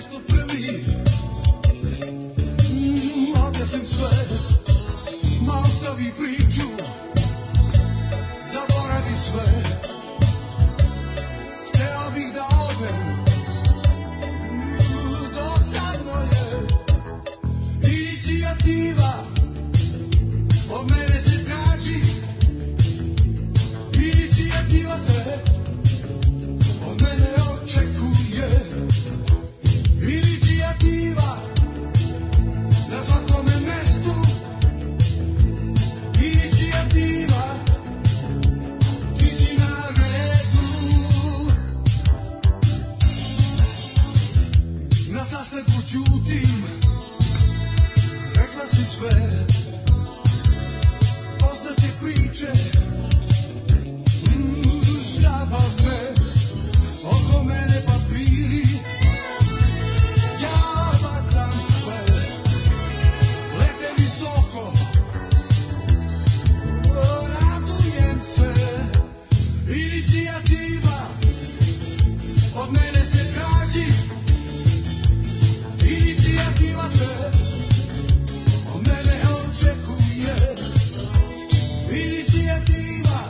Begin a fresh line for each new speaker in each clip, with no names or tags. što preli Mm, Objasnim sve Ma ostavi priču Zaboravi sve Hteo bih da odem Mm, Dosadno je Inicijativa Od mene se traži Inicijativa se Od mene očekuje Inicijativa na svakome mestu Inicijativa Ti si na redu Na sastanku ćutim Rekla si sve Poznate priče mm, Zabavne Oko mene papiri Ja bacam sve Lete visoko Radujem se Inicijativa Od mene se traži Inicijativa se Od mene očekuje Inicijativa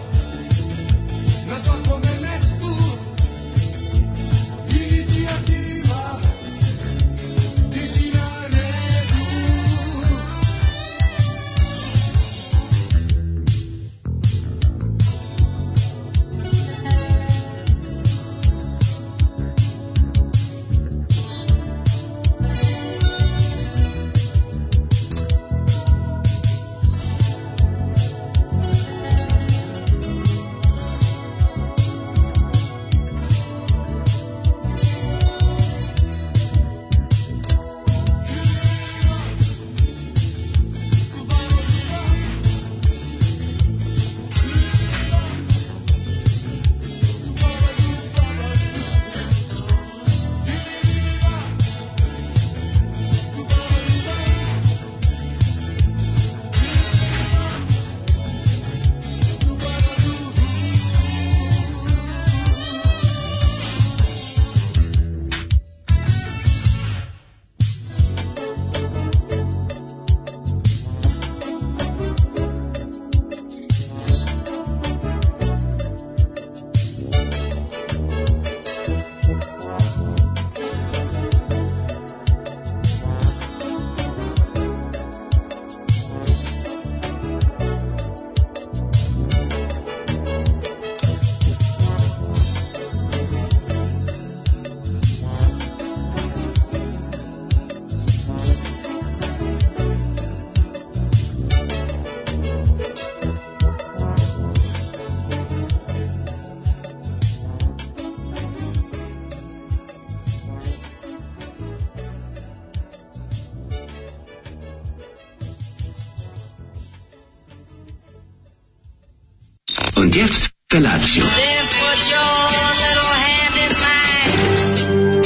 Na svakome mestu Inicijativa Ti si na redu
Und jetzt Felatio.
Then put your little hand in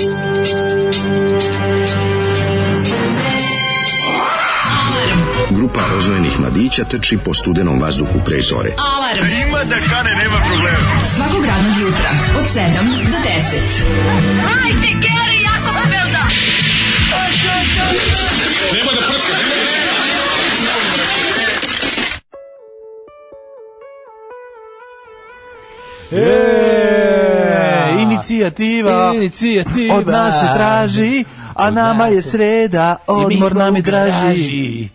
mine.
Grupa rozvojenih mladića trči po studenom vazduhu pre zore.
Alarm. Ima da kane, nema problema. Svakog radnog jutra, od 7 do 10.
Hajde, Geri, jako se belda!
E, inicijativa
Inicijativa.
od nas se traži, a nama je sreda, odmor nam je draži.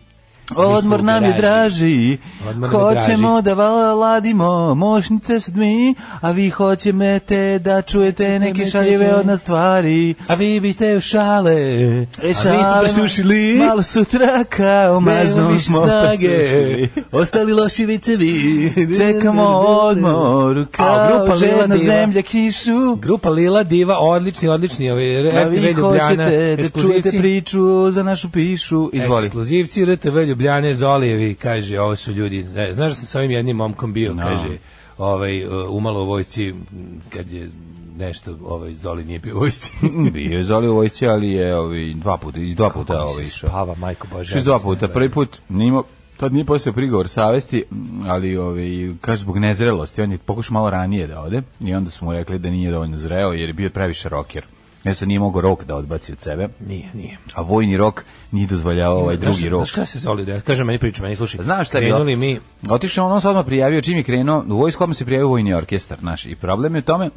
Odmor nam je draži,
Odmor nam je
hoćemo da valadimo mošnice s dmi, a vi hoćete da čujete neke šaljeve od nas stvari.
A vi biste u šale. E,
E,
a mi smo
šalimo,
presušili.
Malo sutra kao
Nemamo
mazom
više
smo
snage.
presušili.
Ostali loši vicevi.
Čekamo odmor
A,
kao
grupa Lila
žena
Diva.
zemlja kišu.
Grupa Lila Diva, odlični, odlični. Ovaj,
A vi
RTV Ljubljana,
hoćete da čujete
ekskluzivci.
priču za našu pišu. Izvoli.
Ekskluzivci RTV Ljubljane Zolijevi, kaže, ovo su ljudi, ne, znaš da sam sa ovim jednim momkom bio, kaže, ovaj, uh, umalo u vojci, m, kad je nešto, ovaj, Zoli nije bio u vojci.
Bio je Zoli u vojsci, ali je ovi, dva puta, iz dva puta
Kako
ovi
mi se
išao.
spava, majko Bože.
Šest
ja
dva
mislim,
puta,
da-
prvi put nimo, tad nije postao prigovor savesti, m, ali ovi, kaže zbog nezrelosti, on je pokušao malo ranije da ode i onda su mu rekli da nije dovoljno zreo jer je bio previše roker. jer se nije mogao rok da odbaci od sebe,
Nije, nije.
a vojni rok nije dozvoljavao ovaj
Znaš-
drugi rok.
Znaš šta se Zoli desilo? Kaže meni priča, meni slušaj.
Znaš šta je bilo?
Krenuli mi,
Otišao on, on se odmah prijavio, čim je krenuo, u vojsku odmah se prijavio vojni orkestar, znaš, i problem je u tome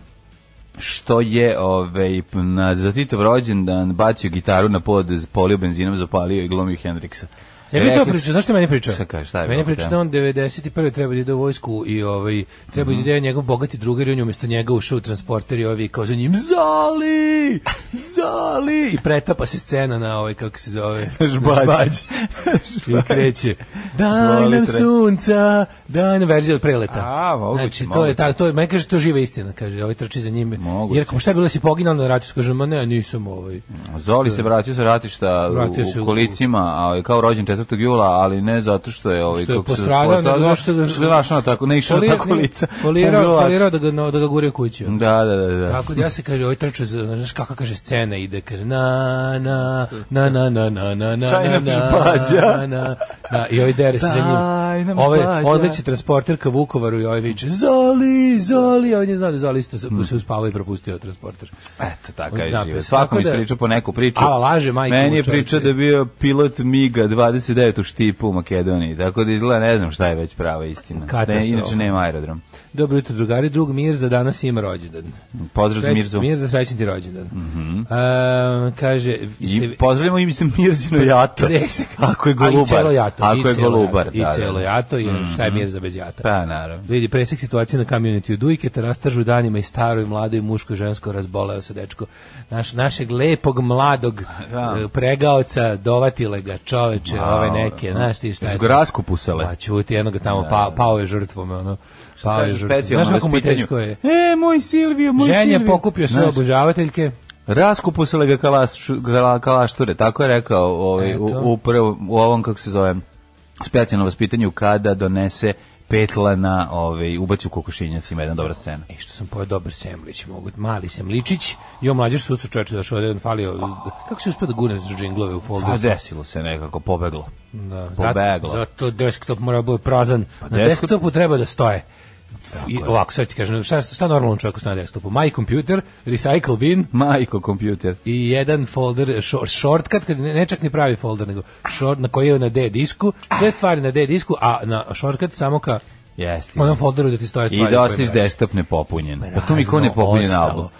što je ovaj, p- na, za Titov rođendan bacio gitaru na pod, polio benzinom, zapalio i glomio Hendriksa.
Ne mi to
Rekli su-
priča, znaš šta meni priča?
Šta kažeš, šta je
meni
bilo,
priča
da?
da on 91. treba da ide u vojsku i ovaj, treba
Mhm.
da ide njegov bogati drugar i on je umjesto njega ušao u transporter i ovi kao za njim Zali! Zali! I pretapa se scena na ovaj, kako se zove?
Žbać.
I kreće. Daj
Voli
nam
tre-
sunca, daj nam verzija od preleta.
A, moguće,
znači, to je
moguće.
tako, to je, meni kaže, to je živa istina, kaže, ovaj trči za njime.
Moguće.
Jer, kao, šta je bilo da si poginao na ratu? Kaže, ma ne, nisam ovaj.
Zoli se vratio sa ratišta
Vratio
u,
se
u
u-
kolicima, a je kao rođen 4. jula, ali ne zato što je ovaj
što je
kako se-
postradao, nego
postradao,
zato što ga-
što je našao na tako ne išao na
Folira-
tako lica. Pa je bilo
Folirao,
lakše.
folirao da ga, da ga gure kući.
Da, da, da, da.
Tako da ja se kaže, ovaj trčao, za- znaš kako kaže scena ide, kaže na na na na na na na na
Taj
na
nam
na
žbađa.
na na i ovaj dere se za
Taj
njim.
nam
Ovaj
žbađa.
odleće transporter ka Vukovaru i ovaj viče Zoli, Zoli, a on je znao da je Zoli isto se
Hmm.
se uspavao i propustio transporter.
Eto, tako je
Da,
život.
pa,
Svako
tako
mi
da-
priča po neku priču.
A, laže, majke
Meni
mu,
je
čoveče.
priča da je bio pilot Miga 29 u Štipu u Makedoniji, tako da izgleda ne znam šta je već prava istina. Ne,
Katastrofa.
inače nema aerodrom.
Dobro jutro drugari, drug Mir za danas ima rođendan.
Pozdrav za
Srećan-
Mirzu.
Mirza, srećan ti rođendan. E, kaže,
I
jeste-
pozdravimo im se Mirzino jato.
Presek.
Ako je
A i celo
golubar.
jato, i
Ako je
celo
golubar.
jato, I
da, da.
celo jato, i šta je Mirza bez jata.
Pa, naravno.
Vidi presek situacije na community u Dujke, te rastažu danima i staro i mlado i muško i žensko razboleo se dečko. Naš, našeg lepog mladog
Da.
eh, pregaoca dovatile ga čoveče, ove neke, znaš ti šta je.
Jesu
to?
ga raskopusale?
Pa čuti, jedno ga tamo pa, pao je žrtvom, ono. Pao je
Kaže,
žrtvom.
specijalno
Znaš kako mu
raspitanju.
teško je.
E, moj Silvio, moj Silvio.
Ženja pokupio sve
Znaš,
obožavateljke.
Raskupusile ga kalaš, kala- kalašture, tako je rekao ovaj, u,
Eto.
u, prvom- u ovom, kako se zove, specijalnom vaspitanju kada donese petla na ovaj, ubaci u kokošinjac, ima jedna dobra scena.
E što sam pojeo dobar semlić, mogu mali semličić. I on mlađer susro čoveče došao, jedan falio. Kako se uspio da gurne za džinglove u folderu?
A desilo se nekako, pobeglo.
Da, zato,
Pobeglo. Pa
zato desktop mora biti prazan. na
desktop-
desktopu treba da stoje. I, ovako, sad ti kažem, šta, šta normalno čovjeku stoje na desktopu? My computer, recycle bin
Majko, kompjuter.
i jedan folder, short, shortcut, kad ne, ne čak ni pravi folder, nego short, na koji je na D disku, sve stvari na D disku, a na shortcut samo ka
Jesti.
onom folderu da ti stoje stvari.
I da
koje
ostaviš
praviš.
desktop nepopunjen. Pa to mi kao
Prazno,
nepopunjen
ostalo,
album.
ostalo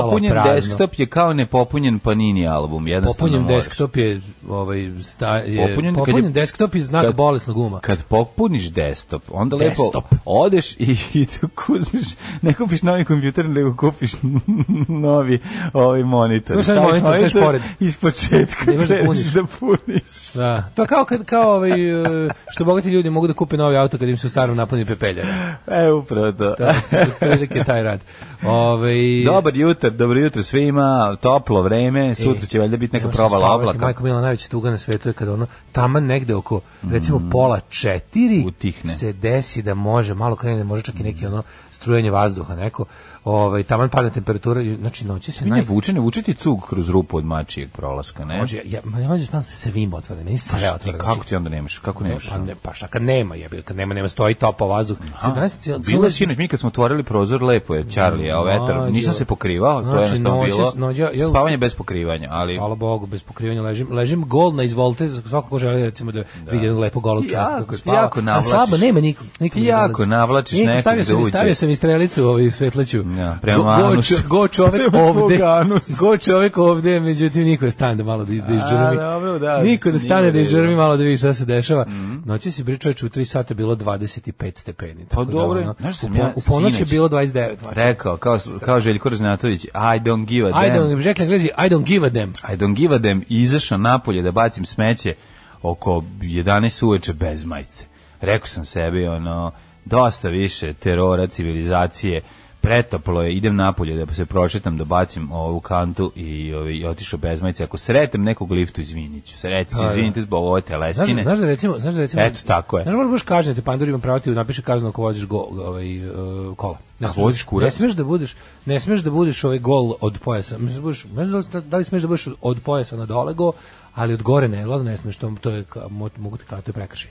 Nepopunjen
prazno.
desktop je kao nepopunjen Panini album. Jednostavno
Popunjen
moraš.
desktop je, ovaj, sta, je
Popunjen
popunjen,
kad je-
desktop je znak
kad-
bolesnog uma.
Kad popuniš desktop, onda lepo
Desktop.
odeš i, i tako uzmeš, ne kupiš novi kompjuter, nego kupiš novi ovaj monitor.
Imaš novi
Taj
monitor, staješ pored.
Iz početka
Ne možeš da
kreneš
puniš.
da puniš.
Da, to je kao kad kao ovaj e, što bogati ljudi mogu da kupe novi auto kad im se u starom napuni pepeljara.
E, upravo to.
To je otprilike taj rad. Ovaj
Dobar jutro, dobro jutro svima, toplo vreme, sutra će valjda biti neka
Možeš
provala
E, spavati,
oblaka.
Majko Mila najveća tuga na svetu je kada ono taman negde oko recimo pola četiri
Mm. Utihne.
se desi da može, malo krene, može čak i neki ono strujenje vazduha neko. Ovaj taman padne temperatura, i, znači noći se
Mi
naj
ne vuče, ne vuče ti cug kroz rupu od mačijeg prolaska, ne?
Može, ja, ja, ma ne možeš spavam se sa svima otvorene, meni sve
Pa Šta ti,
otvorene.
kako ti onda nemaš? Kako
Ne,
nemaš?
pa, ne, pa šta kad nema, jebi, kad nema, nema stoji topa vazduh. Sad danas je cijela-
Bilo
cijela-
je sinoć, mi kad smo otvorili prozor, lepo je, Charlie, a vetar,
Mlađo.
nisam se pokrivao, to je
Znači,
jednostavno
noćas-
bilo.
nođa- ja u-
Spavanje bez pokrivanja, ali...
Hvala Bogu, bez pokrivanja ležim, ležim gol na izvolte, za svako ko želi recimo da, vidi jednog lepog golog
Ti
čovjeka
jako-
kako
ti
spava.
jako navlačiš.
A slabo nema nikog, nikog.
Ti jako navlačiš nekog
stavio
da
sam,
uđe.
Stavio sam i strelicu ovaj svetleću.
Ja, prema
go, go,
anusu.
čo- go čovjek
Prema svog
ovde.
anusa.
Go čovjek ovde, međutim niko je stane da malo da iz, da izđurmi.
dobro, da,
Niko ne
mislim, nije
stane da
u redu. Mhm.
izđurmi malo da vidi šta se dešava. Noći si pričao u 3 sata bilo 25 stepeni. tako da,
Pa dobro je.
ono,
Znaš,
u,
sam ja
po- u ponoć je
sinoć-
bilo 29.
Rekao, kao, kao Željko Raznatović, I don't give a damn.
I don't, rekli Englezi, I don't give a damn.
I don't give a damn. Izašao napolje da bacim smeće oko 11 uveče bez majice. Rekao sam sebi, ono, dosta više terora, civilizacije, pretoplo je, idem napolje da se prošetam, da bacim ovu kantu i, ovaj, i otišao bez majice. Ako sretem nekog liftu, izvinit ću. se. Reći ću,
Pa, da.
izvinite zbog ove
Znaš,
telesine.
znaš da recimo, znaš da recimo.
Eto, tako je.
Znaš, možeš kažnjen, te pandur ima pravo ti napiše kaznu ako voziš go, ovaj e, kola.
Ako
smeš-
voziš kurac?
Ne smeš da budeš, ne smeš da budeš ovaj gol od pojasa. Mislim da budeš, ne znam da li ste- da li smeš da budeš od pojasa na dole go, ali od gore ne, ladno ne smeš, to, to je ka- mo- mogu ti kao to je prekršaj.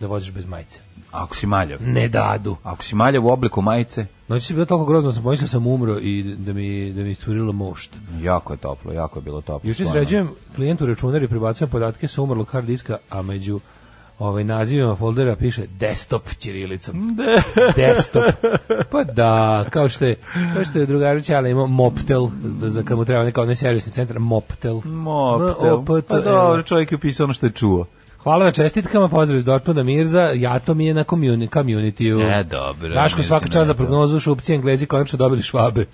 da voziš bez majice.
Ako si maljav.
Ne dadu.
Ako si maljav u obliku majice,
Noći je bilo toliko grozno, da sam pomislio da sam umro i da mi, da mi iscurilo mošt.
jako je toplo, jako je bilo toplo.
Juče
stvarno.
sređujem klijentu računar i prebacujem podatke sa umrlog hard diska, a među ovaj, nazivima foldera piše desktop ćirilicom. desktop. Pa da, kao što je, kao što je drugarić, ali ima Moptel, da, za kad mu treba neka onaj servisni centar, Moptel.
Moptel. Pa
M-O-P-T-E-L.
dobro, čovjek je upisao ono što je čuo.
Hvala na čestitkama, pozdrav iz Dortmunda Mirza, ja to mi je na communi- community-u.
E, dobro,
Daško
Mirza,
svaka čast za
ne,
prognozu, šupci, englezi konačno dobili švabe.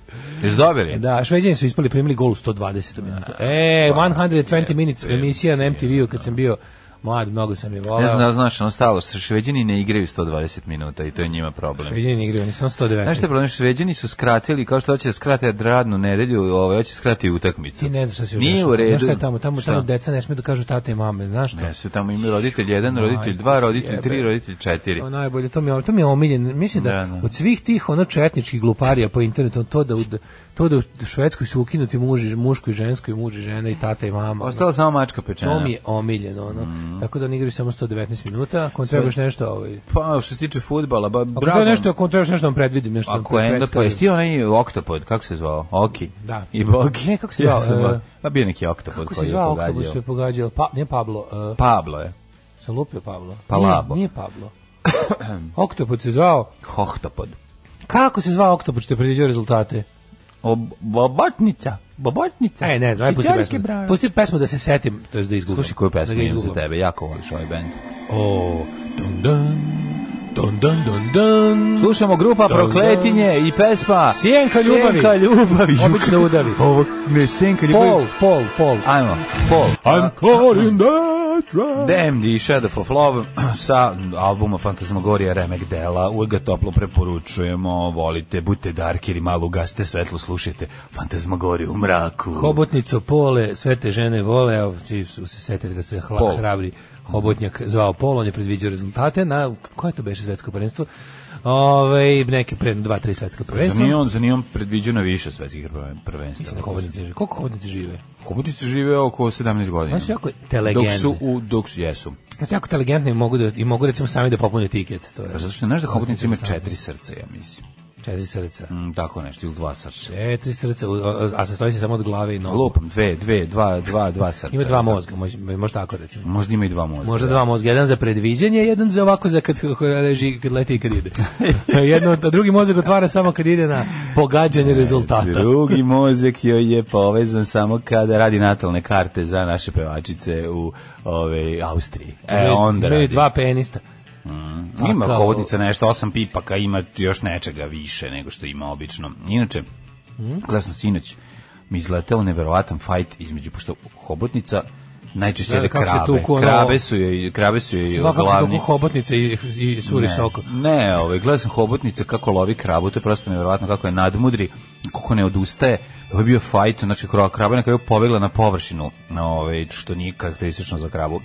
Jesi dobili?
Da, Šveđani su ispali primili gol u 120 minuta. E,
pa,
120 minutes emisija na MTV-u kad sam bio mlad, mnogo sam je
Ne znam da
volao.
li znaš, ono stalo, šveđani ne igraju 120 minuta i to je njima problem.
Šveđani igraju, oni samo 119.
Znaš šta je problem, Šveđani su skratili, kao što hoće da skrate radnu nedelju, ovaj, hoće da skrate i utakmicu.
Ti ne znaš šta se još
Nije
dešava.
u redu.
Znaš šta je tamo? Tamo, tamo
Šta?
deca ne smiju da kažu tate i mame, znaš šta?
Ne, E, su tamo imaju roditelj 1, roditelj 2, roditelj 3, roditelj 4.
To najbolje, to mi je, to mi je omiljen. Mislim da,
Da, da.
od svih tih ono četničkih gluparija po internetu, to da, u- to da u Švedskoj su ukinuti muži, muško i žensko i muž i žena i tata i mama. ono.
Ostala samo mačka pečena.
To mi je omiljeno, ono.
Mhm.
Tako da oni igraju samo 119 minuta, ako vam trebaš nešto, ovaj,
Pa, što se tiče futbala, ba,
Ako to
bravo.
Pa je nešto, ako trebaš nešto da vam predvidim, nešto da vam
Ako je enda, pa
predskažem.
jesi ti onaj oktopod, kako se zvao? Oki.
Da.
I Bogi.
Ne, kako se zvao,
Ja sam,
e,
ba- pa bio neki oktopod
Kako se
koji je
zvao Oktobus
pogađao.
što je pogađao? Pa, nije Pablo. Uh,
Pablo je.
sam lupio Pablo.
Palabo.
Nije, nije Pablo. Oktopod se zvao.
Hohtopod.
Kako se zvao Oktopod što je predviđao rezultate?
Ob- Bobotnica. Bobotnica.
E, ne znam, aj pusti
Čarke
pesmu.
brave.
Pusti pesmu da se setim, to je da izgubim.
Slušaj koju pesmu
da
imam za tebe, jako voliš ovaj band.
O, dun dun, dun dun dun dun.
Slušamo grupa
Da,
Prokletinje i pesma
Sjenka ljubavi.
Sjenka ljubavi.
Obično udavi.
Ovo, ne, Sjenka ljubavi.
Pol, pol, pol.
Ajmo, Paul.
I'm caught in that trap.
Damn the Shadow of Love sa albuma Fantasmagoria Remek Dela. Uvijek ga toplo preporučujemo, volite, budite dark ili malo ugasite svetlo, slušajte Fantasmagoriju u mraku.
Hobotnico Pole, sve te žene vole, evo, svi su se setili da se hla,
Pol.
hrabri hobotnjak zvao Pol, on je predviđao rezultate na, koje to beše svetsko prvenstvo? Ove, neke pre, dva, tri svetska
Za
prvenstva.
nije on, za nije on predviđeno više svetskih prven- prvenstava.
Mislim, hobotnici žive. Koliko hobotnici žive?
Hobotnici žive oko 17 godina.
Oni su jako
Dok
inteligentni.
su, u, dok su, jesu.
Oni su jako inteligentni i mogu, da, i mogu recimo sami da popune tiket. To je
Pa zato što znaš da hobotnici imaju četiri srca, ja mislim.
četiri srca.
Mm, tako nešto, ili dva srca.
Četiri srca, u- a- a sastoji se samo od glave i nogu.
Lupam, dve, dve, dva, dva, dva srca.
Ima dva mozga, možda, možda tako recimo.
Možda ima i dva mozga.
Možda
da.
dva mozga, jedan za predviđanje, jedan za ovako za kad reži, kad leti i kad ide. Jedno, a drugi mozak otvara samo kad ide na pogađanje rezultata.
Drugi mozak joj je povezan samo kada radi natalne karte za naše pevačice u ove, Austriji. E,
Imaju-
onda
imaju
radi.
dva penista.
Ima
Tako.
hovodnica nešto, osam pipaka, ima još nečega više nego što ima obično. Inače,
Mhm.
gledao sam sinoć, mi izletao neverovatan fajt između, pošto hobotnica najčešće
Gleda
jede
kako se
krabe.
tuku, ono-
krabe su joj, krabe su joj
Svakako su
glavni.
toku hobotnice i, i suri soko.
Ne, ne ovaj, gledao sam hobotnice kako lovi krabu, to je prosto nevjerovatno kako je nadmudri, kako ne odustaje. Ovo je bio fajt, znači kro- kraba je na kraju pobegla na površinu, na ovaj, što nije karakteristično za krabu.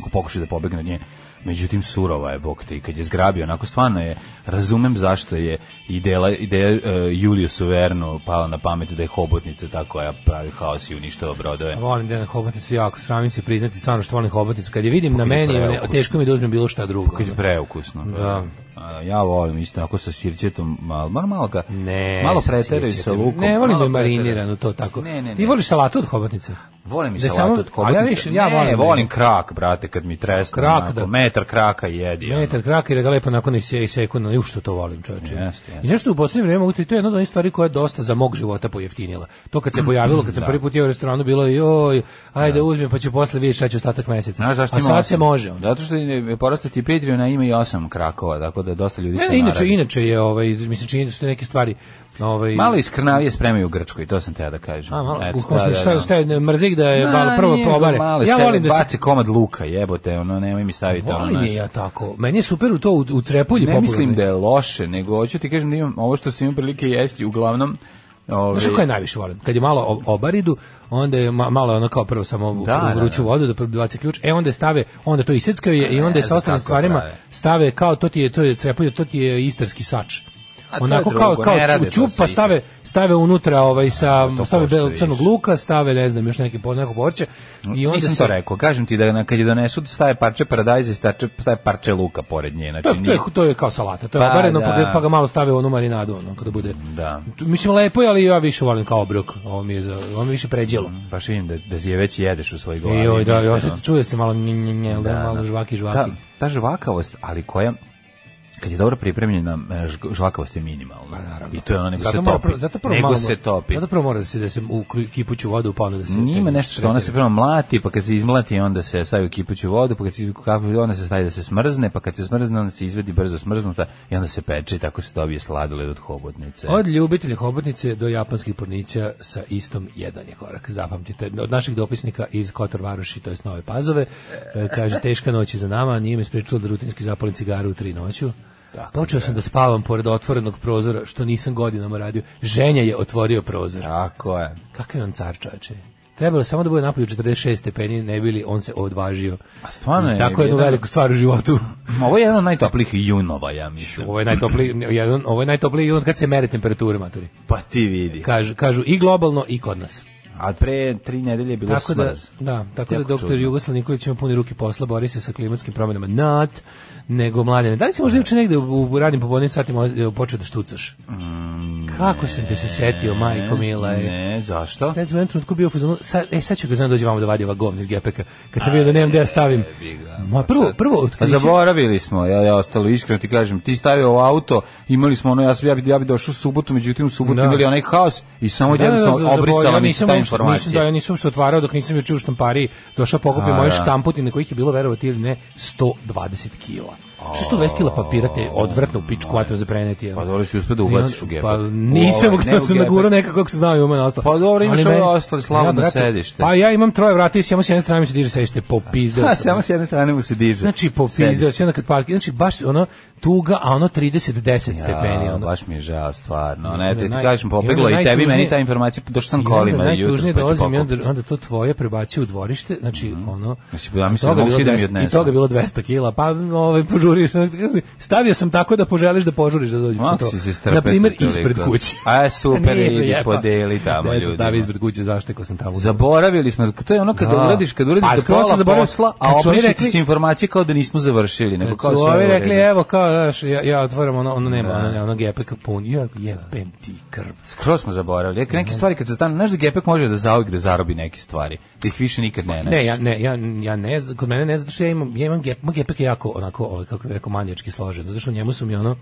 Ako pokušaj da pobegne od nje, međutim surova je, bog te, i kad je zgrabio, onako stvarno je, razumem zašto je ideja, ideja uh, Juliju Suvernu pala na pamet da je hobotnica ta koja pravi haos i uništava brodove.
Volim da je na hobotnicu jako, sramim se priznati stvarno što volim hobotnicu. Kad je vidim na
Kad je
meni, ne,
preukusno.
teško mi je da uzmem bilo šta drugo. ono.
Kad je preukusno.
Da.
A, ja volim isto onako sa sirćetom, malo, malo, malo ga,
Ne,
malo
sa
preteraju sa
sjećate.
lukom.
Ne volim
malo
da je
preteraju.
marinirano to tako.
Ne, ne, ne.
Ti voliš salatu od hobotnice?
Volim i
Da je
salatu
samo-
od hobotnice.
ali ja više- ja
ne,
volim-
volim krak, brate, kad mi tresne.
Krak,
onako,
da.
Metar kraka jedi. ono.
Metar kraka i da ga lepo nakon i se i sekundu, u što to volim, čoveče.
Jeste, jeste.
I nešto u poslednje vreme mogu ti- to je jedna od onih stvari koja je dosta za mog života pojeftinila. To kad se pojavilo, kad sam prvi put jeo u restoranu, bilo je joj, ajde uzmem pa ću posle vidjeti šta će ostatak meseca.
Znaš zašto
A
ima
sad
osam?
se može. ono.
Zato što je porastati Patreon, a ima i osam krakova, tako da dosta ljudi
Ne,
se
ne, E, inače,
naradi.
inače je, ovaj, mislim, čini da su te neke stvari, ovaj,
Malo iskrnavije spremaju u Grčkoj, to sam teo da kažem.
A, malo,
Eto,
u kom
da, da,
smislu, šta,
da.
šta je, mrzik da je
Ma,
malo prvo
nije,
probare.
male,
Ja
sebe
volim da se
baci komad luka, jebote, ono, nemoj mi staviti ono.
Volim
znaš.
je ja tako. Meni je super u to u, u trepulji
Ne mislim
popularno.
da je loše, nego hoću ti kažem da imam ovo što sam imao prilike jesti, uglavnom... ovaj, Ove,
Znaš koje najviše volim? Kad je malo ob- obaridu, onda je ma- malo ono kao prvo samo
Da,
da,
da,
vruću
da.
vodu da prebaci ključ, e onda je stave, onda to iseckaju je i onda je
Ne
sa
znam
ostalim
kako
stvarima
prave.
stave kao to ti je to je crepulje, to ti je istarski sač.
A to je
onako kao
drugo,
kao
ne rade
ću-
to
ćup,
sa
pa
istim.
stave stave unutra ovaj sa
to
stave
košta
bel
više.
crnog luka, stave ne znam još neki po neko povrće i onda
Nisam
se
to rekao. Kažem ti da na, kad je donesu staje parče paradajza i staje, staje parče luka pored nje. Znači,
To je, to,
nije-
je, to je kao salata, to je
Pa,
pa, obareno, pa,
da.
ga, pa ga malo stave u onu marinadu, ono, kada bude.
Da.
Mislim, lepo je, ali ja više volim kao obrok, ovo mi je, za, ovo mi je više pređelo.
Baš vidim da, da je već jedeš u svoj
I
glavi.
joj, da,
mislim,
joj,
ono.
sad čuje se malo nj, nj, nj, da,
Da,
malo
da.
žvaki,
Ta,
žvaki.
ta žvakavost, ali koja kad je dobro pripremljena e, žg- žvakavost je minimalna. I to je ono nego se
mora
topi.
prvo- Pa zato prvo
nego
malo,
se topi.
Zato prvo mora da se, da se u kru- kipuću vodu pa onda da se...
Njima
da-
nešto što ona se
tretere.
prvo mlati, pa kad se izmlati onda se stavi u kipuću vodu, pa kad se kapi onda se stavi da se smrzne, pa kad se smrzne onda se izvedi brzo smrznuta i onda se peče i tako se dobije sladoled od hobotnice.
Od ljubitelja hobotnice do japanskih pornića sa istom jedan je korak, zapamtite. Od naših dopisnika iz Kotor Varoši, to jest Nove Pazove, e, kaže teška noć je za nama, nije me sprečilo da rutinski zapalim cigaru u tri noću. Počeo sam da spavam pored otvorenog prozora, što nisam godinama radio. Ženja je otvorio prozor.
Tako je.
Kakav je on car čoveče? Trebalo je samo da bude napolju 46 stepeni, ne bili on se odvažio.
A stvarno je
I Tako je jednu
jedan-
veliku stvar u životu.
Ovo je jedan od najtoplijih junova, ja mislim.
Ovo je najtopliji, jedan, ovo je najtopliji jedan kad se mere temperature, maturi.
Pa ti vidi.
Kažu, kažu i globalno i kod nas.
A pre tri nedelje je bilo
Tako da,
smrz.
da, tako
Jako
da doktor
čudno.
Jugoslav Nikolić ima puni ruke posla, bori se sa klimatskim promjenama Not, nego mladene. Da li si možda juče negde u, u ranim popodnim satima e, počeo da štucaš? Kako sam te se setio, majko mila e. je.
Mm, Ne, zašto?
Ja sam u jednom trenutku bio u fazonu, sad, e, sad ću ga znam dođe vamo da vadi ova govna iz gepeka. Kad sam bio da nemam gde ja stavim. Ma prvo, prvo,
A
otkriće,
Pa zaboravili smo, ja, ja ostalo iskreno ti kažem, ti stavio u auto, imali smo ono, ja, sam, ja, bi, ja bi došao u subotu, međutim u subotu
Da.
imali onaj haos i samo
Da, da, da,
jednostavno
zaboravio,
obrisala mi se
nisam
ta
uopšte-
informacija.
Nisam, da, ja nisam uopšte otvarao dok nisam još u štampari došao pokupio
A,
moje
da.
štamputine kojih je bilo, verovati ili ne, 120 kila. 620 kila papira te odvratno u pičku vatru za preneti. jel?
Pa dobro si uspio da
I onda-
ubaciš u gepak.
Pa
U
nisam,
ovaj, ne
da
u
sam
gepak.
nagurao nekako kako se znao i umeno ostalo.
Pa dobro, imaš
Ali
ove
meni-
ostale slobodno
brate,
sedište.
Pa ja imam troje vrata i samo s jedne strane mi se diže sedište, popizdeo
Ha, Pa,
sam.
samo s jedne strane mu se diže.
Znači popizdeo
Sediš.
se onda kad parki, znači baš ono tuga, a ono 30 10 stepeni
Ja,
ono.
baš mi je žao, stvarno.
I
Ne,
onda
te ti
naj-
kažem,
i
popeglo
onda
i tebi,
najtužnije-
meni ta informacija, došao sam
I onda
kolima.
najtužnije
jutros, pa ću
dolazim i
pokupiti.
onda, onda to tvoje prebaci u dvorište, znači ono...
Znači, ja mislim
toga
da mogu
bilo
svi da mi
200 I
odnesu.
toga bilo 200 kila, pa ovaj, požuriš. Stavio sam tako da poželiš da požuriš da dođeš
Ako
po to.
si se strpeti
Na primjer,
toliko.
ispred kuće.
A, super,
Nije za
idi,
jebac.
podeli tamo
Ne sam
ljudima.
stavio ispred kuće, zašto ko sam tamo.
Zaboravili smo, to je ono kad
Da.
uradiš, kad uradiš
Pa,
do
skroz sam
pola
zaboravio.
posla,
Kad
a
su oni
obriše ti
rekli-
se informacije kao da nismo završili, nego
Kad
kao
Znači, su
sve
ovi
u
rekli,
redu.
evo, kao, znaš, ja, ja otvaram ono, ono nema, ono, ono gepeka pun, ja, jebem ti krv.
Skroz smo zaboravili. Ek- Neke stvari kad se stane, znaš da Gepek može da zauvijek da zarobi neke stvari, da ih više nikad ne nađe.
Ne, ja ne, ja, ja ne, z- kod mene ne, zato što ja imam, ja imam gep, moj gepek je jako, onako, ovaj, kako bih rekao, manijački složen, zato što u njemu su mi ono,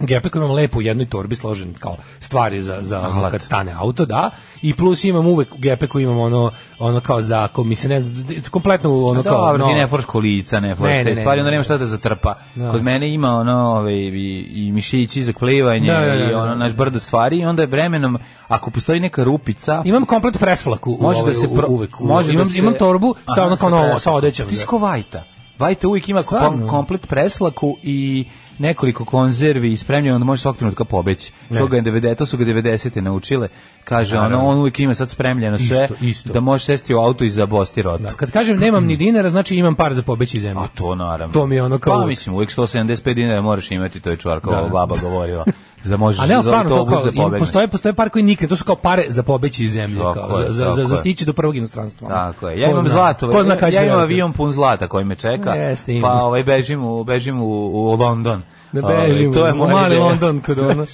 gepek imam lepo u jednoj torbi složen kao stvari za, za ono, kad stane auto, da, i plus imam uvek u gepeku imam ono, ono kao za, ako mi se ne, zna- d- kompletno ono kao,
Dobro,
no,
ti ne foraš kolica, ne foraš
Ne,
te
ne, ne,
stvari, onda
ne,
nema
ne.
šta da zatrpa.
Da.
Kod mene ima ono ove, i, i mišići za plivanje
Da, da, da,
i
da.
ono naš brdo stvari i onda je vremenom, ako postoji neka rupica,
imam komplet presvlak u,
može
ovaj,
da se
u-
pro-
uvek, u-
može da
imam,
se-
imam torbu sa
Aha,
ono kao novo, sa
preslakom.
odećom.
Ti si ko Vajta. Vajta uvijek ima kom,
Stvarno?
komplet preslaku i nekoliko konzervi i spremljeno onda može svakog trenutka pobeći.
Ne.
To, ga je 90, to su ga 90. naučile. Kaže, ono,
Naravno.
on uvijek ima sad spremljeno
Isto,
sve,
isto.
da može sesti u auto i zabosti rotu.
Da, kad kažem nemam ni dinara, znači imam par za pobeći iz zemlje.
A to naravno.
To mi je ono kao
Pa
uvek.
mislim, uvijek 175 dinara moraš imati, to je čvarkova
Da.
baba govorila. Da možeš
A ne, ali
za
stvarno, to
autobus
kao,
da
im-
pobegneš.
postoje, postoje par koji nikad, to su kao pare za pobeći iz zemlje,
Tako
kao,
je,
za, za,
tako
za, za
je.
stići do prvog inostranstva. ono.
Tako je. Ja
Ko
imam
zna?
zlato.
Ko zna
ja,
kada će
ja imam
vratiti?
avion pun zlata koji me čeka.
Jeste, ima.
pa ovaj bežim u bežim u, u London.
Da
Ovaj,
bežimo,
to je
u
moja
mali
ideja. Znači,
London kod ono.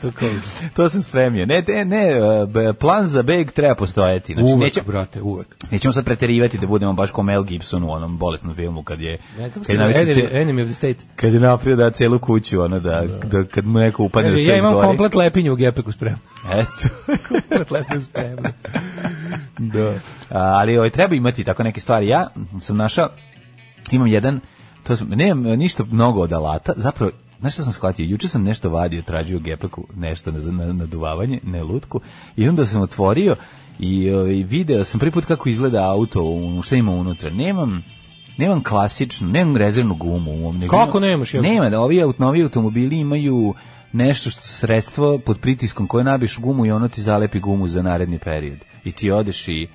to kao, znači,
To sam spremio. Ne, ne, ne, b- plan za beg treba postojati. Znači,
uvek,
neće,
brate, uvek.
nećemo sad preterivati da budemo baš kao Mel Gibson u onom bolesnom filmu kad je...
Ne, kako
kad
ste
je
rekli,
navesti
enemy,
ce-
enemy of the state.
kad je napravio da celu kuću, ono, da, da kad mu neko upadne da
Kaže,
se
ja imam
izgori.
komplet lepinju u gepeku spremno.
Eto.
komplet lepinju spremno.
da. ali ovaj, treba imati tako neke stvari. Ja sam našao, imam jedan, to sam, nemam e, ništa mnogo od alata, zapravo, znaš šta sam shvatio, juče sam nešto vadio, tražio u gepeku, nešto na, na, na duvavanje, ne lutku, i onda sam otvorio i ovaj, video sam prvi put kako izgleda auto, u- šta ima unutra. Nemam, nemam klasičnu, nemam rezervnu gumu. u ovom, nego
Kako
imam-
nemaš, jebote?
Nema, da ovi aut- novi automobili imaju nešto što sredstvo pod pritiskom koje nabiš gumu i ono ti zalepi gumu za naredni period. I ti odeš i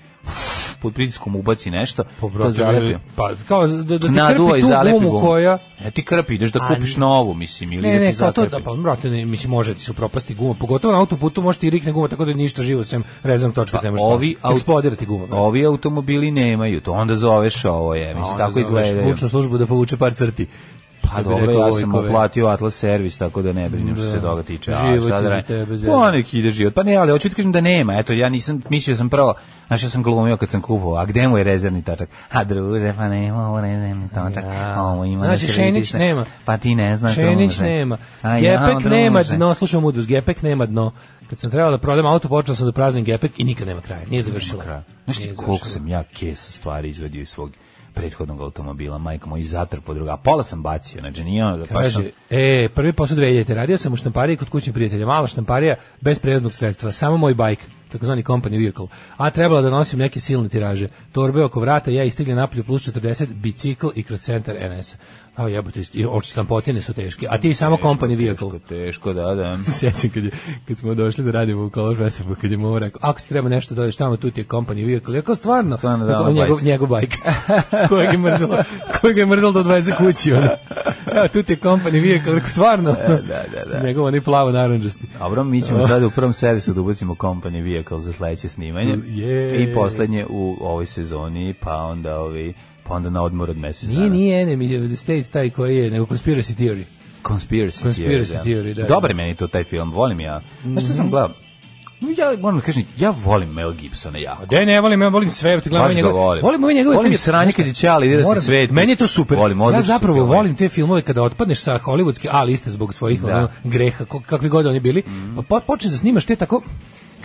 pod pritiskom ubaci nešto, to
Pobrate,
zalepi.
Pa, kao Pa, da, da ti
Naduva i
krpi tu
zalepi
gumu
gumu.
koja...
Ja ti krpi, ideš da
A,
kupiš
ne.
novu, mislim, ili
Ne,
da
ne,
ti
kao to,
zatrepi.
da, pa, brate, ne, mislim, može ti se upropasti guma, pogotovo na autoputu može ti i rikne guma, tako da ništa živo, sem rezom točka,
Pa,
ne možeš
ovi,
pasti. eksplodira ti guma. brate.
ovi automobili nemaju, to onda zoveš ovo je,
A
mislim,
onda
tako
zoveš
izgleda.
Zvučnu službu da povuče par crti.
Pa
Da bi
dobro,
rekao
ja
ovaj
sam
kove.
uplatio Atlas servis, tako da ne brinem što
Da.
se toga tiče.
Život
šta
je
da
za
ne-
tebe, zemlja.
Pa nek ide život. Pa ne, ali hoću ti kažem da nema. Eto, ja nisam, mislio sam prvo, znaš, ja sam glumio kad sam kupovao, a gde mu je rezervni točak? A druže, pa nema ovo rezervni točak.
Ja.
Ovo ima
Znači,
da se
Šenić
vidiš, ne-
nema.
Pa ti ne znaš,
Šenić
druže.
nema.
A ja,
Gepek
druže.
nema dno, slušam udus, Gepek nema dno. Kad sam trebala da prodam auto, počela sam da praznim Gepek i nikad nema kraja. Nije završila.
kraj. Znaš ti
Nije
koliko
završila.
sam ja kesa stvari izvedio iz svog prethodnog automobila, majka moj, i zatrpo druga. A pola sam bacio, znači nije ono da baš sam...
Kaže, e, prvi posao 2000 radio sam u štampariji kod kućnih prijatelja, mala štamparija bez preznog sredstva, samo moj bajk, takozvani company vehicle, a trebala da nosim neke silne tiraže, torbe oko vrata, ja istigle napolju plus 40, bicikl i kroz centar NS. A jebote, i oči stampotine su teške, a ti samo company vehicle.
Teško, da, da.
Sjećam kad, je, kad smo došli da radimo u Kološ Vesepu, kad je mu ovo rekao, ako ti treba nešto da odeš tamo, tu ti je company vehicle. Ja kao stvarno,
Stvarno, da,
Kao,
ono,
njegov,
bajs.
njegov bajk, kojeg je mrzalo, kojeg je mrzalo da odveze kući. Ono. Evo, tu ti je company vehicle, rekao stvarno,
E, da, da, da.
njegov onaj plavo naranđasti.
Dobro, mi ćemo sada u prvom servisu da ubacimo Company Vehicle za sledeće snimanje.
Je.
I poslednje u ovoj sezoni, pa onda ovi pa onda na odmor od meseca.
Nije, nije Enemy State taj koji je, nego Conspiracy Theory.
Conspiracy,
Conspiracy
theory,
theory, da, Mhm.
Dobar
da.
je meni to taj film, volim ja. Znaš što sam gledao? No, Ja moram da kažem, ja volim Mel Gibsona jako.
Da, ne, volim, ja volim sve,
Baš
ti gledam
ga
njegove.
volim.
Volim ove njegove.
Volim
filmove.
sranje kad je Ćale ide da se
Moram-
sveti.
Meni je to super.
Volim,
ja
odlični su
zapravo
filmovi.
volim te filmove kada otpadneš sa hollywoodske A liste zbog svojih
Da. Mhm.
ono, greha, ko- kakvi god oni bili, pa po, počneš da snimaš te tako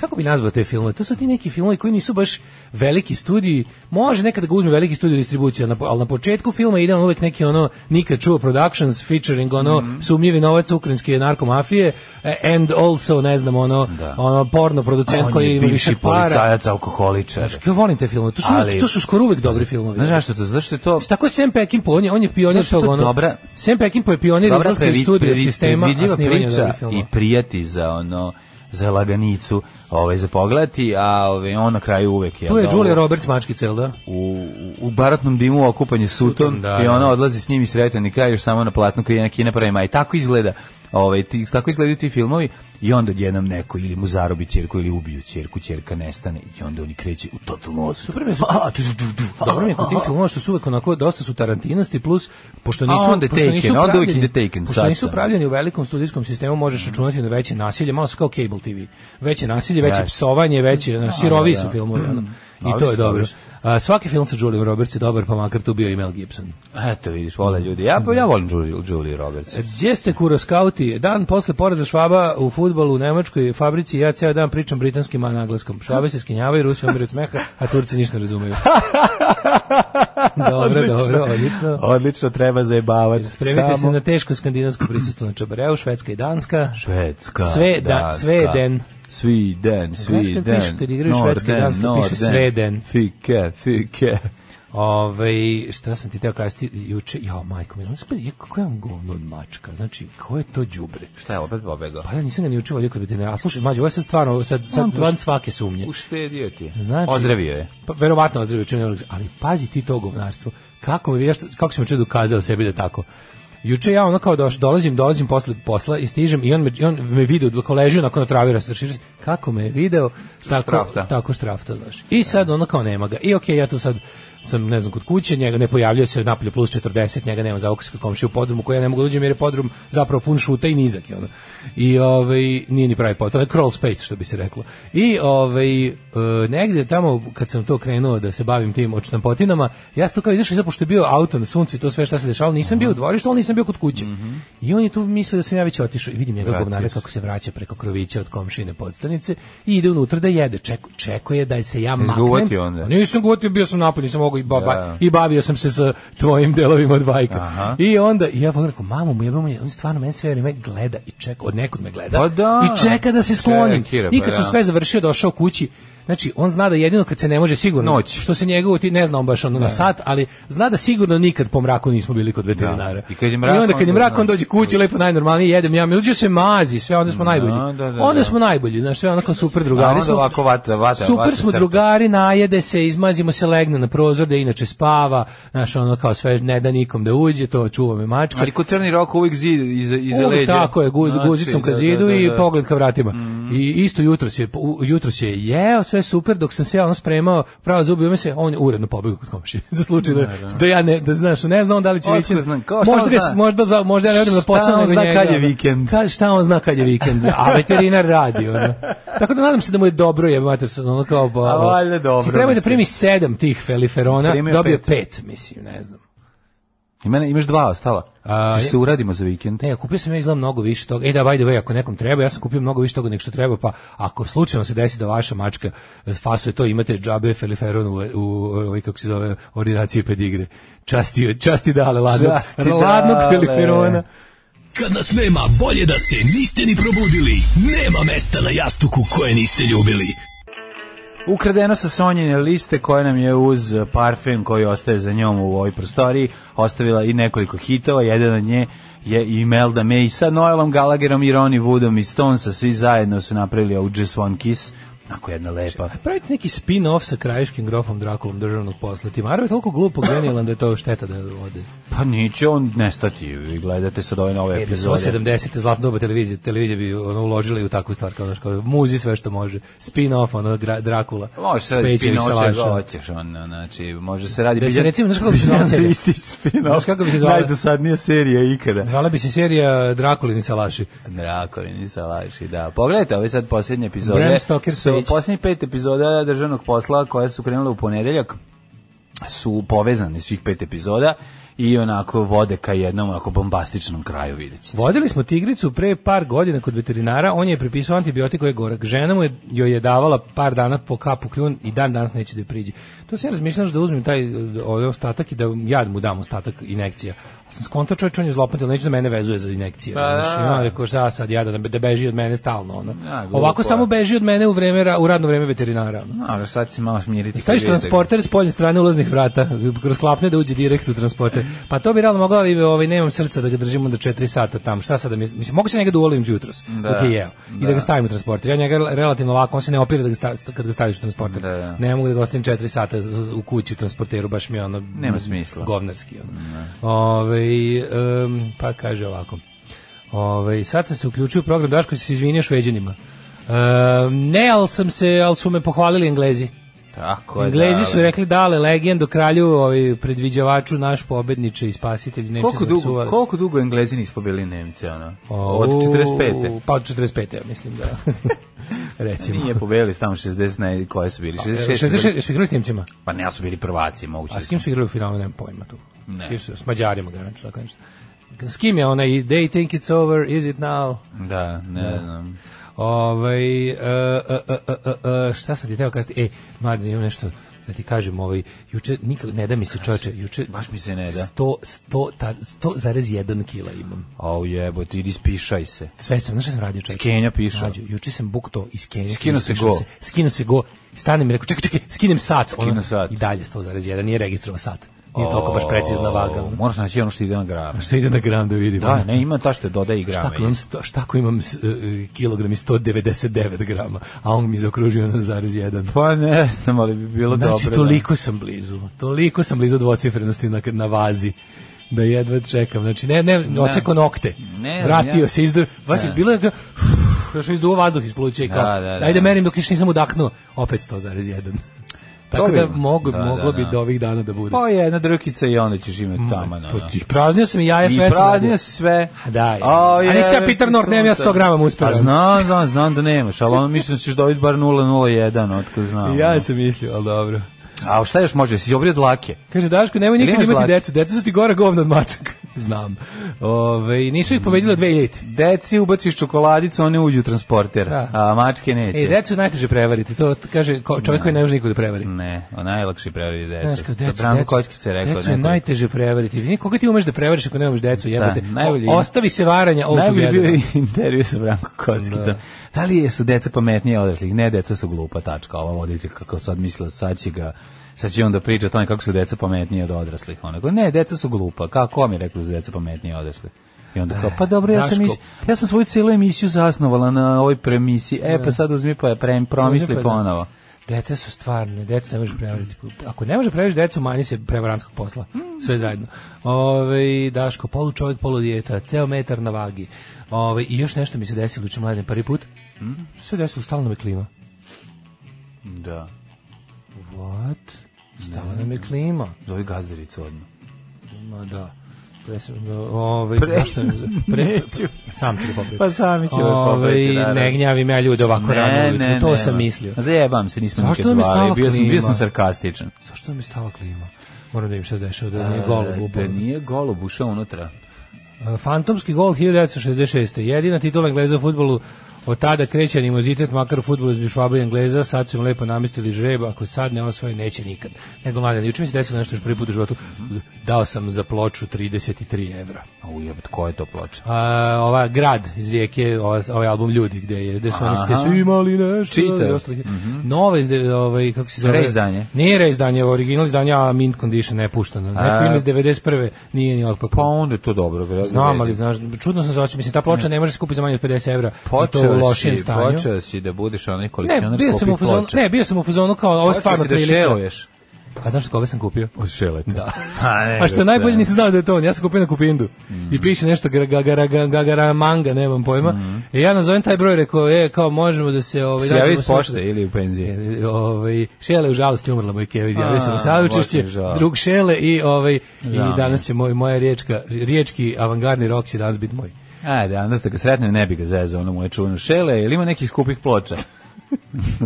Kako bi nazvao te filmove? To su ti neki filmovi koji nisu baš veliki studiji. Može nekada ga uzme veliki studio distribucija, na po- ali na početku filma ide on uvek neki ono nikad čuo productions featuring ono
Mhm.
sumnjivi novac ukrajinske narkomafije eh, and also ne znam ono
Da.
ono porno producent
On
koji
je
ima više
bivši
para.
policajac, alkoholičar.
Ja volim te filmove. To su, uvek-
Ali-
to su skoro uvek dobri filmovi.
Znaš zašto to? Zašto je to?
Mislim, Tako je Sam Peckinpah, on je, on je pionir
Znaš što je
tog
to
ono.
dobra-
Sam Peckinpah je pionir
Dobra
izlaska iz
previ-
studija
previ-
sistema, a
predvidljiva
snimanja
priča
dobrih filmova.
i prijati za ono za laganicu, ovaj za pogledati, a ovaj on na kraju uvek je.
Tu je
ono,
Julia Roberts mačkica, jel da?
u, u baratnom dimu okupan je sutom,
Suton, da,
i ona
da.
odlazi s njim i sretan i kraj još samo na platnu krije kina prema i tako izgleda ovaj, ti, tako izgledaju ti filmovi i onda odjednom neko ili mu zarobi ćerku ili ubiju ćerku, ćerka nestane i onda oni kreće u totalnu osvetu
Super mi je su- Dobro mi je kod tih filmova što su uvek onako dosta su tarantinosti plus pošto
A
nisu
onda
pošto
Taken,
nisu
onda
pravljeni-
uvek ide Taken,
pošto
sad
nisu
sam.
pravljeni u velikom studijskom sistemu možeš računati na veće nasilje, malo su kao cable TV. Veće nasilje, veće
Da.
psovanje, veće ono, sirovi
da,
su
da.
filmovi. ono. I
Ali
to je
su dobri
dobro.
su.
A, svaki film sa Julian Roberts je dobar, pa makar tu bio i Mel Gibson.
eto vidiš, vole ljudi ja, ja volim Julie, Julie Roberts
Gdje ste kuro skauti? Dan posle poraza Švaba u futbolu u Nemačkoj fabrici ja ceo dan pričam britanskim a na engleskom. Švabe se skinjavaju, Rusi umiru od smeha, a Turci ništa ne razumeju. dobro, dobro, odlično.
odlično treba zajebavati
Spremite se
samo
na teško skandinavsko prisustvo na Čabareu, Švedska i Danska.
Švedska,
Sve da-
Danska,
Sveden.
Sviden,
Znaš
Sviden,
kad piše kad igraju Švedska i Danska, piše Sveden.
Fike, fike.
Ove, Ovaj, šta sam ti teo kazati juče? Jo, majko, mi, kako ja vam govno od mačka? Znači, ko je to đubre?
Šta je opet pobegao?
Pa ja nisam ga ni učio volio kod veterinara. A slušaj, mađo, ovo je sad stvarno, ovo je sad, sad van svake sumnje.
Uštedio ti je.
Znači-
Ozdravio je.
Pa verovatno ozdravio čim ne mogu- ali pazi ti to govnarstvo. Kako mi vidiš kako sam čudo dokazao sebi da je tako. Juče ja ono kao doš, dolazim, dolazim posle posla i stižem i on me, i on me vidi dok leži onako na travi rasrširi. Kako me je video, tako
Štrafta.
tako štrafta, znaš. I sad ono kao nema ga. I okej, ja tu sad sam ne znam kod kuće, njega ne pojavljuje se napolje plus 40, njega nema za okus kod komšije u podrumu koji ja ne mogu da uđem jer je podrum zapravo pun šuta i nizak je ono. I ovaj nije ni pravi potok, crawl space što bi se reklo. I ovaj e, negde tamo kad sam to krenuo da se bavim tim odštampotinama, ja sam to kao izašao zato što je bio auto na suncu i to sve šta se dešavalo, nisam bio u dvorištu, ali nisam bio kod kuće. I on je tu mislio da sam ja već otišao i vidim njega
Vratio
govnara
se.
kako se vraća preko krovića od komšine podstanice i ide unutra da jede. Čeku, čekuje da se ja maknem. Pa
guvotio onda?
Nisam gutio, bio sam napolju, nisam mogao i, ba, ba-
Da.
i bavio sam se sa tvojim delovima od bajka.
Aha.
I onda, i ja pogledam, rekao, mamu mu jebamo, on stvarno meni sve vreme gleda i čeka, od nekud me gleda.
Pa da.
I čeka da se sklonim.
Čekira,
I
pa
kad sam
da.
sve završio, došao kući, Znači, on zna da jedino kad se ne može sigurno,
Noć.
što se njegovo ti ne zna on baš ono na sat, ali zna da sigurno nikad po mraku nismo bili kod veterinara.
I kad je mrak,
onda kad je
onda-
mrak, on dođe kući, lepo najnormalnije, jedem ja, mi uđe se mazi, sve, onda smo najbolji.
da, da,
onda
da.
smo najbolji, znaš, sve onako super
A
drugari
onda
smo.
ovako vata, vata,
Super
vata
smo
crta.
drugari, najede se, izmazimo se, legne na prozor da inače spava, znaš, ono kao sve, ne da nikom da uđe, to čuva me mačka.
Ali kod Crni rok uvijek zid iza, iza
Uvek
leđa.
Tako je, guz,
Znači,
guzicom ka
da,
zidu
da, da, Mhm.
i
da.
pogled ka vratima. I isto jutro se, jutro se jeo, sve super, dok sam se ja ono spremao, pravo zubi ume se, on je uredno pobegao kod komšije. za slučaj da, da, ja ne, da znaš, ne znam da li će
Otko
ići.
znam, kao šta
možda,
on
ga-
zna?
možda, za, možda ja ne odem na
Šta
posao
on
nego
zna
njega,
kad je
ono.
vikend?
Ka, šta on zna kad je vikend, a veterinar radi. Ono. Tako da nadam se da mu je dobro, je mater, ono kao... ba-
A valjda dobro,
Sad Treba je da
mislim.
primi sedam tih feliferona,
Primio je
dobio je
pet.
pet, mislim, ne znam.
I mene, imaš dva ostala.
A,
A,
je-
se uradimo za vikend.
Ne, kupio sam ja izgleda mnogo više toga. E da, by the way, ako nekom treba, ja sam kupio mnogo više toga nego što treba, pa ako slučajno se desi da vaša mačka e, fasuje to, imate džabe feliferon u, u, ovoj, kako se zove, ordinaciji pedigre. Časti, časti dale ladnog,
Časti
ladnog
dale.
feliferona.
Kad nas nema, bolje da se niste ni probudili. Nema mesta na jastuku koje niste ljubili.
Ukradeno sa Sonjine liste koje nam je uz parfem koji ostaje za njom u ovoj prostoriji ostavila i nekoliko hitova, jedan od nje je i Melda May sa Noelom Gallagherom i Ronnie Woodom i Stonesa, svi zajedno su napravili ovu Just One Kiss, onako jedna lepa.
Pravite neki spin-off sa krajiškim grofom Drakulom državnog posla. Timaro je toliko glupo genijalan da je to šteta da ode.
Pa neće on nestati, vi gledate sad ove nove
E, da su ovo
epizode.
70. zlatno doba televizije, televizija bi ono, uložila i u takvu stvar, kao, znaš, kao muzi sve što može. Spin-off, ono, gra, Drakula.
Može se
s
radi
Pećević, sa
spin-off,
Lašom.
hoćeš, on, znači, može se radi...
Da se
Biljan-
recimo, znaš kako bi se zvala serija?
Isti spin-off.
Znaš kako bi se zvala?
Najdosadnija serija ikada.
Zvala bi se serija Drakulini salaši.
Drakovini sa laši, da. Pogledajte ove sad posljednje epizode.
Bram Stoker
su
Switch.
posljednjih pet epizoda državnog posla koja su krenule u ponedeljak su povezane svih pet epizoda i onako vode ka jednom onako bombastičnom kraju, vidjet ćete.
Vodili smo tigricu pre par godina kod veterinara, on je prepisao antibiotik koji je gorak. Žena mu je, joj je davala par dana po kapu kljun i dan danas neće da je priđe. To sam ja razmišljao da uzmem taj e, ovaj ostatak i da ja mu dam ostatak inekcija. A sam skontao čovječ, on je zlopatel, neće da mene vezuje za inekcije.
Pa
Znaš, i on rekao, šta sad, ja da, da beži od mene stalno. Ono.
Da, glupo
Ovako
je.
samo beži od mene u, vreme, ra- u radno vreme veterinara. Ono.
A, sad ću se malo smiriti. kad
Staviš
vidite-
transporter s poljne strane ulaznih vrata, kroz klapne da uđe direkt u transporter. Pa to bi realno moglo, ali ovaj, nemam srca da ga držim onda 4 sata tam. Šta sad da mi, mislim, mogu se njega da uvolim jutros,
Da.
dok je jeo. I da, ga stavim u transporter. Ja njega relativno lako, on se ne opire da ga stav, kad ga staviš u transporter.
Da, da.
Ne mogu da ga ostavim 4 sata z- z- u kući u transporteru, baš mi je ono...
Nema smisla.
Govnarski. Ono. Ovaj, em, pa kaže ovako. Ovaj, sad sam se uključio u program Daško se izvinio šveđanima. Em, ne, ali sam se, ali su me pohvalili Englezi.
Tako je,
Englezi
da,
su rekli dale legendu kralju, ovaj predviđavaču naš pobedniče i spasitelj Nemci
Koliko
su nam
dugo,
psuvali.
koliko dugo Englezi nisu pobili Nemce, ono?
O,
Od 45.
Pa od 45. ja mislim da. Recimo.
Nije pobedili tamo 60, ne, koje su bili? 66.
66 su igrali s Nemcima.
Pa ne, ali su bili prvaci, moguće.
A s kim su igrali u finalu, nemam pojma tu.
Ne.
S, kim su, s Mađarima, garančno, tako nešto. S kim je onaj They think it's over, is it now?
Da, ne znam.
Ovaj e, e, e, e, e, šta sam ti teo kazati? Ej, mladen, imam nešto da ti kažem, ovaj juče nikako ne da mi se čoveče, juče
Baš mi se ne E, da.
100 100 ta- 100,1 kila imam.
Au jebote, idi spišaj se.
Sve sam, znaš šta sam radio čovjek?
Iz Kenja pišao.
Mlađo, juče sam buk to iz Kenja.
Skinuo se go.
Skino se go. Stanem i rekao, čekaj, čekaj, skinem sat.
Skino
Ono,
sat.
I dalje 100,1, nije registrovao sat. Nije toliko baš precizna vaga. ono.
Moraš naći ono što ide na grame.
Što ide na gram da vidim.
Da, ne, ima ta što dodaje i
Šta
grame.
ako imam, sto- šta ako imam s- e, e, kilogram i 199 grama, a on mi zaokružio na zarez jedan.
Pa ne znam, ali bi bilo dobro.
Znači, toliko sam blizu. Toliko sam blizu dvocifrenosti na, na vazi da jedva čekam. Znači, ne, ne, oceko nokte.
Ne znam,
Vratio
ja-
se, izdu, vas je bilo ga, još izduo vazduh iz pluća i kao,
Da, da, da.
ajde merim dok još nisam udaknuo, opet 100,1. Tako da,
Dobim.
mogu,
Da, da,
moglo bi
da.
do ovih dana da bude.
Pa jedna drkica i onda ćeš imati tamo.
to ti, praznio sam i jaja
I
sve sam radio.
praznio si sve.
A da, je.
Au,
A nisi ja
jebote,
pitam, Nord, nemam ja 100 grama mu uspeo.
A znam, znam, znam da nemaš, ali ono mislim da ćeš dobiti bar 0,01, otko znam. ono.
Ja sam mislio, ali dobro.
A šta još može, si obrio dlake?
Kaže, Daško, nemoj nikad
imaš
imati
zlati?
decu, deca su ti gore govno od mačaka. Znam. Ove, nisu ih
Mm.
pobedili od 2000.
Deci ubaciš čokoladicu, one uđu u transporter,
Da.
a mačke neće.
E, decu je najteže prevariti, to t- kaže ko- čovjek koji ne može nikoga da prevari.
Ne, o najlakši prevari Mm, decu.
Znaš, kao
To
decu,
Branko
decu,
Kočkić je rekao.
decu je
ne,
najteže prevariti. Vidi, koga ti umeš da prevariš ako ne umeš decu, jebote.
Da, najbolji-
O- Ostavi se varanja ovog
Najbolji je bio intervju sa Branko Kockicom. Da. li je- su deca pametnije odraslih? Ne, deca su glupa, tačka. Ova voditelj kako sad mislila, sad će ga sad će on da priča o tome kako su deca pametnije od odraslih. Onako, ne, deca su glupa. Kako ko mi je rekao da su deca pametnije od odraslih? I onda
Eh,
kao, pa dobro, ja sam,
Daško.
mis, ja sam svoju celu emisiju zasnovala na ovoj premisi. E, pa sad uzmi pa prem, promisli
Uzmi pa da.
ponovo.
Deca su stvarno, decu ne možeš prevariti. Ako ne možeš prevariti decu, manji se prevarantskog posla.
Mm.
Sve zajedno. Ove, Daško, polu čovjek, polu dijeta, ceo metar na vagi. Ove, I još nešto mi se desilo juče mladen prvi put.
Mm.
Sve desilo, stalno me klima.
Da.
What? Stala nam je klima.
Zovi gazdaricu odmah.
Ma da. Pre, ove,
Pre-
zašto je-
Neću.
Sam ću ga popraviti.
Pa sami ću ga
Ovaj,
popraviti, naravno.
Ne gnjavim ja ljude ovako rano ujutru, to sam mislio.
Zajebam se, nismo
Zašto
nikad
nam je
zvali.
stala
Bio sam, bio sam
klima?
sarkastičan.
Zašto mi je stala klima? Moram da im se dešava da nije golub upao.
Da nije golub ušao unutra.
Fantomski gol 1966. Jedina titula Engleza u futbolu od tada kreće animozitet, makar u futbolu između Švaba i Engleza, sad su im lepo namestili žreb, ako sad ne osvoje, neće nikad. Nego mladen, juče mi se desilo nešto što prvi put u životu, dao sam za ploču 33 evra.
A ujebet, ko je to ploča?
A, Pa, ova grad iz rijeke, ova, ovaj album Ljudi, gde je, gde su oni
Aha.
gde su imali nešto.
Čitao. Mhm.
i ostalih. Nove, iz de- ovaj, kako se zove?
Reizdanje.
Nije reizdanje, original izdanje, a mint condition ne puštano. Neko
A.
ima iz 91. nije ni otpakovano.
Pa onda je to dobro, vjerojatno.
Znam, ali
vredi.
znaš, čudno sam zaočio, mislim, ta ploča ne može se kupiti za manje od 50 evra, i
Počeo
to u lošijem
si,
stanju.
počeo si da budeš onaj
Ne,
kolekcionar
bio sam u
skupih
fazonu,
ploča.
ne, bio sam u fazonu kao, ovo je
Počeo
stvarno
si da
prilika.
šeluješ.
A znaš od koga sam kupio?
Od šeleta. E, Da. Mhm.
A što je najbolje nisam znao da je to on, ja sam kupio na Kupindu. I piše nešto gra- ga- ga- ga- ga- ga- ga- manga, nemam pojma. I ja nazovem taj broj, rekao, e, kao možemo da se... Ovaj,
Se javi
nađemo
iz pošte
sutra.
ili u penziji.
E, Ovaj Šele u žalosti umrla mu je Keva, izjavio sam
A,
u saučešće,
baš mi žao.
drug Šele i ovaj
Žao mi
i
je.
danas će moj moja riječka riječki avangardni rok će danas biti moj.
Ajde, danas da ga sretnem, ne bi ga zezao, ono mu je čuveno. Šele, ili ima nekih skupih ploča?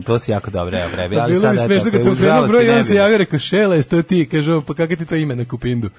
to si jako dobro, evo, prebi.
Pa
Ali
bilo mi
sad,
smešno kad sam okrenuo broj i on se javio, rekao, Šele, jes to ti? Kaže, "O, pa kakav ti to ime na kupindu?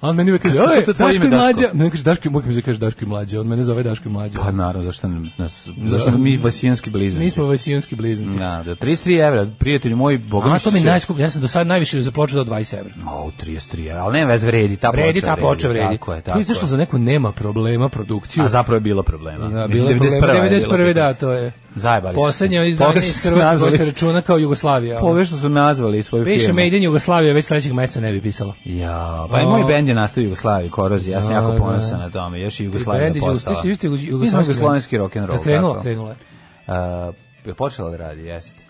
A on meni uvek kaže,
Kako
oj,
to tvoje
Daško i
ime, Daško?"
mlađa. Ne, kaže, Daško, i- uvek mi se kaže Daško i mlađa. On mene zove Daško i mlađa.
Pa naravno, zašto, ne- nas, zašto mi vasijanski bliznici?
Mi smo vasijonski bliznici.
Da, da, 33 evra, prijatelju moj, boga
A
mi
to mi
se-
najskuplje, ja sam do sad najviše za ploču do 20 evra.
O, 33 evra, ali nema vez vredi, ta ploča
Vredi, ta ploča vredi.
Tako je,
To
tako
je
je.
izašlo za neku nema problema produkciju.
A zapravo je bilo problema.
Da,
Mislim,
bilo je problema.
91. je bilo
91.
pitanje.
da, to je.
Zajebali su
Poslednje
se.
izdanje
Pogrešno
iz
su
Hrvatske koje
nazvali
se računa kao Jugoslavija. ono.
Pogrešno su nazvali svoju
Piše
firmu.
Made in Jugoslavia, već sledećeg meseca ne bi pisalo.
Ja, pa i moj
O.
bend je nastao u Jugoslaviji, Korozija, ja sam
Da,
jako
da.
ponosan na tome, još i Jugoslavija
Bend iz Jugos-
postala.
ti si isto jugo-
Mi smo
jugoslovenski
jugoslovenski
bend.
rock'n'roll.
Da, krenula,
tako.
krenula je.
Uh, je počela da radi, jeste.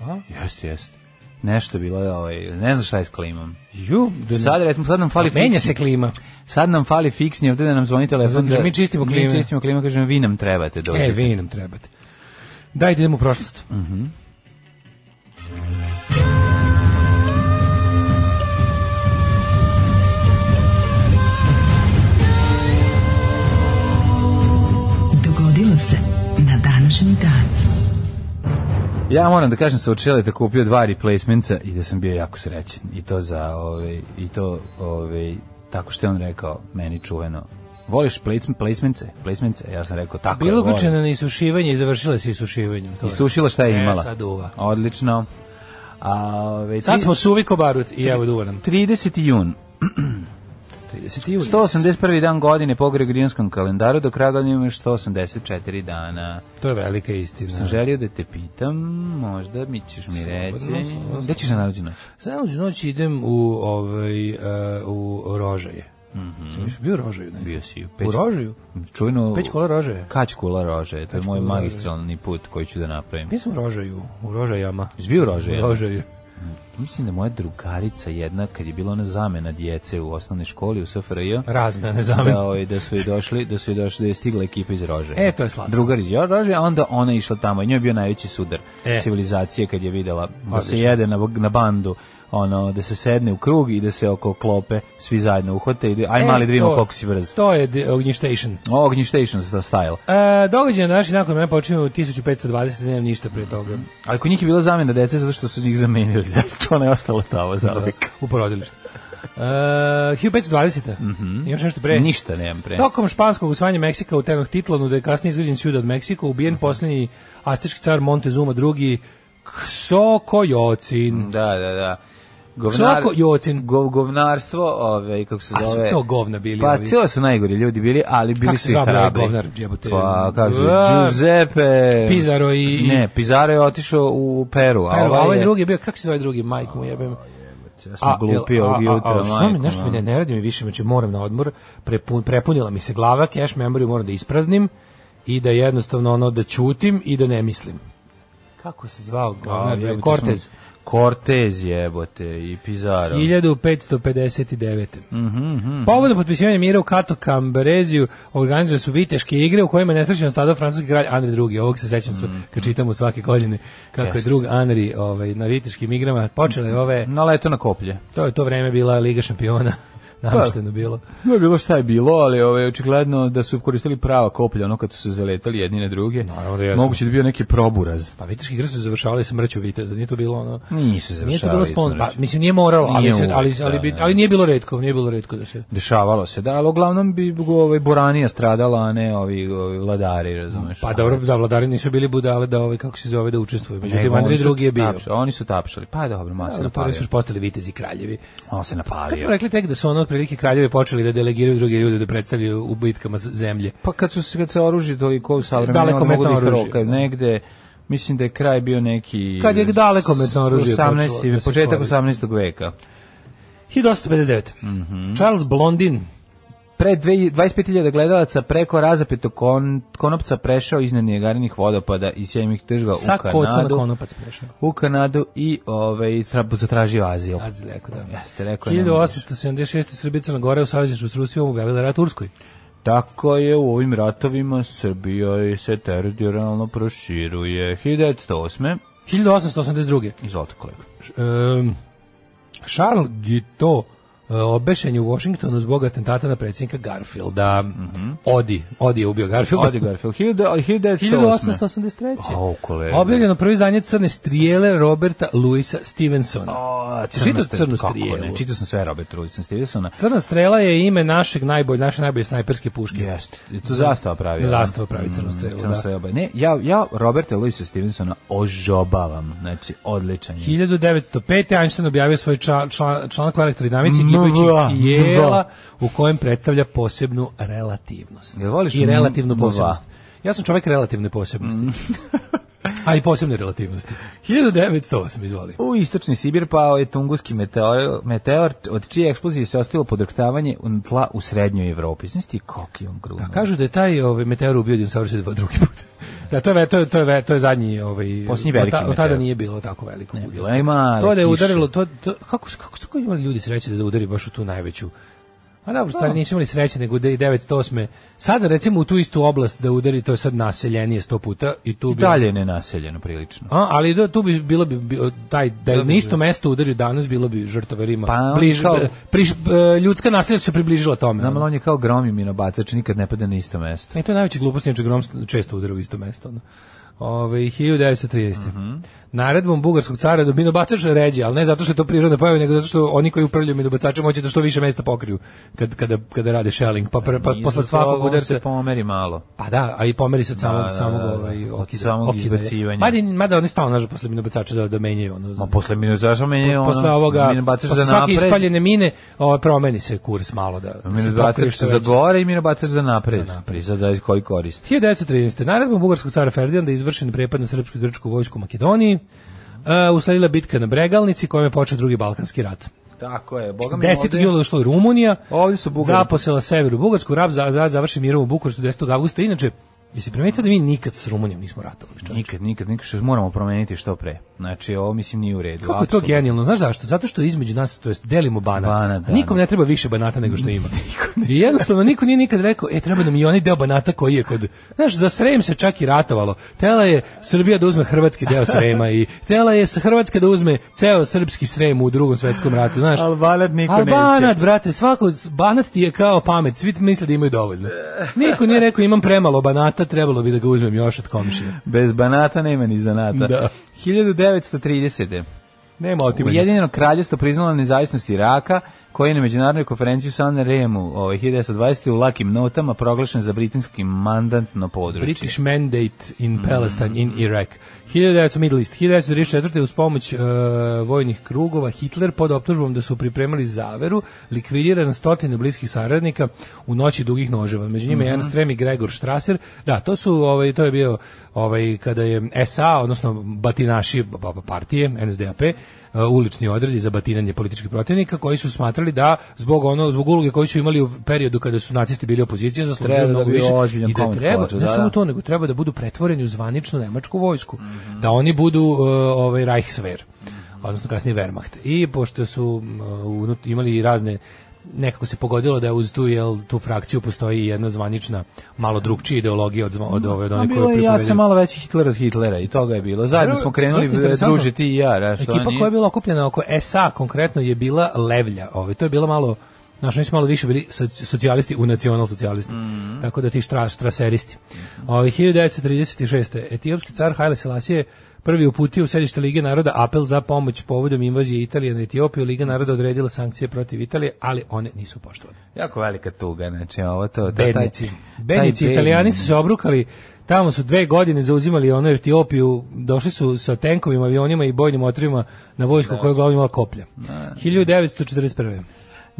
A?
Jeste, jeste. Nešto je bilo, ovaj, ne znam šta je s klimom.
Ju, da ne-
Sad, recimo, sad nam fali
Menja
fiksni-
se klima.
Sad nam fali fiksni, ovde da nam zvoni telefon.
Znači,
da-
mi čistimo klime.
Mi čistimo klime, kažemo, vi nam trebate dođete.
E, vi nam trebate. Dajte idemo u prošlost.
Dogodilo se na današnji dan.
Ja moram da kažem sa učeleta kupio dva replacementca i da sam bio jako srećen. I to za ovaj i to ovaj tako što je on rekao meni čuveno. Voliš placem- placemence? Placemence? Ja sam rekao tako.
Bilo
je, volim.
uključeno na isušivanje i završile se isušivanjem. To je.
Isušila šta
E,
je imala.
sad duva.
Odlično. A, ovaj,
Sad
tri-
smo suvi ko barut i evo duva nam.
30. jun.
30. juli.
181. dan godine po Gregorijanskom kalendaru, do kraja godine ima još 184 dana.
To je velika istina.
Sam želio da te pitam, možda mi ćeš mi reći.
slobodno.
Gde ćeš na narodu noć?
Sada uđu noć idem u, ovaj, e, u rožaje. Mm -hmm. Bio u rožaju, ne?
Mhm. Bio si u
U rožaju?
Čujno...
Peć kola rožaje.
Kać kula rože, to je moj
kula rože.
magistralni put koji ću da napravim.
Bio sam u rožaju, u rožajama.
Izbio rože.
U rožaju.
Mislim da moja drugarica jedna, kad je bila ona zamena djece u osnovnoj školi u SFRJ,
Razmena, ne zamen.
da, ovaj, da su joj došli, da su joj došli, da je stigla ekipa iz rože.
E, to je slatko.
Drugar iz rože, a onda ona je išla tamo i njoj je bio najveći sudar
E.
civilizacije kad je videla da
Odlično.
se jede na, na bandu, ono, da se sedne u krug i da se oko klope svi zajedno uhvate i da- aj
E,
mali da vidimo
to-
koliko si brz.
To je de- Ognjištation.
Ognjištation style.
E, događaj na naši nakon mene počinju u 1520, nemam ništa pre toga.
Ali kod njih je bila zamena dece zato što su njih zamenili, zašto ona je ostala tamo za
U porodilištu. Uh, 1520. Mm
Mhm.
Imaš nešto pre?
Ništa nemam pre.
Tokom španskog usvajanja Meksika u Tenoch Titlanu, da je kasnije izgrađen Ciudad od Meksika, ubijen posljednji astički car Montezuma II. Ksokojocin.
Da, da, da.
Svako Jocin.
gov, govnarstvo, ove, kako se
A su
zove.
to govna bili
Pa
ovi.
to su najgori ljudi bili, ali bili
Kako
su
se
i
zvao ovaj
hrabri.
govnar, jebote?
Pa, kako se
A,
Giuseppe.
Pizarro i-
Ne, Pizarro je otišao u Peru, a
Evo,
ovaj,
ovaj
je...
drugi je bio, kako se zove drugi, majku mu jebem.
Ja sam glupi ovog jutra,
a, što mi,
majko,
nešto mi ne, ne radi mi više, znači moram na odmor, prepun, prepunila mi se glava, cash memory moram da ispraznim i da jednostavno ono da ćutim i da ne mislim. Kako se zvao?
A,
govnar, bre?
Pa, jebote,
Cortez.
sam- Cortez jebote i Pizarro.
1559. Povodom potpisivanja mira u Kato Kambereziju organizuje su viteške igre u kojima je nesrećno stadao francuski kralj Andri II. Ovog se sećam su, kad čitam u svake godine kako je
Mhm. Jeste.
drug Andri ovaj, na viteškim igrama. Počele je ove,
Naleto na koplje.
to je to vreme bila Liga šampiona.
Pa.
Namešteno bilo.
No je bilo šta je bilo, ali ove, očigledno da su koristili prava koplja, ono kad su se zaletali jedni na druge.
Naravno da jesu.
Moguće da je bio neki proburaz.
Pa viteške igre su završavale sa mrću viteza, nije to bilo ono...
Nisu
Nije to
završavali.
bilo spon,
smo
pa,
reći.
mislim nije moralo, ali,
Nije
se- ali,
uvek,
ali,
da,
bi-
da.
ali nije bilo retko, nije bilo retko da se...
Dešavalo se, da, ali uglavnom bi ovaj, Boranija stradala, a ne ovi, ovi vladari, razumeš.
Pa dobro, da vladari nisu bili budale da ovaj kako se zove da učestvuju.
Nego
Međutim
oni
Andrej
su
drugi je bio.
tapšali, oni su tapšali, pa dobro, ma se
Da, to
napalio.
su još postali vitezi i kraljevi.
On se
Kad smo
napalio.
rekli tek da su ono otprilike kraljevi počeli da delegiraju druge ljude da predstavljaju u bitkama z- zemlje.
Pa kad su se, kad se oružje toliko u savremenu,
Daleko
daleko mogu da ih
metno oružje.
roka, negde, mislim da je kraj bio neki...
Kad je daleko metno oružje
18.
počelo da se
početak
koristi.
18. veka.
1859.
Mhm.
Charles Blondin,
Pre dve- 25.000 gledalaca preko razapetog kon, konopca prešao iznad Nijagarinih vodopada i sjajnih tržga
sa
u
koca na
Kanadu.
konopac prešao.
u Kanadu i ovaj, tra- zatražio azil.
Sad je rekao da.
Jeste, rekao je, ne možeš.
1876. Srbija i Crna Gora u savezništvu s Rusijom objavila rat Turskoj.
Tako je, u ovim ratovima Srbija je se teritorijalno proširuje. 1908.
1882.
Izvolite kolega.
Um, Charles Guiteau e, obešen je u Washingtonu zbog atentata na predsjednika Garfielda. Odi, Odi je ubio Garfielda.
Mhm. Odi Garfield. 1908.
1883.
Au, kolega.
Objavljeno prvo izdanje Crne strijele Roberta Louisa Stevensona.
O,
Jesi čitao Crnu
Kako
strijelu?
Ne, čitao sam sve Robert Louis Stevensona.
Crna strela je ime našeg najbolj, naše najbolje snajperske puške.
Jeste. Zastava pravi. Mm,
Zastava pravi crnu strelu, da.
da. Ne, ja, ja Roberta Louisa Stevensona ožobavam. Znači, odličan je.
1905. Einstein objavio svoj član, član, članak o elektrodinamici
Mva,
gibajućih
mva.
tijela u kojem predstavlja posebnu relativnost.
Jel voliš
I relativnu
mva?
posebnost. Ja sam čovjek relativne posebnosti. A i posebne relativnosti. 1908, izvoli.
U istočni Sibir pao je tunguski meteor, meteor od čije eksplozije se ostilo podrktavanje u tla u srednjoj Evropi. Znaš ti koliki je on grudno?
A kažu da je taj ovaj meteor ubio dinosauruse dva drugi put. Da, to je ve- to je to je ve- to je zadnji ovaj
Posljednji veliki
od ta- od tada
meteor.
nije bilo tako veliko
Ne,
budilca.
bila je male
To da je
kiše.
udarilo to, to kako su- kako su tako imali ljudi sreće da udari baš u tu najveću A
Pa
dobro, stvari nisu imali sreće, nego da i 908. Sada recimo u tu istu oblast da udari, to je sad naseljenije sto puta i tu bi...
Dalje je nenaseljeno prilično.
A, ali da, tu bi bilo bi, bio taj, da je
bi
na isto mesto udario danas, bilo bi žrtava Rima.
Pa on
Bliže,
kao-
priš- e, ljudska naselja su se približila tome. ono.
Znam, ali on je kao gromio minobacač, nikad ne pada na isto mesto.
E, to je najveća glupost, inače grom često udara u isto mesto. Ono. Ove, 1913.
Mhm.
Naredbom bugarskog cara da minobacač ređe, ali ne zato što je to prirodno pojava, nego zato što oni koji upravljaju minobacačem hoće da što više mesta pokriju kad, kada, kada rade shelling. Pa, pre- pa
Nije
posle
zbog toga,
svakog
on
udarca...
se pomeri malo.
Pa da, a i pomeri se od samog,
da,
samog
da, da.
ovaj,
Od
okida-
samog
okidanja.
izbacivanja.
Mada, mada oni stalno nažu posle minobacača da, da menjaju ono.
Ma posle mine zašto meni je ono...
posle ovoga,
minobacač
posle
za
svake
napred.
ispaljene mine, ovaj, promeni se kurs malo da, da se pokrije
Minobacač
što
za
veće.
gore i minobacač za napred. Pri sad zavisi koji koristi.
1913. Naredbom bugarskog cara Ferdinanda izvršen prepad na srpsku i grčku vojsku u Makedoniji. Uh, usledila bitka na Bregalnici kojom je počeo drugi balkanski rat.
Tako je, boga mi
10. jula ušla je Rumunija,
Ovdje su Bugari.
zaposela severu Bugarsku, rab za, za, završi mirovu Bukurštu 10. augusta. Inače, jesi primetio da mi nikad s Rumunijom nismo ratovali? čoveče?
Nikad, nikad, nikad, što moramo promeniti što pre. Znači, ovo mislim nije u redu.
Kako je to
apsolutno.
genijalno? Znaš zašto? Zato što između nas, to jest delimo banat.
Banat, da,
Nikom ne treba više banata nego što ima. I jednostavno niko nije nikad rekao, e treba nam i onaj deo banata koji je kod Znaš, za Srem se čak i ratovalo. Tela je Srbija da uzme hrvatski deo Srema i tela je Hrvatska da uzme ceo srpski Srem u Drugom svetskom ratu, znaš.
Al banat niko
Al
neće.
banat, brate, svako banat ti je kao pamet, svi misle da imaju dovoljno. Niko nije rekao imam premalo banata, trebalo bi da ga uzmem još od komšije.
Bez banata nema ni zanata.
Da.
1930.
Nema otimanja.
Ujedinjeno kraljevstvo priznalo nezavisnost Iraka, koji je na međunarodnoj konferenciji u San Remu ovaj, 1920. u lakim notama proglašen za britanski mandantno područje.
British Mandate in Palestine in Iraq. 1900 Middle East. 1934. uz pomoć e, vojnih krugova Hitler pod optužbom da su pripremali zaveru likvidira na stotine bliskih saradnika u noći dugih noževa. Među njima je Ernst Rem i Gregor Strasser. Da, to su ovaj to je bio ovaj kada je SA, odnosno batinaši b- b- partije NSDAP e, ulični odredi za batinanje političkih protivnika koji su smatrali da zbog ono zbog uloge koju su imali u periodu kada su nacisti bili opozicija zaslužili
Treba da
mnogo
bi
više
ozbiljan
i da
komad
treba
koča,
ne
da,
samo
da.
to nego treba da budu pretvoreni u zvaničnu nemačku vojsku da oni budu uh, ovaj Reichswehr odnosno kasnije Wehrmacht i pošto su um, unut- imali i razne nekako se pogodilo da je uz tu jel tu frakciju postoji i jedna zvanična malo drugčija ideologija od zva- od ove od
Mm, A
one
bilo
koje
je, ja sam
pripovedaju.
malo veći Hitler od Hitlera i toga je bilo. Zajedno smo krenuli
Dosta interesantno.
družiti ti i ja. Da, što
Ekipa
oni-
koja je bila okupljena oko SA konkretno je bila Levlja. Ovaj to je bilo malo Znaš, oni su malo više bili soc- socijalisti u nacional socijalisti. Tako da ti štra, štraseristi. Ovaj, 1936. Etiopski car Haile Selassie prvi uputio u sedište Lige naroda apel za pomoć povodom invazije Italije na Etiopiju. Liga naroda odredila sankcije protiv Italije, ali one nisu poštovane.
Jako velika tuga, znači ovo to... to- taj-
Bednici.
taj
Bednici,
bedni-
italijani su se obrukali, tamo su dve godine zauzimali ono Etiopiju, došli su sa tenkovima, avionima i bojnim otrivima na vojsku koja je uglavnom imala koplja. 1941.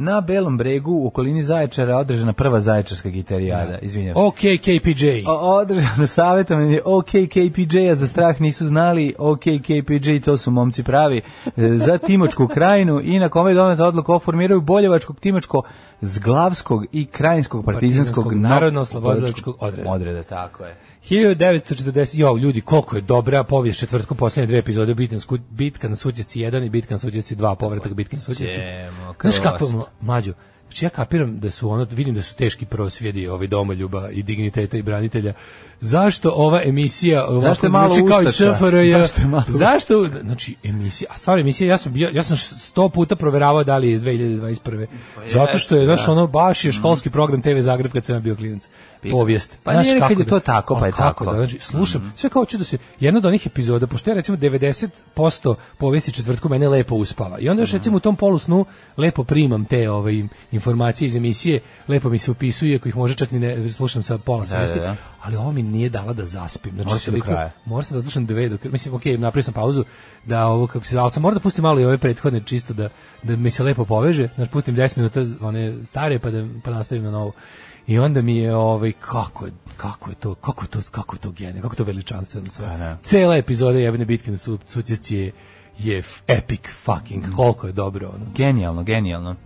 Na Belom bregu u okolini Zaječara održana prva zaječarska gitarijada, izvinjam se.
OK, KPJ.
O- Održano savjetovanje OK KPJ-a za strah nisu znali, OK KPJ to su momci pravi, e, za Timočku krajinu i na kome je doneta odluka o formiraju Boljevačkog, Timočko, Zglavskog i Krajinskog partizanskog,
Partizanskog
no-
narodno-oslobodilačkog odreda.
odreda. Tako je.
1940, jo, ljudi, koliko je dobra povijest četvrtkom posljednje dve epizode bitka, bitka na Sutjesci 1 i bitka na Sutjesci 2, povratak bitke na Sutjesci.
Ćemo,
Znaš kako,
kroz.
ma- mlađo, znači ja kapiram da su ono, vidim da su teški prosvjedi ovi domoljuba i digniteta i branitelja. Zašto ova emisija
Zašto je
ovako
malo
zvuči kao iz
ustaša?
SFRJ?
Zašto je malo-
Zašto, znači, emisija, a stvarno emisija, ja sam, bio, ja sam sto puta proveravao da li je iz 2021.
Pa
Zato što je, znaš, ono, baš
Mhm.
je školski program TV Zagreb kad sam ja bio klinac. Povijest.
Pa
Znaš
nije, kad
kako
je to tako, pa
a
je
kako
tako. Mm.
Da, znači, slušam, sve kao ću da se, jedna od onih epizoda, pošto ja recimo 90% povijesti četvrtku mene lepo uspava. I onda
Mhm.
još recimo u tom polu snu lepo primam te ovaj, informacije iz emisije, lepo mi se upisuje, ako ih može čak ni ne slušam sa pola svesti.
da.
Ali ovo mi nije dala da zaspim. Znači,
Moraš do
toliko-
kraja.
Morao sam da slušam dve dok mislim okej, napravio sam pauzu da ovo kako se zalca, moram da pustim malo i ove prethodne čisto da da mi se lepo poveže. Znači pustim 10 minuta z- one stare pa da pa nastavim na novu. I onda mi je ovaj kako je kako je to kako je to kako je to genijalno, kako je to veličanstveno sve.
Pa da.
Cela epizoda jebene bitke na Su- Sutjesci je je f- epic fucking koliko je dobro ono.
Genijalno, genijalno.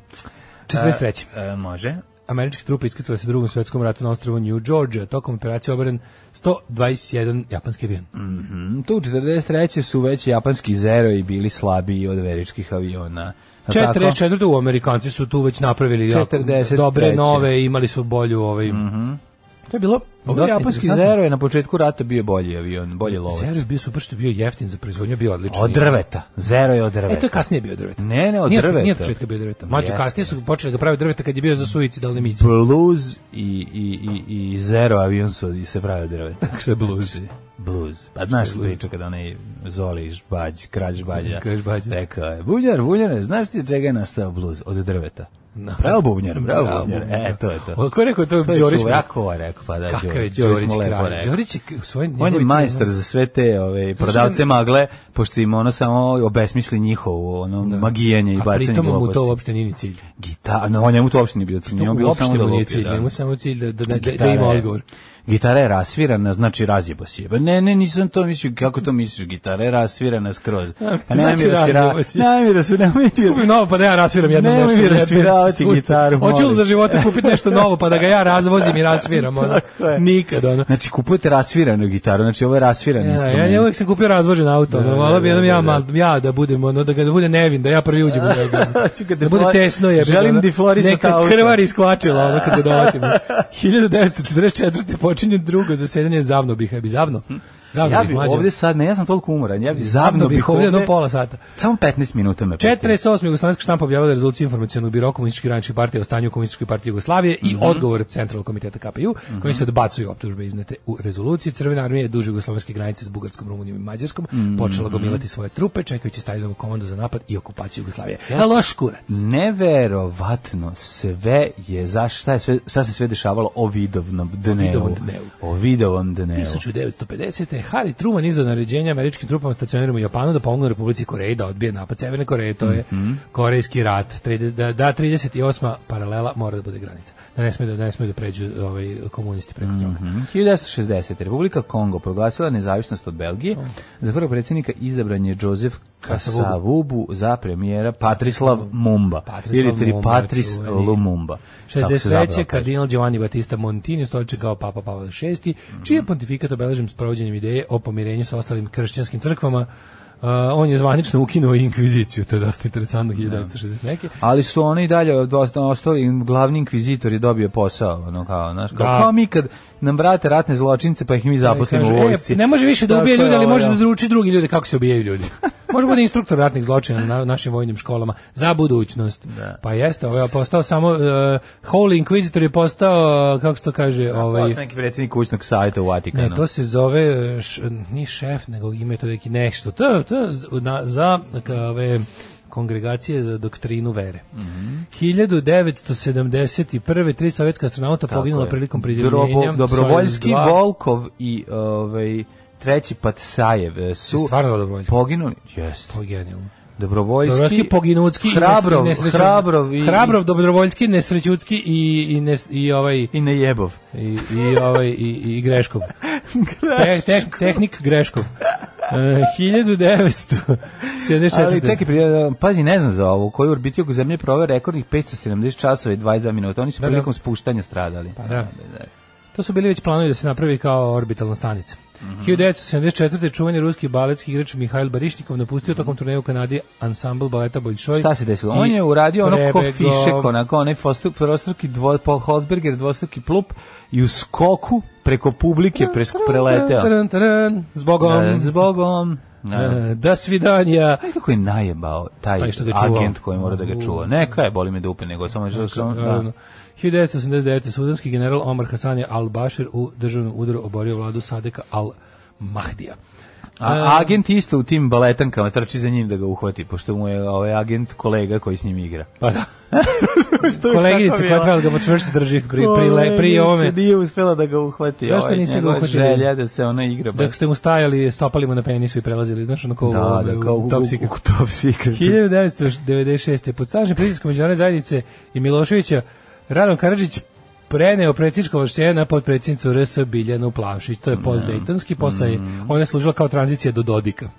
43.
Mm. E, može.
Američke trupe iskrcale se u drugom svetskom ratu na ostrvu New Georgia. Tokom operacije obaren 121 japanski avion.
Mm, Tu 43. su već japanski zeroji bili slabiji od veričkih aviona. Je li tako?
44. u Amerikanci su tu već napravili jako
43..
dobre nove, imali su bolju ovaj.
Mhm.
To je bilo
Ovo japanski
dosta interesantno. znači-
zero je na početku rata bio bolji avion, bolji
Zero
lovac.
je bio super što je bio jeftin za proizvodnju, bio odličan.
Od drveta. Zero je od drveta.
E, to je kasnije bio drveta.
Ne, ne, od
nije,
drveta.
Nije od početka bio drveta. Mađo,
Jeste.
kasnije su počeli ga praviti drveta kad je bio za suicidalne misije.
Blues i, i, i, i zero avion su se pravi od drveta.
Kako se bluzi.
Blues. Pa znaš priču kada onaj Zoli Žbađ, kralj Žbađa,
Kralj Žbađa.
rekao je, bubnjar, bubnjar, znaš ti od čega je nastao blues? Od drveta. Bravo bubnjar, bravo, bubnjar. E, to je to.
O, ko je rekao to?
To je
Đorić
čuo,
mu-
jako ovo je rekao, pa da,
Kakav je
Đorić, Đorić
Đorić
mu lepo
kralj.
rekao.
Đorić je k- svoj
On je
njegovi-
majstor za sve te ove,
što
prodavce
on-
magle, pošto im ono samo obesmisli njihovo ono, magijanje i
A
bacanje
pritom mu
gluposti.
to uopšte nije ni cilj.
Gita, no, on njemu to uopšte nije bio cilj, njemu je bilo samo
uopšte
da
mu nije
lupi.
cilj,
Da.
njemu je samo cilj da, da, da, da
Gitara
ima
je-
odgovor.
Gitara je rasvirana, znači razjebo si je. Ba Ne, ne, nisam to mislio, kako to misliš, gitara je rasvirana skroz. Pa nemoj
Znači
mi rasvira,
razjebo si je.
nemoj mi rasvira, nemoj mi
Kupim novo pa da ja rasviram jedno
Nemoj
nešto.
mi
jebem ti
rasviravati
sunce.
gitaru,
Hoću li
molim.
za života kupiti nešto novo pa da ga ja razvozim i rasviram? Ono.
je.
Nikad, ono.
Znači, kupujete rasviranu gitaru, znači ovo je rasviran
Ja,
instrument.
ja, ja uvek sam kupio razvožen auto,
Da,
ono,
da,
volao bi
da,
jednom
da,
ja,
da.
mal- ja da budem, ono, da ga da bude nevin, da ja prvi uđem u njega. ono.
Hoću ga
da bude
deflor-
tesno je.
Želim deflorisati
Neka
auto.
krvar iskvačila, ono, kad ga dovatim. 1944. počinje drugo zasedanje Zavno bih, bi Zavno. Zavno
Hm. ja
bih
bih
mlađe.
ovde sad, ne, ja sam toliko umoran, ja bih
Zavno bih ovde jedno pola sata.
Samo 15 minuta me. prekida.
48. Jugoslovenska štampa objavila rezoluciju informacionog biro komunističke radničke partije o stanju u komunističkoj partiji Jugoslavije i odgovor Centralnog komiteta KPU, koji se odbacuju optužbe iznete u rezoluciji. Crvena armija je duže jugoslovenske granice s Bugarskom, Rumunijom i Mađarskom počela gomilati svoje trupe, čekajući Stalinovu komandu za napad i okupaciju Jugoslavije. A loš kurac.
Neverovatno sve je za šta je sve šta se sve dešavalo o vidovnom dnevu.
Vidovom dnevu.
O vidovom dnevu.
1950. Harry Truman izdao naređenje američkim trupama stacioniranim u Japanu da pomognu Republici Koreji da odbije napad Severne Koreje, to je
Mhm.
Korejski rat. Tride- Da, da 38. paralela mora da bude granica. Da ne sme da, ne sme da pređu ovaj, komunisti preko
Mhm.
toga.
1960. Republika Kongo proglasila nezavisnost od Belgije. Za prvog predsjednika izabran je Joseph
Oh. Kasavubu.
Kasavubu, za premijera Patrislav Mumba.
Patrislav
ili tri
Mumba,
Patris
čuveni.
Lumumba. Kako se zapravo
63.
kaže.
kardinal Giovanni Battista Montini stoliče kao papa Pavle VI, čiji je pontifikat obeležen s provođenjem ideje o pomirenju sa ostalim kršćanskim crkvama. Uh, on je zvanično ukinuo inkviziciju, to je dosta interesantno, 1960 neke.
Ali su oni i dalje dosta ostali, glavni inkvizitor je dobio posao, ono kao, znaš, kao,
Da.
kao mi kad nam vrate ratne zločince pa ih mi zaposlimo
Kaže,
u
e,
vojsci.
ne može više da ubije
Tako je ono.
ljude, ali
ovo,
može
da.
da druči drugi ljude kako se ubijaju ljudi. Može bude instruktor ratnih zločina na našim vojnim školama za budućnost. Pa jeste, ovaj je postao samo uh, Holy Inquisitor je postao uh, kako se to kaže, ovaj
Ovaj neki predsjednik kućnog savjeta u Vatikanu.
Ne, to se zove e, š, ni šef, nego ime to neki nešto. To to je z- na, za ka- ove kongregacije za doktrinu vere.
Mhm.
1971. tri sovjetska astronauta
Tako
poginula
je.
prilikom prizemljenja.
Drobo- Dobrovoljski
Sojuz 2.
Volkov i ovaj treći Patsajev e, su
Stvarno dobrovoljski.
poginuli. Jeste.
To je genijalno.
Dobrovoljski,
Dobrovoljski, Poginovski,
Hrabrov, Hrabrov i,
i, Hrabrov, Dobrovoljski, Nesrećutski i, i, nes, i ovaj...
i Nejebov.
i, i, ovaj, i, i Greškov. Te, te, tehnik Greškov. E, 1974.
Ali čekaj, prije, pazi, ne znam za ovu, koju orbiti oko zemlje proveo rekordnih 570 časova i 22 minuta. Oni su
Da, da.
prilikom spuštanja stradali.
Pa da. To su bili već planovi da se napravi kao orbitalna stanica.
Mhm.
1974. čuveni ruski baletski igrač Mihajl Barišnikov napustio tokom turneja u Kanadi ansambl baleta Boljšoj.
Mhm. Šta se desilo? On je uradio ono ko fišek, onako, onaj fostu- dvostruki dvo, Paul Holzberger, dvostruki plup i u skoku preko publike presk, preleteo.
Zbogom.
E, Zbogom. Da.
E, Da svidanja.
Znaš kako je najebao taj
Taj što ga čuvao.
agent koji mora da ga čuva? Neka je, boli me dupe, nego samo je samo... Da.
Um, 1989. sudanski general Omar Hasan je al-Bashir u državnom udaru oborio vladu Sadeka al-Mahdija. Um,
A, agent isto u tim baletankama trči za njim da ga uhvati, pošto mu je ovaj agent kolega koji s njim igra.
Pa da.
Što je
Koleginica
tako
koja
bila?
treba da ga čvršće drži pri, pri, pri, pri ovome.
Koleginica nije uspela da ga uhvati.
Zašto
ovaj,
niste ga
njegova
uhvatili?
Želja da se ona igra.
Dok ste mu stajali, stopali mu na penisu i prelazili, znaš, ono kao u-
da, da, kao
u
u,
Top
u,
Secret.
u Top Secret.
1996. pod snažnim pritiskom međunarodne zajednice i Miloševića, Radon Karadžić preneo predsjedničko ovlašćenje na potpredsjednicu RS Biljanu Plavšić. To je
Mm.
post-Dejtonski, postaje, ona je služila kao tranzicija do Dodika.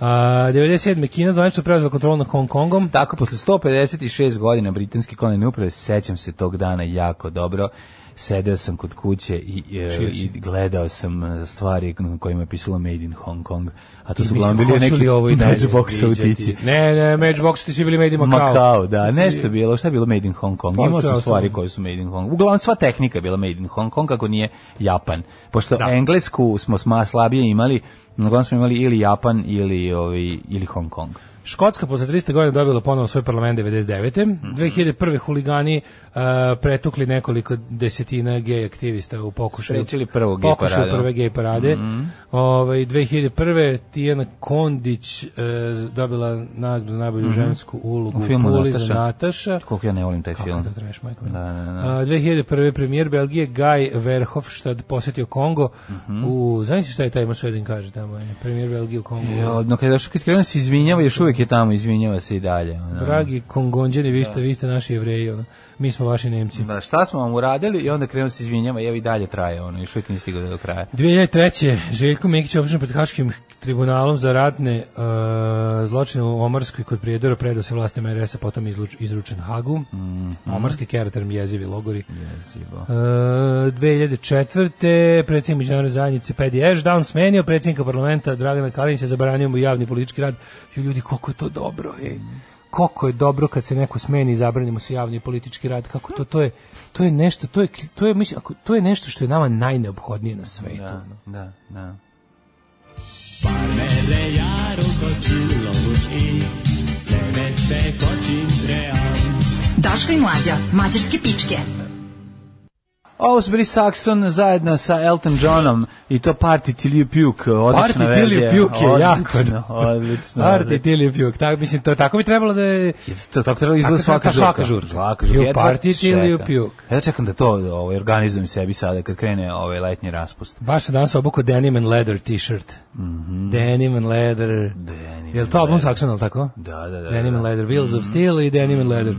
A, 97. Kina zvanično preuzela kontrolu nad Hong Kongom.
Tako, posle 156 godina britanske kolonije uprave, sećam se tog dana jako dobro. Sedeo sam kod kuće i, e,
Šio si.
i gledao sam e, stvari na kojima je pisalo Made in Hong Kong. A to su
Mislim,
uglavnom bili
hoću
neki
li ovo i dalje
matchbox
viđati?
autići.
Ne, ne, matchbox ti svi bili made in Macau.
Makao, da, nešto je bilo, šta je bilo Made in Hong Kong?
Pa,
Imao
sve
sam stvari
ostalo.
koje su Made in Hong Kong. Uglavnom, sva tehnika je bila Made in Hong Kong, kako nije Japan. Pošto englesku smo sma slabije imali, uglavnom smo imali ili Japan ili, ovi, ili Hong Kong.
Škotska posle 300 godina dobila ponovo svoj parlament 99.
Mhm.
2001. huligani uh, pretukli nekoliko desetina gej aktivista u pokušaju.
Sprečili prvu gej Mhm.
pokušaju
paradu.
prve gej parade. Ovaj, 2001. Tijana Kondić uh, dobila nagradu za najbolju žensku ulogu
Mhm. U filmu
Puli za
Nataša.
Nataša.
Koliko ja ne volim taj
Kako
film.
to trash, majko? Uh,
Da, da, da.
A, 2001. premijer Belgije Guy Verhofstadt posjetio Kongo.
Mhm.
U, znaš šta je taj Mašedin kaže tamo? je? Premijer Belgije u Kongu.
Jo, E, no kada što kad krenuo se izvinjava, još uvijek je tamo, izvinjava se i dalje. ono.
Dragi Kongonđani, vi ste, vi ste naši jevreji, ono. mi smo vaši Nemci.
Da, šta smo vam uradili i onda krenuo se izvinjava i evo i dalje traje, ono, još uvijek nije stigao do kraja.
2003. e, Željko Mikić je optužen pred Haškim tribunalom za ratne e, zločine u Omarskoj kod Prijedora, predao se vlastima RS-a, potom izluč- izručen Hagu. Omarski keraterm jezivi logori.
Jezivo.
E, 2004. predsjednik međunarodne zajednice Pedi Ashdown smenio predsjednika parlamenta Dragana Kalinića, zabranio mu javni politički rad. Jo, ljudi, koliko je to dobro, ej. Koliko je dobro kad se neko smeni i zabrani mu se javni politički rad. Kako to, to je, to je nešto, to je, to je, mislim, ako, to je nešto što je nama najneophodnije na svetu. ono.
Da, da.
Parmere járok a csillagos ég, levette kacsintre
Daško i mlađa, mađarske pičke.
Ovo su bili Saxon zajedno sa Elton Johnom i to Party Till You Puke,
Party
odlična
Till You
verzija.
Puke je jako.
Odlično, odlično.
Party Till You Puke. Tak, mislim, to tako bi trebalo da je...
Jeste, To tako treba izgleda
Tako
svaka
treba
žurka.
svaka žurka.
Svaka žurka.
You
Jedva
party till you
čekam.
puke.
Jedva čekam da to ovaj, organizujem sebi sada kad krene ovaj letnji raspust.
Baš se danas obuko denim and leather t-shirt. Denim and leather.
Denim
Je li to
and
album
Mhm. leather.
Saxon, ali tako?
Da, da, da.
Denim
da. Mhm.
and leather. Wheels of Steel i Denim and leather.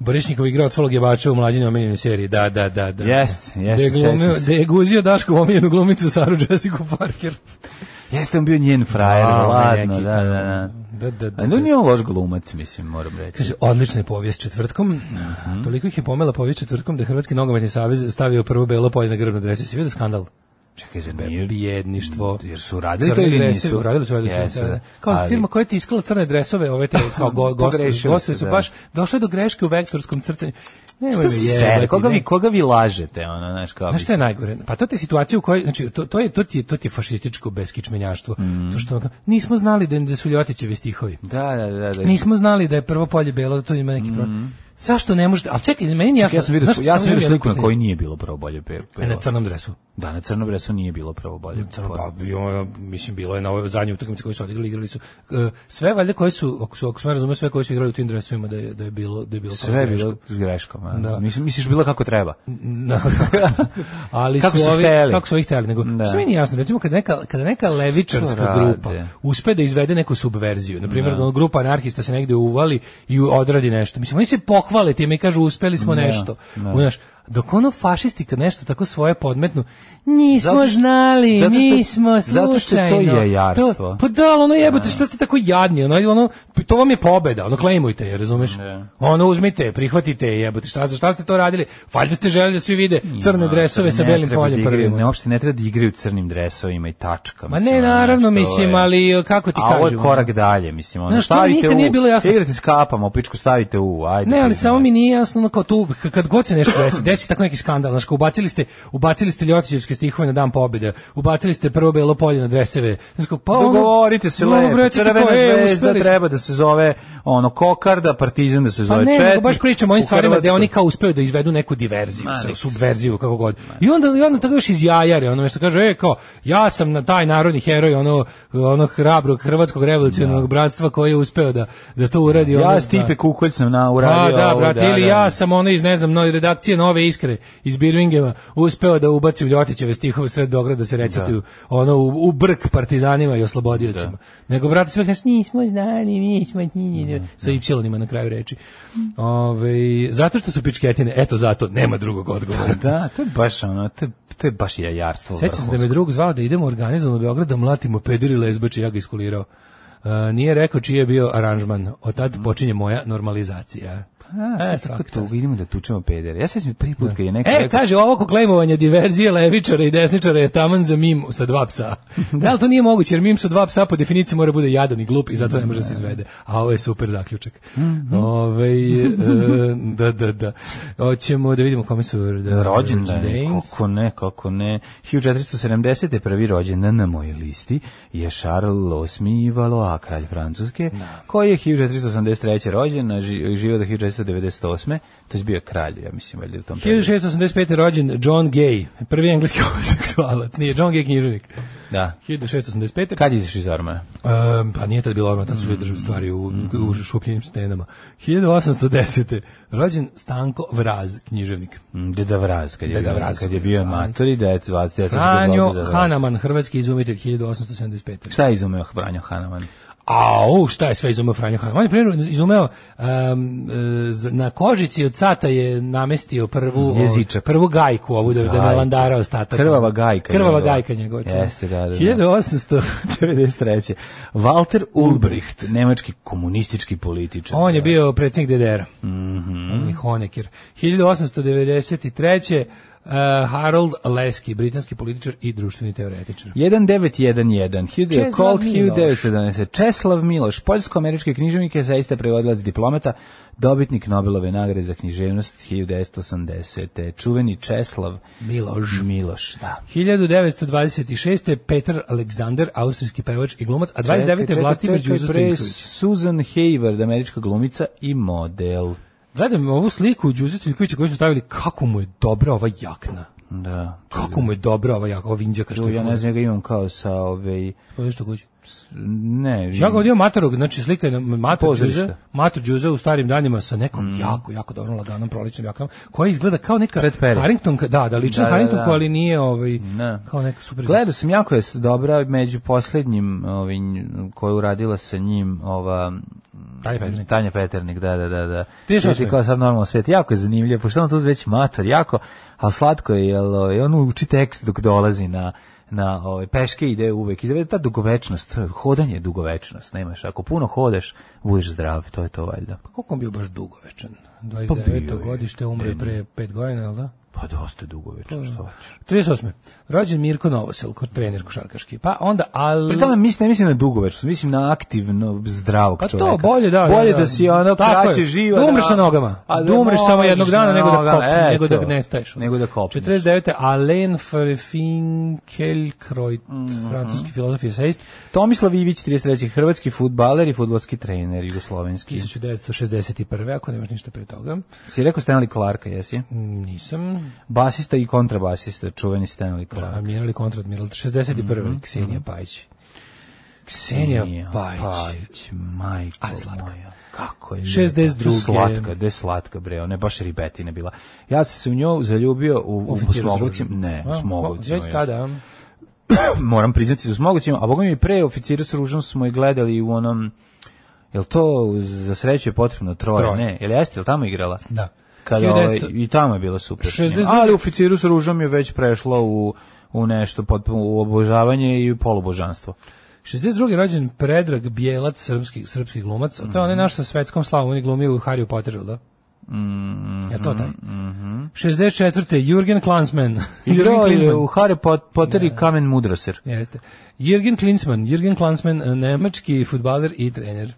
Borišnikov igrao od Folog Jebača u mlađenju omiljenoj seriji. Da, da, da. da.
Jest, jest,
Da je glumio-
sećam se.
Da je guzio Daško omiljenu glumicu Saru Jessica Parker.
Jeste on bio njen frajer,
A, ovaj
ladno,
neki,
da, da, da.
Da, da, da.
A nije on loš glumac, mislim, moram reći.
Kaže, odlična je povijest četvrtkom.
Mhm.
Toliko ih je pomela povijest četvrtkom da je Hrvatski nogometni savez stavio prvo belo polje na grbnu dresu. Si vidio skandal?
Čekaj, zar nije...
Bijedništvo.
Jer su radili to
Crni
ili
dresevi,
nisu?
Radili su, radili su.
Jesu,
da,
da.
da. Kao
Ali-
firma koja je tiskala crne dresove, ove te, kao go, gosti,
Pogrešili
gosti
su,
su
da.
baš došle do greške u vektorskom crtanju. Nemoj
Šta
me
se,
jebati,
koga
ne.
vi, koga vi lažete, ono, znaš, kao...
Znaš šta je najgore? Pa to je situacija u kojoj, znači, to, to, je, to, ti, je, to ti je fašističko beskičmenjaštvo.
Mm.
To što, ono kao, nismo znali da, da su Ljotićevi stihovi.
Da, da, da, da.
Nismo znali da je prvo polje belo, da to ima neki problem. Zašto ne možete? Ali čekaj, meni nije
Mm.
jasno.
Ja sam vidio,
znaš šta
ja
samo
sam vidio
imam jedno
sliku na
pitanje?
kojoj nije bilo pravo bolje pe, pe,
E, Na crnom dresu.
Da, na crnom bresu nije bilo pravo bolje.
Crno, pa, bio, ono, mislim, bilo je na ovoj zadnjoj utakmici koju su odigrali, igrali su. e, sve valjda koje su, ako, su, ako sam ja razumio, sve koje su igrali u tim dresovima da je, da je bilo, da je bilo kao
Sve je
greška.
bilo s greškom. a?
Da.
Mislim, misliš bilo kako treba.
No, ali
Kako
su
su
ovi,
hteli.
kako su ovi hteli, nego
Da.
što mi nije jasno, recimo kada neka, kada neka levičarska
rade?
grupa uspe da izvede neku subverziju, na primjer ono, grupa anarhista se negde uvali i odradi nešto, mislim, oni se pohvale time i kažu uspeli smo nešto, Znaš, dok ono fašisti kad nešto tako svoje podmetnu, nismo
Zato što-
znali,
zato što-
nismo
zato
slučajno.
što to je jarstvo.
To- pa da, ali ono jebote, što ste tako jadni, ono, ono, to vam je pobeda, ono, klejmujte je, razumeš? Ono, uzmite, prihvatite je, jebote, šta, za šta ste to radili? Valjda ste želeli da svi vide crne dresove sa
Ne
belim
treba da
poljem
igraju,
prvim.
Ne, uopšte ne treba da igraju u crnim dresovima i tačka.
Ma
mislim,
ne,
ono,
naravno,
znaš, to
mislim,
je-
ali kako ti
A ovo je
kažem?
korak dalje, mislim, ono,
Znaš, to mi
stavite
nikad
u,
nije bilo jasno.
igrate s kapama, u pičku stavite u, ajde.
Ne, ali
priznaj.
samo mi nije jasno, ono kao tu, k- kad god se nešto desi, desi tako neki skandal, znaš, kao ubacili ste, ubacili ste Ljotićevske stihove na dan pobjede, ubacili ste prvo belo polje na dreseve, znaš, kao, pa ono...
Dogovorite se
ono,
lepo,
recite
crvena
kao, e,
zvezda
uspeli smo.
treba da se zove ono kokarda, partizan da se
Pa
zove
ne, nego
četnik,
baš pričamo o ovim
u
stvarima gde
Hrvatskoj.
oni kao uspeju da izvedu neku diverziju,
Ma,
sa-
nek-
subverziju, kako god. I onda, i onda tako još izjajare, ono što kaže, e, kao, ja sam na taj narodni heroj, ono, ono hrabrog hrvatskog revolucionarnog bratstva koji je uspeo da, da to uradi. ono,
Ja
da.
Stipe Kukolj sam na,
Pa
uradio
da,
ovo,
brate, ili
da.
ja sam ono iz, ne znam, no, redakcije Nove Iskre iz Birmingema uspeo da ubacim Ljotićeve stihove sred Beograda da se recituju ono u, u brk partizanima i oslobodiocima. Nego, brate, sve kaže, nismo znali, mi smo ti, ni- ni- sa y na kraju reči. Ove, zato što su pičketine, eto zato, nema drugog odgovora.
Da, to je baš ono, to je, to je baš jajarstvo.
Sećam se da me
vrhunsko.
drug zvao da idemo organizovano u Beograd da mlatimo pederi lezbače, ja ga iskulirao. E, nije rekao čiji je bio aranžman. Od tad počinje moja normalizacija.
A,
E,
Pa, tako
svaka
to,
čast.
vidimo da tučemo pedere. Ja sećam se prvi put kad je neko
E,
rekao-
kaže, ovo koklejmovanje diverzije levičara i desničara je taman za mim sa dva psa. da li to nije moguće, jer mim sa dva psa po definiciji mora bude jadan i glup i zato ne može da se izvede. A ovo je super zaključak.
Mhm.
Ovaj, e, da, da, da. Hoćemo da vidimo kome su da,
rođendan, je,
rođendani.
kako ne, kako ne. 1470. je prvi rođendan na mojoj listi je Charles VIII Valois, kralj Francuske, koji je 1483. rođen, a ži- živio do 1498. To je bio kralj, ja mislim, valjda u tom periodu.
1685. je rođen John Gay, prvi engleski homoseksualac. Nije, John Gay književnik.
Da.
1685.
Kad je izašao iz ormana?
Um, pa nije tad bilo odmah, tad su ljudi
Mm.
držali stvari u, u šupljenim stenama. 1810. Rođen Stanko Vraz, književnik.
Mm, Deda Vraz, kad je,
Deda
bio-
Vraz.
kad je bio mator i dec, dec, dec,
Franjo Hanaman, hrvatski izumitelj 1875.
Šta je izumeo Franjo Hanaman?
A, o, šta je sve izumeo Franjo Hanaman? On je primjer izumeo, um, e, z- na kožici od sata je namestio prvu, o,
Mm, Jezičak.
prvu gajku ovu da, da
Gajku.
ne landara ostatak.
Krvava gajka
Krvava
njegova.
gajka njegova. čovjek.
Jeste, da, da, da.
1800.
93. Walter Ulbricht, nemački komunistički političar. Mhm.
On je bio predsjednik DDR-a. Mm -hmm. Honecker. 1893. Uh, Harold Leski, britanski političar i društveni teoretičar.
1911. Hugh
Česlav
Colt,
Miloš.
1917. Česlav Miloš, poljsko-američki književnik je zaista prevodilac diplomata, dobitnik Nobelove nagrade za književnost 1980. Čuveni Česlav
Miloš.
Miloš, da.
1926. Petar Aleksander, austrijski pevač i glumac, a 29. je Vlastimir
čekaj,
Đuzo
pre
Stiljković.
Susan Hayward, američka glumica i model.
Gledam ovu sliku Đuzo Stiljkovića koju su stavili, kako mu je dobra ova jakna.
Da.
Kako mu je dobra ova jakna, ova vinđaka što
Jo,
je
ja
fura.
ne znam, ja ga imam kao sa ove...
Pa nešto kući.
Ne, vidim.
Ja ga odio Matarog, znači slika je na Matar
Pozorište. Mm.
Đuze, Matar Đuze u starim danima sa nekom jako, jako dobrom laganom proličnom jakama, koja izgleda kao neka
Fred Perry.
Harringtonka, da, da, lična
Da, da,
Harringtonka,
da.
ali nije ovaj,
Ne.
kao neka super.
Gledao sam jako je s- dobra među posljednjim ovim koju uradila sa njim ova
Tanja Peternik.
Tanja Peternik, da, da, da, da.
Ti što
Sveti
smo?
kao sad normalno svet. Jako je zanimljivo, pošto on tu već mator, jako, ali slatko je, jel, ovaj, on uči tekst dok dolazi na na ovaj peške ide uvek i da ta dugovečnost to je- hodanje je dugovečnost nemaš ako puno hodeš budeš zdrav to je to valjda
Koliko on bio baš dugovečan?
Pa bio
29.
je.
godište, umre pre 5 godina, jel da?
pa dosta dugovečno što hoćeš
38. Rođen Mirko Novosel, ko- trener košarkaški. Pa onda al
Pri tome mislim, ne mislim na dugovečnost, mislim na aktivno zdravog
Mm. Pa to,
čoveka.
bolje da,
Bolje
da,
da,
da.
si ono
Tako
kraće
je.
živa.
Da umreš na nogama. Da umreš samo
možeš
jednog dana
na
nego da
nogama,
kopneš, nego da ono.
eto.
nestaješ.
Nego da kopneš.
49. Alain Finkielkraut,
Mhm.
francuski filozof i eseist,
Tomislav Ivić, 33. hrvatski futbaler i futbolski trener jugoslovenski.
1961. Ako nemaš ništa pre toga.
Si rekao Stanley Clarka, jesi?
Mm, Nisam.
Basista i kontrabasista, čuveni Stanley Clark.
Admiral i kontradmiral. 61.
Mhm,
Ksenija Pajić. Ksenija Pajić.
majko
Ali slatka.
moja. Kako je
62..
lijepa. Slatka, gde je slatka bre, ona je baš ribetina bila. Ja sam se u nju zaljubio u, u
Oficir
Smogovcima.
iz-
Ne,
A,
u Smogovcima.
Već
još.
tada.
moram priznati u Smogovcima, a boga mi i pre oficira s ružom smo i gledali u onom Jel to za sreću je potrebno troje,
Troje.
ne? Jel jeste, jel tamo igrala?
Da.
Kada, ovaj,
1900
I tamo je bila super.
62
Ali u oficiru s ružom je već prešlo u, u nešto, potpuno, u obožavanje i polubožanstvo.
62. rođen Predrag Bjelac, srpski, srpski glumac. A to je onaj naš sa svetskom slavom, on je glumio u Harry Potteru, jel da?
Mm-hmm.
Mm, to taj? 64. Jürgen Klansman.
Igrao je u Harry Pot- Potter i Kamen Mudroser.
Jeste. Jürgen Klinsmann, Jürgen Klansman, e, nemački futbaler i trener.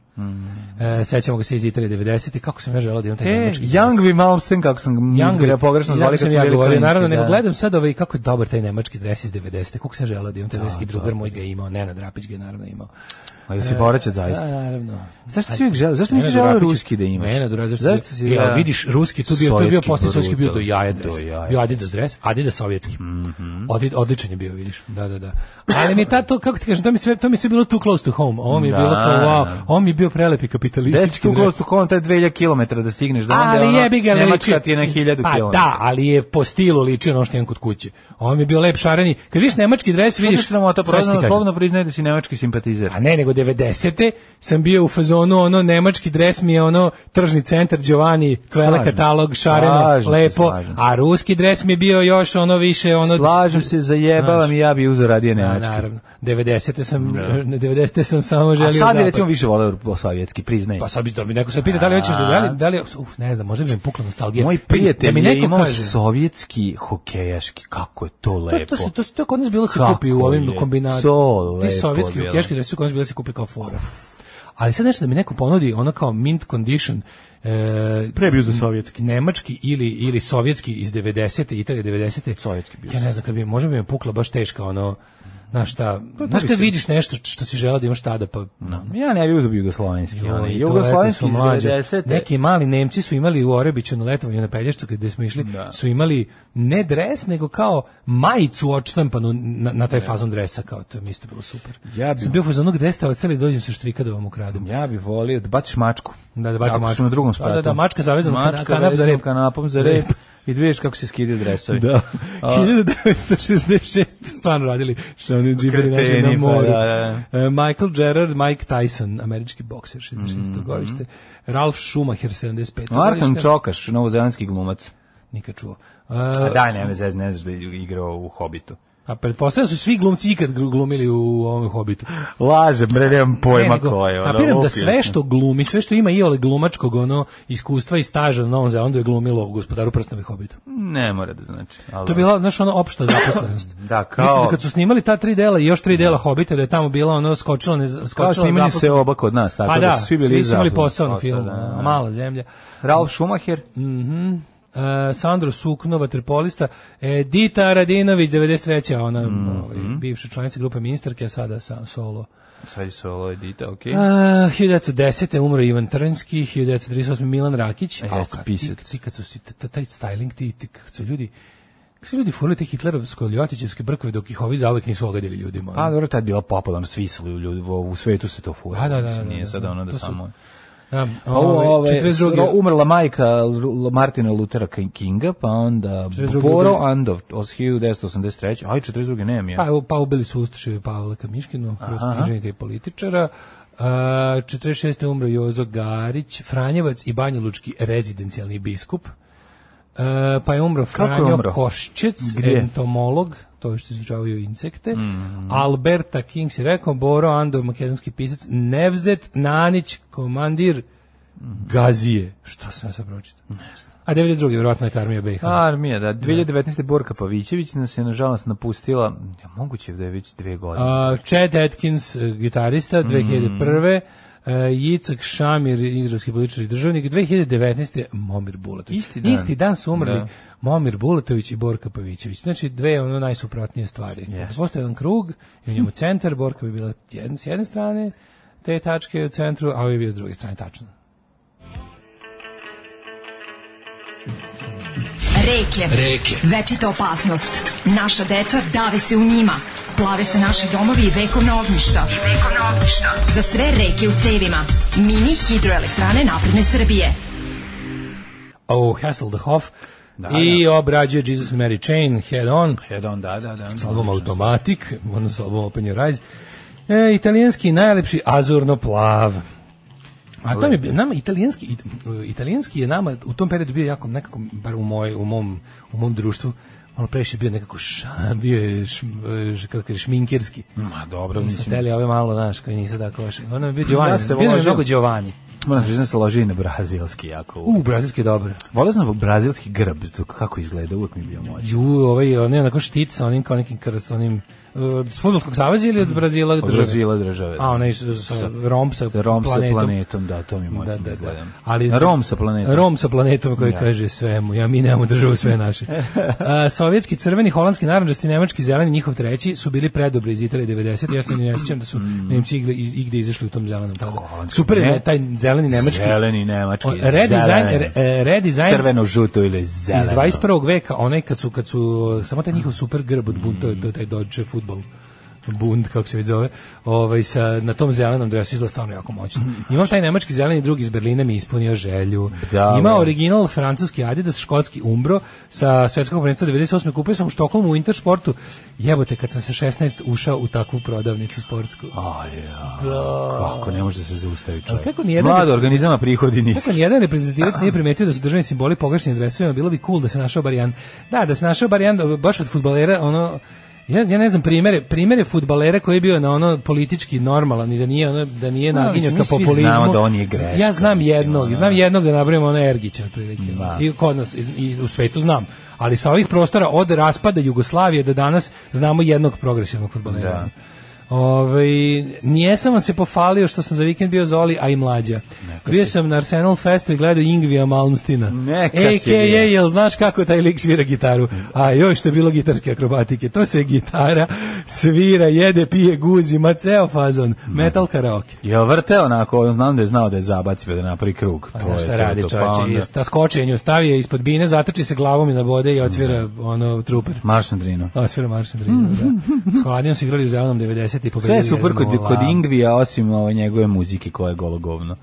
E, sećamo ga se iz Italije 90. Kako sam ja želao da imam taj
Mm-hmm. E,
nemački glas.
Young Wim Malmsteen, kako sam
Young
ga pogrešno zvali
Young
kad
sam
smo
ja
bili
govorio,
klinci,
naravno, nego
da.
gledam sad ovaj kako je dobar taj nemački dres iz 90. Kako se želeo da imam taj nemački drugar moj ga je imao, Nenad Rapić ga je naravno imao.
A jesi povraćat zaista?
Da, naravno.
Zašto si uvijek želeo? Zašto nisi
Nenad
želeo
Rapić-
ruski da imaš?
Nenad Rapić, zašto?
Zašto si?
Ja,
da?
E, vidiš, ruski tu bio, to je bio
Sovjetski
posle sovjetski bio do
brutal.
jaja dres.
Do jaja. Mhm.
Bio Adidas dres, Adidas sovjetski. Odi- odličan je bio, vidiš. Da, da, da. Ali mi je ta to kako ti kažem, to mi sve to mi sve bilo too close to home. Ovo mi je
Da.
bilo kao wow, ovo mi je bio prelepi kapitalistički.
Dečki u
dres.
Gostu Holland, taj 2000 km da stigneš do onda,
ali
ono,
jebi ga
Nemačka
liči-
ti je na 1000 km.
Pa da, ali je po stilu ličio na ono što imam kod kuće. Ovo mi je bio lep šareni. Kad vidiš nemački dres,
Vidiš,
vidiš...
što nam to
Sad ću ti
prozno,
kažem.
slobodno priznaje da si nemački simpatizer.
A Pa ne, nego 90. sam bio u fazonu, ono, nemački dres mi je ono, tržni centar, Giovanni, kvele
Slažem se.
katalog, šareno,
Slažem se,
lepo,
slažem se.
a ruski dres mi je bio još ono više, ono...
Slažem se, zajebavam
Znaš.
i ja bi uzeo radije
Da,
nemački.
naravno. 90. sam, 90. sam samo želio
A sad bi
zapad.
recimo više voleo sovjetski, priznaj.
Pa sad bi to mi neko se pita da li hoćeš da da li, da li uf, ne znam, možda bi mi pukla nostalgija.
Moj
Da mi
prijatelj je
neko
imao
kaže.
sovjetski hokejaški, kako je to
To,
lepo.
to, se, to, se, to kod nas bilo se
Kako
kupi u ovim
je
kombinacijama.
to lepo
Ti sovjetski
bilo.
hokejaški dresi kod nas bilo se kupi kao fora. Ali sad nešto da mi neko ponudi, ono kao mint condition, e,
Pre bi uzeo sovjetski.
nemački ili ili sovjetski iz 90-te, Italije 90-te. Sovjetski bio. Ja ne znam, kad bi, možda bi me pukla baš teška, ono, znaš šta, znaš
Pa bi
kad
se-
vidiš nešto što si želeo da imaš tada, pa... No.
Ja ne bi uzeo jugoslovenski. onaj,
Joj,
Jugoslovenski
to
iz
leto su mlađe.
90.
Neki mali Nemci su imali u Orebiću na letovanju na Pelješcu gde smo išli, su imali ne dres, nego kao majicu odštampanu na, na taj fazon dresa, kao to mi isto bilo super.
Ja bi-
Sam bio u fazonu gde ste oceli, dođem sa štrika da vam ukradem.
Ja bih volio da baciš mačku.
Da, da baci
Ako
mačku.
su na drugom
Da,
spratu.
da, da, mačka zavezana na
mačka
kanap za
vezana
rep.
kanapom za rep. I da vidiš kako se skidaju dresovi.
Da.
A,
1966 stvarno radili što oni džiberi naši na
Kreteni, pa
moru.
da, da,
E, Michael Gerard, Mike Tyson, američki bokser 66. godište. Ralph Schumacher 75.
Mhm. Martin
godište.
Čokaš, novozelandski glumac.
Nikad čuo. E,
A daj, ne me zez, ne znaš da je igrao u Hobbitu.
A Pa pretpostavljam da su svi glumci ikad gru- glumili u ovom hobitu.
Laže, bre, nemam
Ne,
pojma
nego,
ko je. ono,
kapiram da
lupio
sve
sam.
što glumi, sve što ima iole glumačkog ono iskustva i staža na Novom Zelandu je glumilo u Gospodaru prstnova i Hobitu.
Ne mora da znači. Ali...
To je bila, znaš, ono, opšta zaposlenost.
Da, kao-
Mislim da kad su snimali ta tri dela i još tri dela Hobita, da je tamo bila ono skočila, ne, skočila
Kao snimanje
zaposlenost.
se oba kod nas, tako
Pa
da,
da,
su svi bili
svi su imali
zapravo.
posao na
Posao,
filmu, ono,
da, da.
a mala zemlja.
Ralf Schumacher,
E, Sandro Suknova, terpolista, Edita Radinović, 93. a Ona,
Mhm.
ovaj, bivša članica grupe ministarke, a sada sa, solo.
sad je solo edita, okej.
A, 1910. umro Ivan Trnski, 1938. Milan Rakić.
E,
Au,
jeste
kad
pisac.
Ti, ti kad su si, t- t- taj styling, ti, ti kad su ljudi, kad su ljudi furali te hitlerovsko ljotićevske brkove dok ih ovi zauvek nisu ogadili ljudima. ono.
Pa dobro, tad je bila popularna, svi su ljudi, u svetu se to fura.
Da, da, da,
mislim,
da,
Nije
da,
sad
da.
ono da
To su-
samo...
da,
Pa ovo,
ovaj,
ove,
42.
s- umrla majka Lu- Martina Luthera Kinga, pa onda
42.
Boro Andov, od 1983. Aj, 42. nemam ja.
Pa, evo, pa ubili su Ustaševi Pavla Kamiškinu, hrvatskog književnika i političara. A, 46. umro Jozo Garić, Franjevac i banjalučki rezidencijalni biskup. E, pa je umro
Kako je
Franjo
umro?
Koščec,
Gdje? Mm.
entomolog, to je što izučavaju insekte. Alberta King si rekao, Boro Andov, makedonski pisac, Nevzet Nanić, komandir
Mhm.
Gazije. Što sam ja sad pročitao? Ne znam. A 92. vjerojatno je Karmija BiH.
Armija, da. 2019. Borka Pavićević nas je, nažalost, napustila, ja, moguće da je već dve godine.
Uh, Chad Atkins, eh,
Mhm.
gitarista, 2001. Uh, Jicak Šamir, izraelski političar i državnik, 2019. Momir Bulatović.
Isti dan.
Isti dan su umrli
Da.
Momir Bulatović i Borka Pavićević. Znači, dve ono najsuprotnije stvari.
Jeste.
Postoje jedan krug, i u njemu centar, Borka bi bila jedan, s jedne strane te tačke u centru, a ovaj je bio s druge strane tačno.
Reke.
Reke.
Večita opasnost. Naša deca dave se u njima. Plave se naši domovi i vekovna ognjišta. I vekovna ognjišta. Za sve reke u cevima. Mini hidroelektrane napredne Srbije.
Oh, Hasselhoff i obrađuje Jesus and Mary Chain, Head On.
Head on, da, da, da.
s album Automatic, ono s album Open Your Eyes. E, italijanski najlepši azurno plav. A tam je bio- nama italijanski it- italijanski je nama u tom periodu bio jako nekako bar u moj u mom u mom društvu malo previše bio nekako ša, bio je šm, š- kako kaže, šminkerski.
Ma, dobro,
Mislim,
mislim.
ove malo, znaš, koji nisu tako baš. Ono je bio Giovanni,
Ja se
bio nam je
ložim.
mnogo Giovanni.
Moram priznati da se loži i na brazilski jako.
U, brazilski je dobro.
Volio sam brazilski grb, to kako izgleda, uvek mi je bio moć.
Ju, ovaj, onaj onako štit sa onim kao nekim krs, onim, uh, s futbolskog saveza ili od Brazila
Od
države?
Brazila države.
A, onaj sa, sa Rom sa
Rom sa
planetom.
planetom, da, to mi moćno
Da, da, da.
Ali, Rom sa planetom.
Rom sa planetom koji kaže svemu. Ja, mi nemamo državu sve naše. A, sovjetski crveni, holandski, naranđasti, nemački, zeleni, njihov treći su bili predobri iz Italije 90. Ja se ni ne sjećam da su Nemci igle, i- igde izašli u tom zelenom. tada.
Mm. holandski,
Super je
ne?
ne, taj zeleni, nemački.
Zeleni, nemački,
O, redizajn,
zeleni.
re, e, redizajn
Crveno, žuto ili zeleno.
iz 21. veka, onaj kad su, kad su samo taj njihov super grb od bunta, mm. taj Dodge futbol bund, kako se već zove, ovaj, sa, na tom zelenom dresu izgleda stvarno jako moćno. Imam taj nemački zeleni drug iz Berlina mi je ispunio želju.
Da,
Ima
da.
original francuski Adidas, škotski Umbro sa svetskog prvenstva 98. Kupio sam u Štokholmu u Intersportu. Jebote, kad sam sa 16 ušao u takvu prodavnicu sportsku.
A, ja. Kako, ne može da se zaustavi čovjek.
kako nijedan-
Mlad organizama prihodi niski.
Kako Dakle, nijedan reprezentativac nije primetio da su državni simboli pogrešni na dresovima, bilo bi cool da se našao bar jedan. Da, da se našao bar jedan, baš od fudbalera, ono, Ja, ja ne znam primere, primere fudbalera koji je bio na ono politički normalan i da nije ono da nije
Ma,
naginjao
mislim,
ka
mi svi
populizmu.
znamo da on je greška,
Ja znam
mislim,
jednog,
ono.
znam jednog da nabrojim ono Ergića otprilike.
Da.
I kod nas iz- i u svetu znam, ali sa ovih prostora od raspada Jugoslavije do danas znamo jednog progresivnog fudbalera.
Da.
Ove, nijesam vam se pofalio što sam za vikend bio zoli, a i mlađa. bio sam na Arsenal Festu i gledao Ingvija Malmstina.
Neka si
AKA,
bio.
jel znaš kako taj lik svira gitaru? A joj što je bilo gitarske akrobatike. To se gitara svira, jede, pije, guzi, ma ceo fazon. Metal karaoke.
Jel vrte onako, znam da je znao da je zabaci pa da napravi krug.
Pa
To
znaš
je
šta
to,
radi
to, pa onda-
čovječe, i na skočenju stavi je ispod bine, zatrči se glavom i na bode i otvira ono truper.
Marš na drinu.
Otvira maršan drinu, da. S Hladnijom su igrali u zelenom 90. i pobedili.
Sve je super
jednom
kod, kod
Holandu.
Ingvija, osim ove njegove muzike koja je gologovno.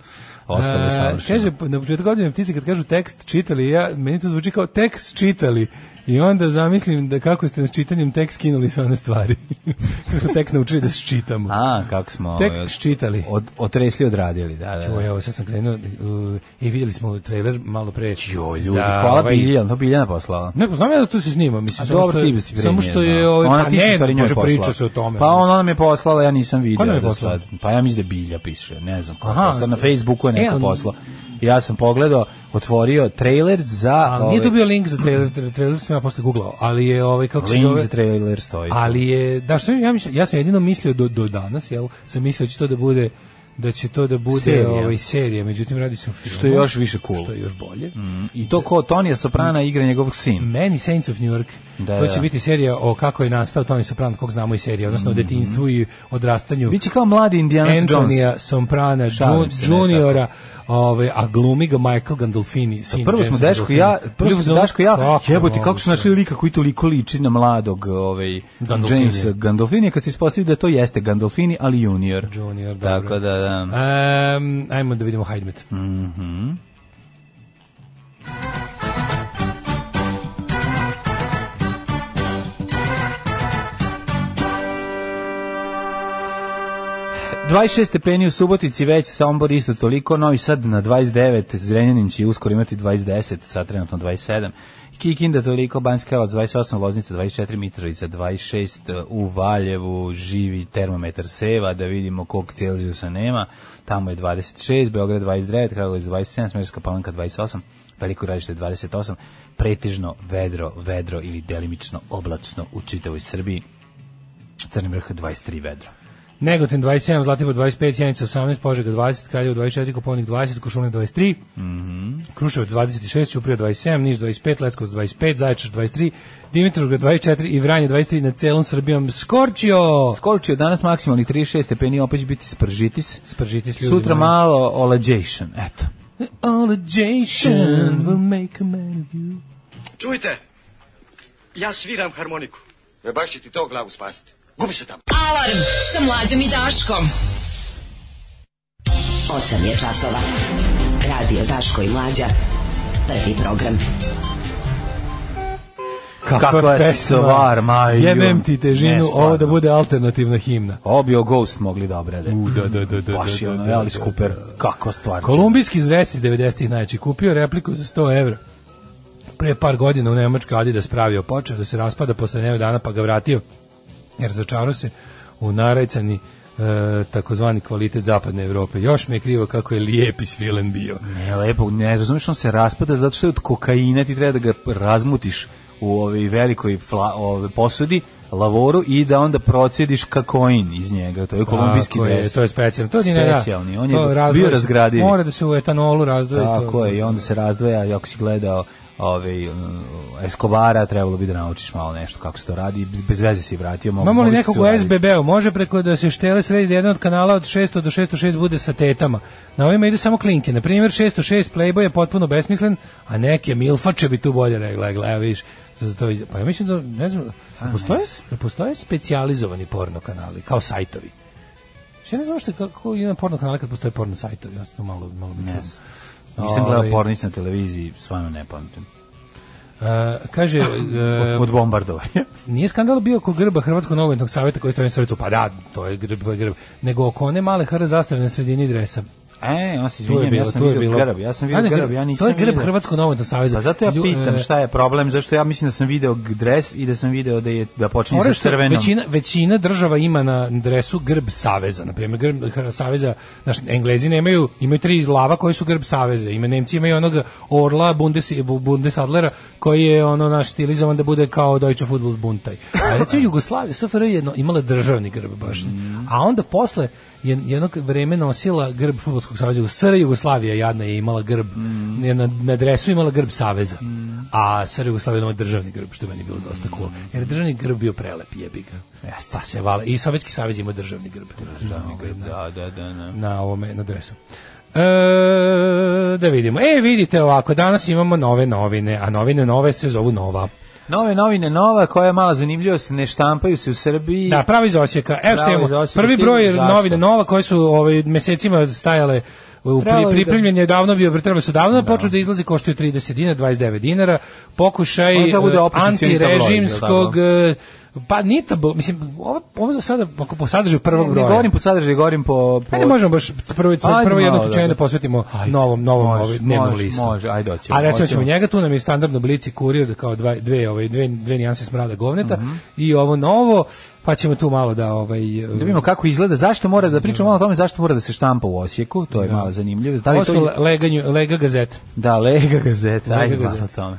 ostale savršene.
Kaže, pa na početku godine ptice kad kažu tekst čitali, ja, meni to zvuči kao tekst čitali. I onda zamislim da kako ste s čitanjem tekst skinuli sve one stvari. kako smo tek naučili da čitamo.
A, kako smo...
Tek
ovaj, od-
ščitali.
Od, otresli, odradili, da, da.
Ovo,
da.
evo, sad sam krenuo uh, i vidjeli smo trailer malo pre.
Jo,
ovaj
ljudi, hvala Biljana, to Biljana poslala.
Ne, pa znam ja da tu se snima, mislim,
A
samo
dobro
što
ti
je,
bi si
samo što
prenijela.
je, ovaj,
ona
pa
ti
ne,
su stvari njoj
može
poslala.
priča se o tome.
Pa ona nam je poslala, ja nisam vidio.
Ko nam je
do
poslala?
sad. Pa ja mislim da Bilja piše, ne znam. Ko je
Aha.
poslala. na Facebooku je
E,
neko
ali-
poslao. Ja sam pogledao, otvorio trailer za... ovaj
Ali nije to bio link za trailer, tra- trailer sam ja posle googlao, ali je ovaj kako se
Link
zove,
za trailer stoji.
ali je da što ja mislim, ja sam jedino mislio do do danas, jel, sam mislio da će to da bude da će to da bude
Serija.
ovaj serija, međutim radi se o filmu.
Što je još više cool.
Što je još bolje.
Mm, I to ko Tonija Soprana igra njegovog sin.
Many Saints of New York.
Da,
to
da, Mhm.
će
da.
biti serija o kako je nastao Tony Soprano, kog znamo i serija, odnosno o detinjstvu i odrastanju.
Biće kao mladi Indiana Jones.
Antonija Somprana
Šalim
Jun-
se, ne
juniora, ovaj a glumi ga Michael Gandolfini. sin
Pa Prvo smo
Jamesa
Daško i ja,
Gandolfini.
prvo
Bili
smo
u
Daško i ja,
kako
jebote kako su
moguće?
našli lika koji toliko liči na mladog, ovaj
Gandolfinija.
Jamesa Gandolfinija, kad se ispostavi da to jeste Gandolfini, ali junior.
Junior, dobro.
Tako da, da.
Em, ajmo da vidimo Hajdmet.
Mm. Da. 26 stepeni u Subotici, već Sombor isto toliko, Novi Sad na 29, Zrenjanin će uskoro imati 20, sad trenutno 27. Kikinda toliko, Banjska Karlovac 28, Loznica 24, Mitrovica 26, u Valjevu živi termometar seva, da vidimo kog Celzijusa nema, tamo je 26, Beograd 29, Kragovic 27, Smerska Palanka 28, Veliko gradište 28, pretežno vedro, vedro ili delimično oblačno u čitavoj Srbiji, Crni vrh 23 vedro.
Negotin 27, Zlatibor 25, Sjenica 18, Požega 20, Kraljevo 24, Koponik 20, Košulnik 23,
Mhm.
Kruševac 26, Ćuprija 27, Niš 25, Leskovac 25, Zaječar 23, Dimitrovgrad 24 i Vranje 23 na celom Srbijom. Skorčio!
Skočio danas maksimalni 36 stepeni, opet će biti spržitis.
Spržiti s ljudima.
Sutra malo olađejšan, eto.
Olajation will make a man of you.
Čujte, ja sviram harmoniku. E baš će ti to glavu spasiti. Gubi se tamo.
Alarm sa mlađom i Daškom.
8 je časova. Radio Daško i Mlađa. Prvi program.
Kakva je stvar, maju.
Jebem ti težinu,
Ne,
ovo da
stvarno.
bude alternativna himna.
Ovo bi o Ghost mogli da obrade.
U, da, da, da, da,
Baš
da,
je
da,
ono,
da,
Alice
da,
Cooper,
da.
kakva stvar.
Kolumbijski zres iz 90-ih najjači kupio repliku za 100 evra. Pre par godina u Nemačkoj Adidas pravio počeo da se raspada posle nevo dana pa ga vratio jer začarao se u narajcani e, takozvani kvalitet zapadne Evrope. Još mi je krivo kako je lijep i svilen bio.
Ne, lepo, ne razumeš, on se raspada zato što je od kokaina ti treba da ga razmutiš u ovoj velikoj fla, ove, posudi, lavoru i da onda procediš kakoin iz njega. To je kolumbijski
Tako je,
des.
to je specijalno. To nije, da,
Specijalni, on je
to
bio
razdvoji-
razgradivi.
Mora da se u etanolu razdvoji. to-
Tako je, i onda se razdvaja, i ako si gledao ovaj, mm, Escobara, trebalo bi da naučiš malo nešto kako se to radi, bez veze si vratio. mogu-
Imamo li
mogli
nekog
su
u
uraditi.
SBB-u? Može preko da se štele sredi jedan od kanala od 600 do 606 bude sa tetama. Na ovima idu samo klinke. Na primjer, 606 Playboy je potpuno besmislen, a neke milfače bi tu bolje regla. Evo, evo vidiš. Zato- Pa ja mislim da, ne znam, postoje, postoje specijalizovani porno kanali, kao sajtovi. Što ja ne znam što je kako ima porno kanale kad postoje porno sajtovi. Ja sam to malo, malo mi čudno.
Nisam gledao
Ovaj,
pornić na televiziji, stvarno ne pamtim.
e, kaže, e,
Od bombardovanja.
Nije skandal bio oko grba Hrvatskog nogometnog saveta koji stoji na srcu, pa da, to je grb, to je grb, nego oko one male hr zastave na sredini dresa.
E, on se
Tu je
izvinjam,
bilo,
ja sam
tu je
vidio
bilo.
grb, ja sam
A
vidio
ne,
grb, ja nisam
To je grb
vidio.
Hrvatskog nogometnog saveza.
Pa zato ja
Lju-
pitam
e,
šta je problem, zašto ja mislim da sam video g- dres i da sam video da je da počinje
Moraš
sa
se-
crvenom.
Većina, većina država ima na dresu grb saveza. Na primjer, grb Hr- saveza, naš Englezi nemaju, imaju tri lava koji su grb saveza. Ima Nemci imaju onog orla Bundes, Bu- Bundesadlera koji je ono naš stilizovan da bude kao Deutsche Futbol buntaj. A recimo Jugoslavija, SFRJ je jedno- imala državni grb baš. A onda posle je jednog vreme nosila grb fudbalskog saveza SR Jugoslavija jadna je imala grb je na, na dresu imala grb saveza a SR Jugoslavija imala državni grb što je meni bilo dosta cool jer je državni grb bio prelep jebi ga pa se vala i Sovjetski savez ima državni grb državni grb
Da, da, da, da.
na ovome na dresu E, da vidimo. E, vidite ovako, danas imamo nove novine, a novine nove se zovu Nova.
Nove novine, nova koja je mala zanimljivost, ne štampaju se u Srbiji.
Da, pravo iz Osijeka. Evo što
Pravo
imamo.
iz Osijeka,
Prvi
stigli
broj
zašto?
novina nova koje su ovaj mesecima stajale u pri,
Trebalo bi da-
pripremljen je davno bio, bre, trebalo su davno da. počeo da izlazi, koštaju 30 dinara, 29 dinara, pokušaj
Ono treba bude
e,
opozicioni tabloid,
antirežimskog, e, pa nije tablo, mislim, ovo, ovo za sada, ako po sadržaju prvog
Ne
broja.
govorim po sadržaju, govorim po... po...
Ajde, možemo baš prvo,
Ajde,
prvo jedno
malo,
ključenje da
da.
posvetimo novom, novom
može,
ovaj, dnevnom
može,
listu.
može, ajde, hoćemo,
A recimo ćemo
hoćemo.
njega, tu nam je standardno blici kurir da kao dva, dve, ovaj, dve, dve nijanse smrada govneta
Mhm.
i ovo novo, pa ćemo tu malo da... Ovaj,
Da vidimo kako izgleda, zašto mora da pričamo malo o tome zašto mora da se štampa u Osijeku, to je malo zanimljivo. Da
Ovo
li
su
to...
le- leganju, lega gazeta.
Da, Lega gazeta,
Lega
ajde malo
gazeta.
o tome.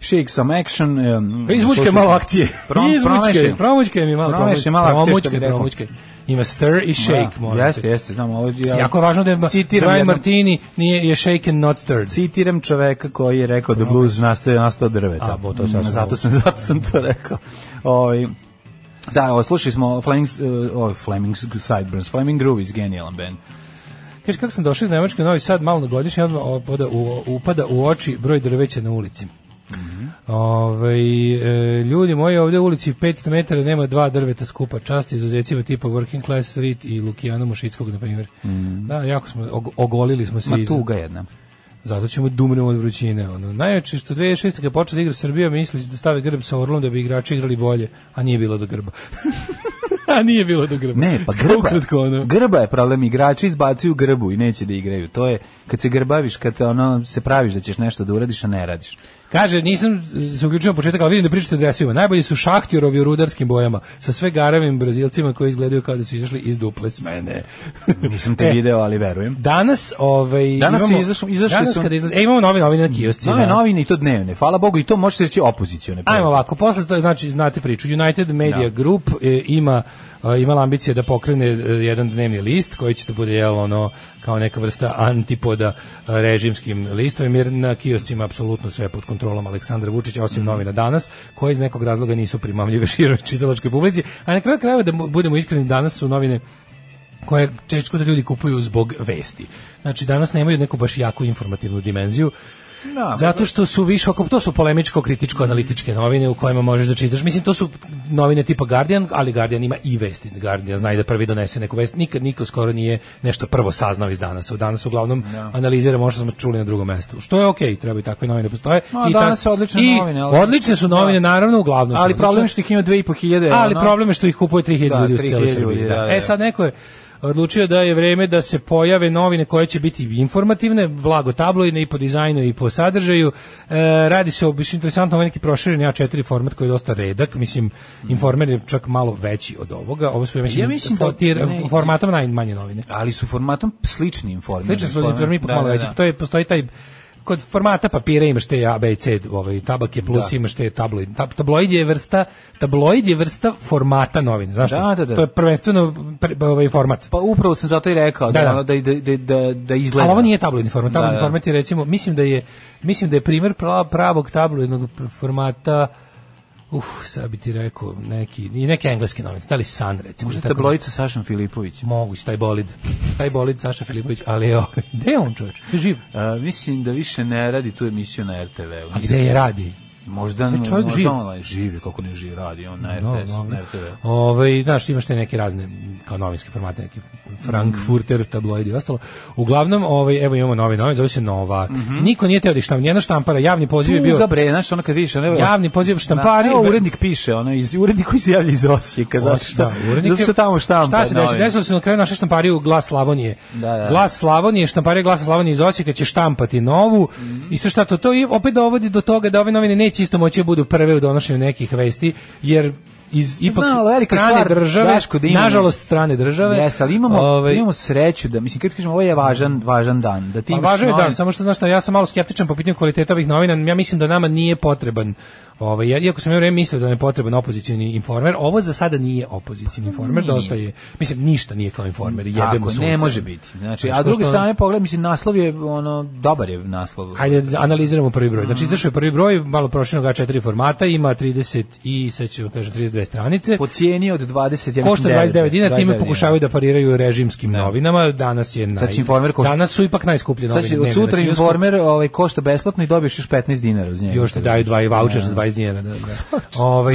Shake some action. Um,
Izvučke
slušajte.
malo akcije.
Prom-
Izvučke,
promašaj.
promućke mi malo.
Promašaj malo akcije, što bi
promućke,
rekao.
promućke. Ima stir i shake,
Da,
morate.
Jeste, jeste, znam. Ovo, ja,
Jako je važno da je
Citiram
Brian
jednog-
Martini nije, je shaken, not stirred.
Citiram čoveka koji je rekao da blues nastaje nastao od drveta.
A, bo, to je sasvim
Mm, zato sam zato sam to rekao. Ovaj Da, evo, slušali smo Flemings, uh, ovaj, Flemings Sideburns. Fleming Groove is genijalan band.
Kaže kako sam došao iz Nemačke u Novi Sad malo na godišnje odmah opada u, upada u oči broj drveća na ulici. Ovaj, e, ljudi moji ovdje u ulici 500 metara nema dva drveta skupa čast izuzecima tipa Working Class Street i Lukijana Mušickog na primjer. Da, jako smo og- ogolili smo se.
Mhm. Ma
iza-
tuga jedna.
Zato ćemo dumremo od vrućine. Ono. Najjače što 2006. kad je počela da igra Srbija, mislili da stave grb sa Orlom da bi igrači igrali bolje, a nije bilo do grba. a nije bilo do grba.
Ne, pa grba,
Ukratko, ono.
grba je problem. Igrači izbacuju grbu i neće da igraju. To je, kad se grbaviš, kad ono, se praviš da ćeš nešto da uradiš, a ne radiš.
Kaže, nisam e, se uključio na početak, ali vidim da pričate o dresovima. Najbolji su šahtjorovi u rudarskim bojama, sa sve garavim brazilcima koji izgledaju kao da su izašli iz duple smene.
Nisam te
E.
video, ali verujem.
Danas, ovaj,
Danas je
imamo,
izašlo- izašli
danas
su-
kada izlazi- e, imamo nove novine na kiosci.
Nove
da.
novine i to dnevne. Hvala Bogu i to može se reći opozicijone.
Ajmo ovako, posle to je, znači znate priču. United Media Group e, ima e, imala ambicije da pokrene e, jedan dnevni list koji će da bude jel, ono kao neka vrsta antipoda e, režimskim listovima jer na kioscima apsolutno sve je pod kontrolom Aleksandra Vučića osim novina danas koje iz nekog razloga nisu primamljive široj čitalačkoj publici a na kraju krajeva da mu- budemo iskreni danas su novine koje češko da ljudi kupuju zbog vesti. Znači danas nemaju neku baš jaku informativnu dimenziju.
Da,
zato što su više oko to su polemičko kritičko analitičke novine u kojima možeš da čitaš. Mislim to su novine tipa Guardian, ali Guardian ima i vesti. Guardian zna i da prvi donese neku vest. Nikad niko skoro nije nešto prvo saznao iz danas. U danas uglavnom analiziramo ono što smo čuli na drugom mestu. Što je okej, treba i takve novine da postoje.
Ma,
I
danas
tak-
su odlične
i
novine, ali-
odlične su novine, naravno, uglavnom. su
Ali problem je
odlične.
što ih ima 2.500.
znači, Ali
ono.
problem je što ih kupuje 3000
Da,
ljudi u
3000
cijeloj Srbiji.
ljudi,
da.
da, da.
E sad neko je odlučio da je vreme da se pojave novine koje će biti informativne, blago tabloidne i po dizajnu i po sadržaju. E, radi se o baš interesantno ovaj neki proširen A4 format koji je dosta redak, mislim Informer je čak malo veći od ovoga. Ovo su ja mislim,
Mm. Ja mislim da-
fotir-
ne,
formatom najmanje novine.
Ali su formatom slični informer.
Slični su uniformi ipak
Da,
malo
da,
veći.
da.
To je postoji taj kod formata papira imaš te A, B i C, ovaj, tabak je plus,
Da.
imaš te tabloid. Tab- tabloid je vrsta, tabloid je vrsta formata novine, znaš
Da,
šta?
da, da.
To je prvenstveno pre- ovaj format.
Pa upravo sam zato i rekao
Da,
da,
da.
ono, da, da, da, da, da izgleda.
Ali ovo nije tabloidni format.
Da,
Tabloidni
da.
format je recimo, mislim da je, mislim da je primjer pra- pravog tabloidnog pr- formata Uf, sad bi ti rekao neki, i neke engleske novine, da li Sun recimo.
Možda
ili tako
tabloid sa Sašom Filipovićem.
Moguće, taj bolid. Taj bolid Saša Filipović, ali je ovaj- gde je on čovječ? Gde živ?
A, mislim da više ne radi tu emisiju na RTV-u.
A gde je radi?
Možda,
Taj čovjek
možda
živ.
online živi, kako ne živi, radi on na
No,
RTS,
no,
na RTV-u.
Ovaj, znaš, imaš te neke razne m, kao novinske formate, neki Frankfurter, tabloidi i ostalo. Uglavnom, ovaj, evo imamo novi novin, zove se Nova. Niko nije teo da ih štampa, nijedna štampara, javni poziv je bio...
Tuga Mhm. bre, znaš, ono kad vidiš, ono, evo-
Javni poziv štampari.
Da, evo, urednik piše, ono, iz, urednik koji se javlja iz Osijeka, zato što, zato što tamo štampa.
Šta se desilo?
novine.
Desilo se na kraju naše štampari u Glas Slavonije.
Da, da.
Glas Slavonije, štampari Glas Slavonije iz Osijeka će štampati novu i sve šta to, to i opet dovodi do toga da ove novine neće isto moći da budu prve u donošenju nekih vesti, jer iz, ipak
Znam, ali velika
strane
stvar,
države,
Daško, da imamo-
nažalost strane države,
Jeste, ali imamo,
ovaj,
imamo sreću da, mislim, kad kažemo, ovo je važan, važan dan. Da ti
Pa
imaš
važno je
novine-
da, samo što znaš šta, ja sam malo skeptičan po pitanju kvaliteta ovih novina, ja mislim da nama nije potreban Ovaj, ja- iako sam ja vreme mislio da nam je potreban opozicioni informer, ovo za sada nije opozicioni informer,
Pa nije.
dosta je, mislim, ništa nije kao informer, jebemo
Tako,
sunce.
ne može biti. Znači, a
ko
s druge
što-
strane pogled, mislim naslov je ono dobar je naslov.
Hajde,
Mhm.
analiziramo prvi broj. Znači, izašao je prvi broj, malo proširnog A4 formata, ima 30 i, sad ću vam kažem, 32 dve stranice.
Po cijeni od 20, ja
Košta
mislim,
29 dinara, time
29
pokušavaju da pariraju režimskim novinama. Danas je naj...
Sad će informer košta-
Danas su ipak najskuplje
Sad
novine.
će Znači, od
dnevne na
sutra
kiosku.
informer ovaj, košta besplatno i dobiješ još 15 dinara uz njega.
Još ti daju dva i voucher za 20 dinara. Da, da. Ovaj,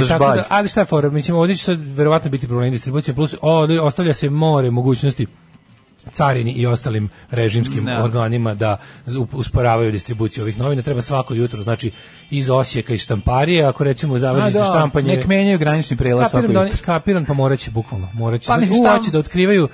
Za
tako da,
žbalj.
ali šta je fora, mi ćemo ovdje će sad verovatno biti problem distribucije, plus o, ostavlja se more mogućnosti carini i ostalim režimskim
Ne.
organima da z- usporavaju distribuciju ovih novina. Treba svako jutro, znači iz Osijeka i štamparije, ako recimo
A,
zavazi
da,
za štampanje...
Nek menjaju granični prelaz svako
Kapiram, da oni,
jutro.
kapiram, pa morat će bukvalno. Morat će,
Pa
Znači,
mislim,
u,
šta-
hoće da otkrivaju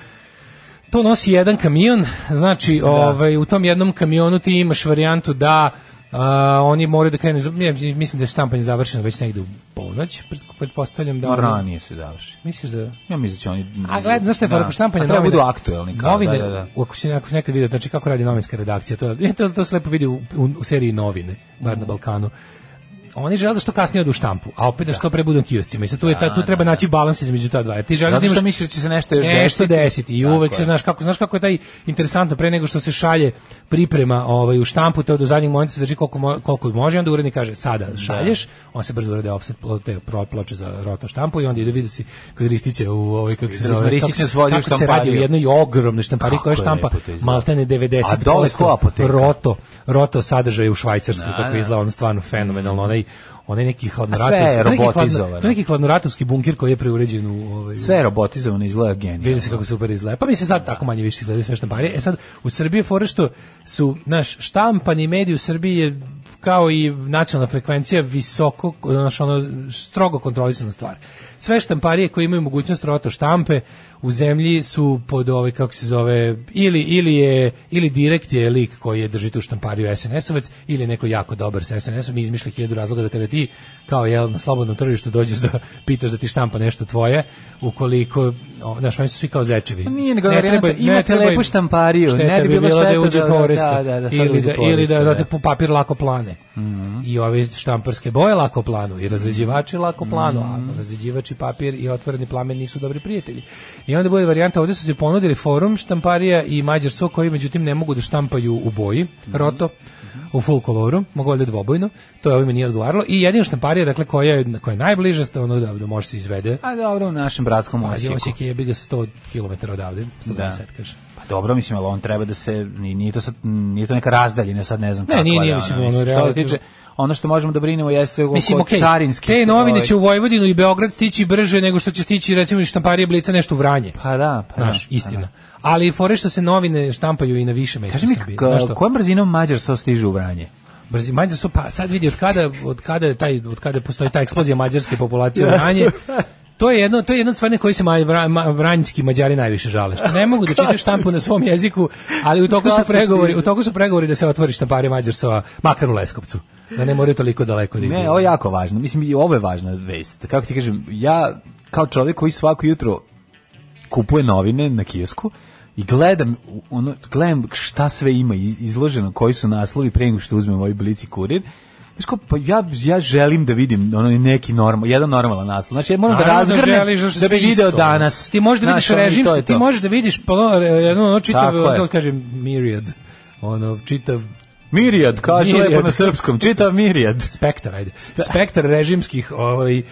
to nosi jedan kamion, znači ovaj, u tom jednom kamionu ti imaš varijantu da a, oni moraju da krenu, ja mislim da je štampanje završeno već negde u ponoć, pret- pretpostavljam da...
Ma,
oni-
ranije se završi.
Misliš da...
Ja mislim da će oni...
A gledaj, znaš šta je fora,
Da.
po štampanju
A treba
novina-
budu aktuelni. Kao,
novine,
da, da, da.
Ako si, ako si nekad vidio, znači kako radi novinska redakcija, to, je- to, to se lepo vidi u, u, u seriji novine, bar na
Mm.
Balkanu. Oni žele da što kasnije odu u štampu, a opet da što pre budu u kioscima. I sad tu, je, ta, tu treba naći balans između ta dva. Jer Ti želiš
Zato
da imaš
što misliš da će se nešto još
nešto desiti i
Tako
uvek se
je.
znaš kako znaš kako je taj interesantno pre nego što se šalje priprema ovaj u štampu to do zadnjeg momenta se drži koliko mo- koliko može i onda urednik kaže sada šalješ on se brzo urede offset plo- te pro- ploče za rotno štampu i onda ide vidi se kod Ristića u ovaj kako se
Videli smo,
zove
Ristić
kako se-
nas vodi u
kako se radi
štampariju.
u jednoj ogromnoj štampari
Kako
koja
je
štampa
lepo to izgleda.
maltene 90%
A dole ko apoteka?
roto roto sadržaja u švajcarskoj
Da,
kako
da.
izgleda on stvarno fenomenalno onaj onaj neki
sve je
hladnoratovski to je neki hladno-
robotizovano.
to je neki hladnoratovski bunker koji je preuređen u ovaj
Sve je robotizovano izgleda genijalno.
Vidi se kako super izgleda. Pa mi se sad tako manje više izgledaju sve štamparije. E sad, u Srbiji je fora što su, naš, štampani mediji u Srbiji je kao i nacionalna frekvencija visoko, znaš, ono, strogo kontrolisana stvar. Sve štamparije koje imaju mogućnost roto štampe u zemlji su pod ovaj, kako se zove, ili, ili je, ili direkt je lik koji je drži tu štampariju SNS-ovac, ili je neko jako dobar sa SNS-om i izmišlja hiljadu razloga da kada ti, kao jel, na slobodnom tržištu dođeš da pitaš da ti štampa nešto tvoje, ukoliko, o, znaš, oni su svi kao zečevi.
Pa nije, nego
Ne
varijanta,
treba- ne
imate
treba im-
lepu štampariju,
šteta
ne bi bilo
bila da
šteta
uđe
da-
poreska,
da, da, da, sad
ili,
uđe
da, ili da,
poreska,
da
da.
te po- papir lako plane. I ove štamparske boje lako planu, i razređivači lako planu, a razređivač i papir i otvoreni plamen nisu dobri prijatelji. I onda bude varijanta, ovdje su se ponudili forum štamparija i mađarsko koji međutim ne mogu da štampaju u boji, roto, u full koloru, mogu valjda dvobojno, to je ovime nije odgovaralo. I jedina štamparija, dakle, koja je, koja je najbliža, ono da, da može se izvede,
A dobro, u našem bratskom
Pazi,
Osijeku.
Osijek je jebi ga 100 km odavde, 120
Da.
kaže.
Pa dobro, mislim, ali on treba da se, ni- nije to, sad, nije to neka razdaljina, sad ne znam
Ne,
kakva.
nije, nije,
da,
mislim,
ono,
ono,
što se
relativno-
tiče, ono što možemo da brinemo jeste oko ovaj,
Mislim, okej,
carinski.
te novine će u Vojvodinu i Beograd stići brže nego što će stići, recimo, iz štamparije Blica nešto u Vranje.
Pa da, pa da,
Znaš,
pa
istina. Ali fore što se novine štampaju i na više mesta
Kaži
u
mi,
Srbiji.
ka-
Znaš što?
kojom brzinom Mađarstvo stiže u Vranje?
Brzi, Mađar su, pa sad vidi od kada, od kada, je taj, od kada postoji ta eksplozija mađarske populacije u Vranje, To je jedno, to je jedno od stvari na koje se maj, vra, ma- vranjski Mađari najviše žale. Što ne mogu da čitaju štampu na svom jeziku, ali u toku su pregovori, u toku su pregovori da se otvori štamparija Mađarsova, makar u Leskovcu. Da ne moraju toliko daleko da idu.
Ne, ovo je jako važno. Mislim, i ovo je važna vest. Kako ti kažem, ja kao čovjek koji svako jutro kupuje novine na kiosku i gledam, u- ono, gledam šta sve ima i- izloženo, koji su naslovi pre nego što uzmem ovaj blici kurir. Znaš kao, pa ja, ja želim da vidim ono neki normal, jedan normalan naslov. Znači, ja moram da
Naravno
razgrnem
želiš, zato što
da bi
sve
video
isto. ono.
danas.
Ti možeš da
Znaš,
vidiš
ono, i to
režim,
je
ti
to.
možeš da vidiš pa ono, jedno ono čitav,
Tako je.
kako kažem, myriad, ono čitav
Mirjad, kaže
Mirjad.
lepo na srpskom, čitav Mirjad.
spektar, ajde. Spektar režimskih ovaj, e,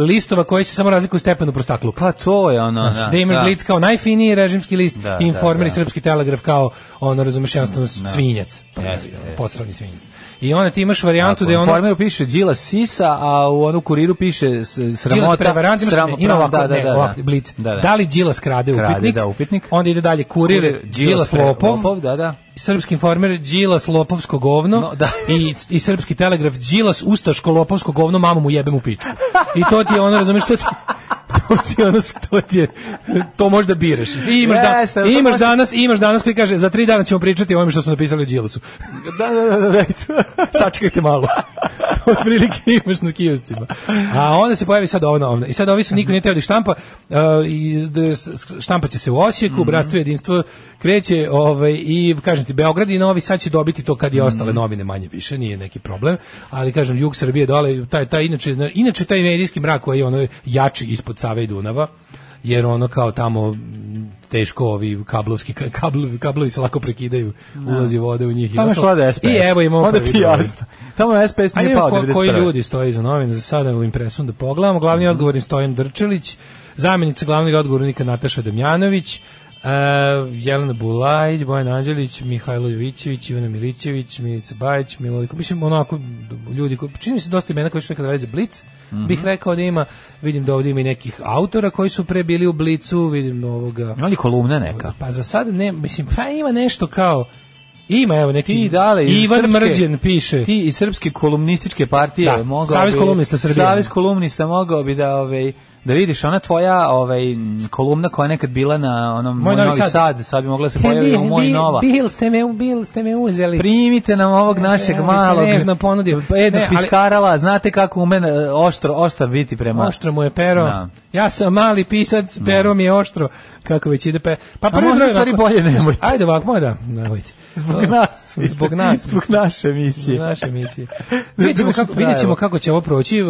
listova koji se samo razlikuju u stepenu prostakluka.
Pa to je ono, da,
Da, Damer
da.
Blitz kao najfiniji režimski list,
Da,
i Informer
da,
i
da.
Srpski telegraf kao, ono, razumeš, jednostavno svinjac.
Jeste, jeste.
Posrani svinjac. I onda ti imaš varijantu
Tako,
da je
u
ono...
informeru piše Đila Sisa, a u onu kuriru piše s-
Đilas
sramota.
prevarant, ima-
sram-
ima ovako,
da, da,
ne,
da,
ovako,
da.
blic.
Da, da.
Da li Đilas krade
Krade,
upitnik?
da, upitnik.
Onda ide dalje kurir,
Kurir,
Đilas
pre-
lopov,
da, da.
Srpski informer Đilas lopovsko govno
No, da.
i, i Srpski telegraf Đilas ustaško lopovsko govno mamu mu jebem u pičku. I to ti je ono, razumeš, to ti, to ti je ono, to ti je, to možda biraš. I imaš, da,
Jeste,
i
sad
imaš
možeš-
danas, i imaš danas koji kaže, za tri dana ćemo pričati o ovome što su napisali o Đilasu.
Da, da, da, da, da, i to.
Sačekajte malo. To otprilike imaš na kioscima. A onda se pojavi sad ovo na ovome. I sad ovi su niko nije teo da ih štampa. Uh, i, d- s- s- štampat će se u Osijeku,
Mhm.
Bratstvo i jedinstvo kreće ovaj, i kažem ti, Beograd i Novi Sad će dobiti to kad i
Mhm.
ostale novine manje više, nije neki problem. Ali kažem, jug Srbije dole, taj, taj, inače, inače taj medijski mrak koji je ono jači ispod Save i Dunava, jer ono kao tamo m, teško ovi kablovski ka- kablovi, kablovi se lako prekidaju, ulazi vode u njih. i
Tamo je
ostalo.
šla da SPS.
I evo imamo
Onda
prvi
ti
broj.
jasno. Tamo je SPS
A
nije
vidimo
pao
ko-
91.
koji ljudi stoji za novine za sada u impresom da pogledamo. Glavni
Mhm.
odgovor je Stojan Drčelić, zamjenica glavnog odgovornika Nataša Damjanović, e, Jelena Bulajić, Bojan Anđelić, Mihajlo Jovićević, Ivana Milićević, Milica Bajić, Milojko. Mislim, onako, ljudi koji, čini mi se dosta imena koji su nekada radili za Blic,
Mhm.
bih rekao da ima. Vidim da ovdje ima i nekih autora koji su pre bili u Blicu, vidim ovoga...
Ima li kolumna neka?
Pa za sad ne, mislim, pa ima nešto kao... Ima, evo, neki...
Ti dale iz
Ivan
srpske-
Mrđan piše.
Ti iz srpske kolumnističke partije
Da,
mogao
Savez
bi-
kolumnista Srbije.
Savez kolumnista mogao bi da ovaj da vidiš ona tvoja ovaj m, kolumna koja je nekad bila na onom moj, Novi Sad. sad bi mogla da se pojavi u moj
Bil-
Nova.
Bil ste me, bil ste me uzeli.
Primite nam ovog našeg
Ja bi se
malog.
nežno ponudio.
Jednog
Ne, ali-
piskarala, znate kako ume e, oštro, oštar biti prema...
Oštro mu je pero.
Da.
Ja sam mali pisac, pero mi je oštro. Kako već ide pe... Pa prvi
možda
broj
stvari
ovako-
bolje nemojte.
Ajde ovako, moj da, nemojte.
Zbog nas. vi ste-
Zbog nas.
Zbog naše emisije.
Naše emisije. Vidjet ćemo
Duže
kako,
trajalo.
vidjet ćemo kako će ovo proći. E,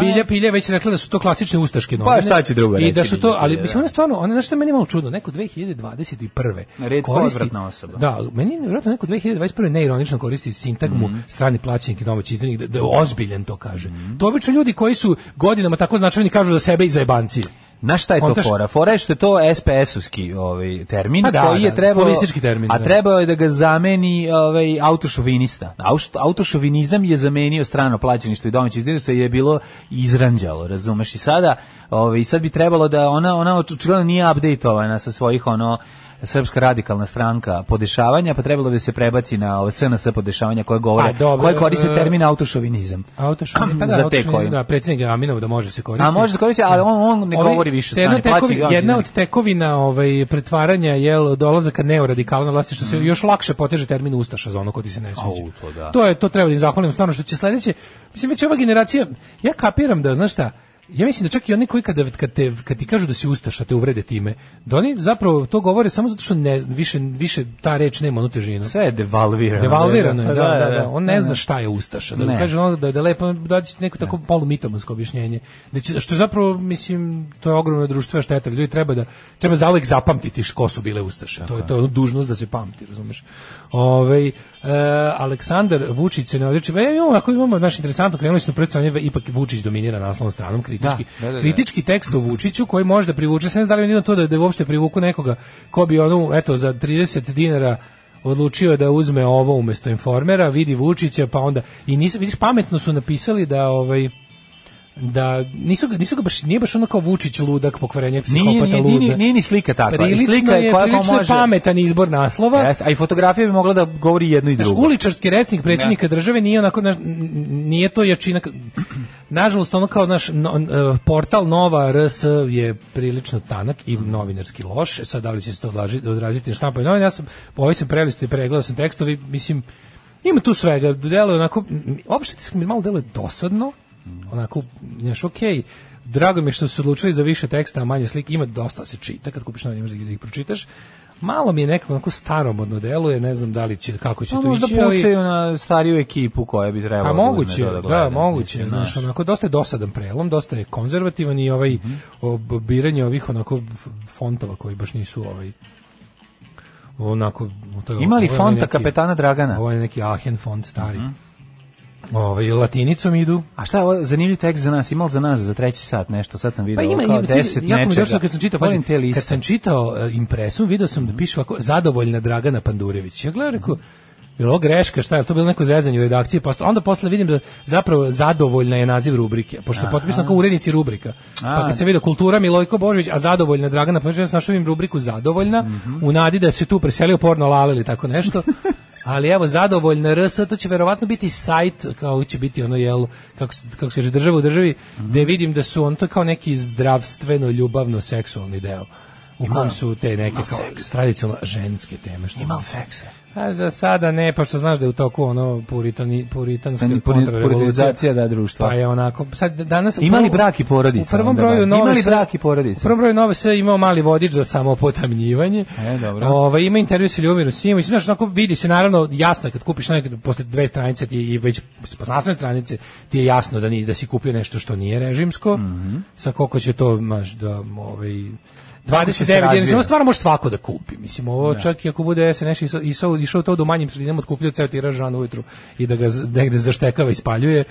Bilja Pilja je već rekla da su to klasične ustaške novine.
Pa šta će drugo
I da
reći
su to,
Bilja
ali
Pilja,
mislim,
da.
ona stvarno, ona, znaš što je meni malo čudno, neko 2021.
Retko
koristi-
odvratna osoba.
Da, meni je vjerojatno neko 2021. neironično koristi sintagmu
Mhm.
strani plaćenik i domaći izdanik, da, da je ozbiljan to kaže. To obično ljudi koji su godinama tako značajni kažu za sebe i za jebanci.
Na šta je to
Kontaš-
fora? Fora je što je to SPS-ovski ovaj, termin
Pa da,
koji je
da,
trebao...
slovenistički termin,
A
da.
trebao je da ga zameni ovaj, autošovinista. Auš- Autošovinizam je zamenio strano plaćeništvo i domaće izdirstvo je bilo izranđalo, razumeš? I sada, ovaj, i sad bi trebalo da ona, ona očigledno nije updateovana sa svojih ono srpska radikalna stranka podešavanja, pa trebalo bi da se prebaci na ove SNS podešavanja koje govore,
Pa dobro,
koje koriste
e,
termin autošovinizam.
Autošovinizam, pa da,
Za te
autošovinizam,
koje.
da, predsjednik Aminov da može se koristiti.
A može se koristiti, ali on, on ne
Ovi-
govori više
jedna
strani
od tekovi-
plaćenik. domaći
Jedna
izdirnik.
od tekovina ovaj, pretvaranja je dolazaka neoradikala na vlasti, što se još lakše poteže termin Ustaša za ono ko ti se ne sviđa.
Mm. Au, to da.
to, je, to treba da im zahvalim stvarno što će sledeće, mislim već ova generacija, ja kapiram da, znaš šta, Ja mislim da čak i oni koji kada kad, te, kad ti kažu da si ustaša te uvrede time, da oni zapravo to govore samo zato što ne, više, više ta reč nema onu težinu.
Sve je devalvirano. Pa
Devalvirano je, da, da, da. On ne zna šta je ustaša. Da
Ne.
mu kaže ono da da je lepo daći neko tako polumitomansko objašnjenje. Da će, što je zapravo mislim to je ogromna društvena šteta. Ljudi treba da treba zauvek zapamtiti š- ko su bile ustaše. To je to je ono dužnost da se pamti, razumeš. Ovaj e, Aleksandar Vučić se ne odriče. E, imamo, ako imamo naš interesantno krenuli smo na prve strane, ipak Vučić dominira naslovnom stranom kritički.
Da, da, da, da.
Kritički tekst o Vučiću koji može da privuče, sve ne znam da li je jedino to da, da uopšte privuku nekoga ko bi ono, eto, za 30 dinara odlučio da uzme ovo umesto informera, vidi Vučića, pa onda i nisu vidiš pametno su napisali da ovaj da nisu ga, nisu ga baš nije baš ono kao Vučić ludak pokvarenje
Nije,
psihopata
nije,
luda.
nije, nije, ni slika takva. I
Prilično
slika je
je,
koja kao
prilično je
može...
pametan izbor naslova.
Jeste, a i fotografija bi mogla da govori jedno i
Znaš,
drugo.
uličarski recnik predsjednika države nije onako, znaš, n- n- nije to jačina. ka- Nažalost, ono kao naš portal Nova RS je prilično tanak i novinarski loš. E Sad, da li će se to odlaži- odraziti na štampanje novine? Ja sam, ovaj sam prelistio i pregledao sam tekstovi, mislim, ima tu svega. Deluje onako, m, uopšte tisak mi malo deluje dosadno, onako, znaš, okej, Drago mi je što su se odlučili za više teksta, a manje slike. Ima dosta da se čita kad kupiš novine, možda da ih pročitaš. Malo mi je nekako onako staromodno deluje, ne znam da li će, kako će
Pa
to
možda
ići, ali-
pucaju na stariju ekipu koja bi trebala
a
da uzme
moguće,
to
da,
gleda,
moguće,
mislim,
znaš, ono- onako dosta je dosadan prelom, dosta je konzervativan i ovaj
Mhm.
ob- biranje ovih onako f- fontova koji baš nisu ovaj onako to je-
Ima li
ovo je
fonta
neki-
kapetana Dragana? Mhm.
Ovo je neki Aachen font stari. Ovaj latinicom idu.
A šta je ovo, zanimljiv tekst za nas, imal za nas za treći sat nešto, sad sam
Pa
vidio
ima,
kao
ima,
deset
jako mi je
nečega.
došlo kad sam čitao,
Volim
pazi,
te liste.
kad sam čitao e, impresum, video sam da piše ovako, zadovoljna Dragana Pandurević. Ja gledam, rekao, je li ovo greška, šta je, to bilo neko zezanje u redakciji, pa onda posle vidim da zapravo zadovoljna je naziv rubrike, pošto je potpisano kao urednici rubrika.
A.
Pa kad se vidio kultura Milojko Božović, a zadovoljna Dragana Pandurević, ja sam našao im rubriku zadovoljna, u nadi da se tu preselio porno lale ili tako nešto. Ali evo, zadovoljna RS, to će verovatno biti sajt, kao će biti ono, jel, kako, se- kako se kaže, država u državi, gde vidim da su on to kao neki zdravstveno, ljubavno, seksualni deo. u
Ima-
kom su te neke
ima
kao
seksa.
tradicionalno ženske teme. Što
Ima li seksa?
A za sada ne, pošto znaš da je u toku ono puritani, puritanska
Puri-
kontrarevolucija.
puritanizacija, da, društva.
Pa je onako, sad danas...
Ima li brak i porodica
U prvom
onda,
broju
Vanja? Ima
nove...
li
S-
brak i porodica?
U prvom broju nove sve imao mali vodič za samopotamnjivanje.
E, dobro.
Ovaj, ima intervju sa Ljubirom Simović, znaš, onako vidi se naravno jasno je kad kupiš nekad posle dve stranice ti je, i već s naslovne stranice ti je jasno da ni da si kupio nešto što nije režimsko. Sa koliko će to maš da ovaj
Mhm. Kako će se
29
razvija?
dinara. Samo Ono stvarno može svako da kupi. Mislim, ovo čak i ako bude SNS išao, išao, išao to do manjim sredinama, otkupljio ceo tiraž rano ujutru i da ga z- negde zaštekava i spaljuje,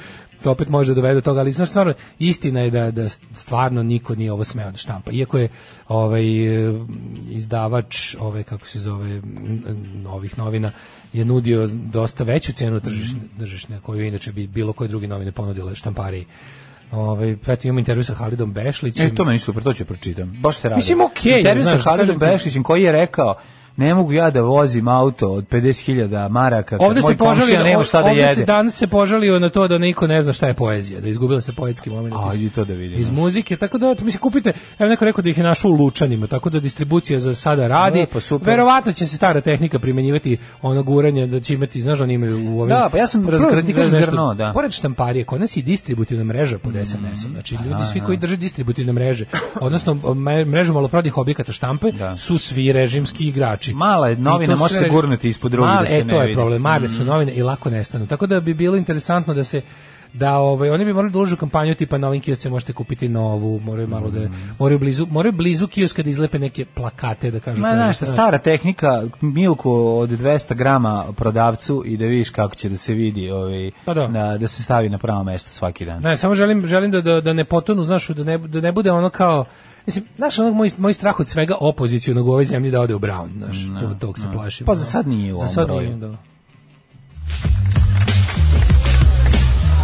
to opet može da dovede do toga, ali znaš, stvarno, istina je da, da stvarno niko nije ovo smeo da štampa. Iako je ovaj, e, izdavač, ovaj, kako se zove, n- n- ovih novina, je nudio dosta veću cenu tržišne,
Mhm.
tržišne koju inače bi bilo koje druge novine ponudile štampariji. Ovaj, pa eto, imamo intervju sa Halidom Bešlićem.
E, to meni super, to ću pročitam. Baš se radi.
Mislim, okej je,
Intervju sa
znaš,
Halidom
kažem ti.
Bešićem koji je rekao ne mogu ja da vozim auto od 50.000 maraka kad
Ovde
moj
se požalio,
komšija nema šta da
ovde se
jede.
danas se požalio na to da niko ne zna šta je poezija, da je izgubila se poetski moment.
A,
iz,
i to da vidim.
iz muzike, tako da eto, mislim kupite, evo neko je rekao da ih je našao u Lučanima, tako da distribucija za sada radi.
Lepo, E, pa super.
Verovatno će se stara tehnika primenjivati ono guranje da će imati, znaš, oni imaju u ovim
Da, pa ja sam
Prvo,
razgr- ti kažeš
nešto,
zgrnuo, da. Mm-hmm.
Pored štamparije, kod nas je i distributivna mreža pod SNS-om. Znači,
Pa
ljudi svi koji drže distributivne mreže, odnosno me- mrežu maloprodnih objekata štampe, su svi režimski igrači.
Mala je
I
novina,
to
može
sve-
se gurnuti ispod drugi
Male-
da se
e,
ne
to je
vidi.
problem, male
Mhm.
su novine i lako nestanu. Tako da bi bilo interesantno da se da ovaj oni bi morali da ulože u kampanju tipa na ovim kioscima možete kupiti novu, moraju malo da
Mhm.
moraju blizu moraju blizu kioska da izlepe neke plakate da kažu.
Ma
to je
znaš,
nešto,
šta, stara tehnika, milku od 200 grama prodavcu i da vidiš kako će da se vidi, ovaj,
Pa da.
Na, da se stavi na pravo mesto svaki dan.
Ne, samo želim, želim da, da, da ne potonu, znaš, da ne, da ne bude ono kao, mislim, znaš, ono moj, moj strah od svega opozicijnog u ovoj zemlji da ode u Brown, znaš, to, tog se plašim. ono.
Pa za sad nije u
Za
ovom
sad
broju.
nije, da.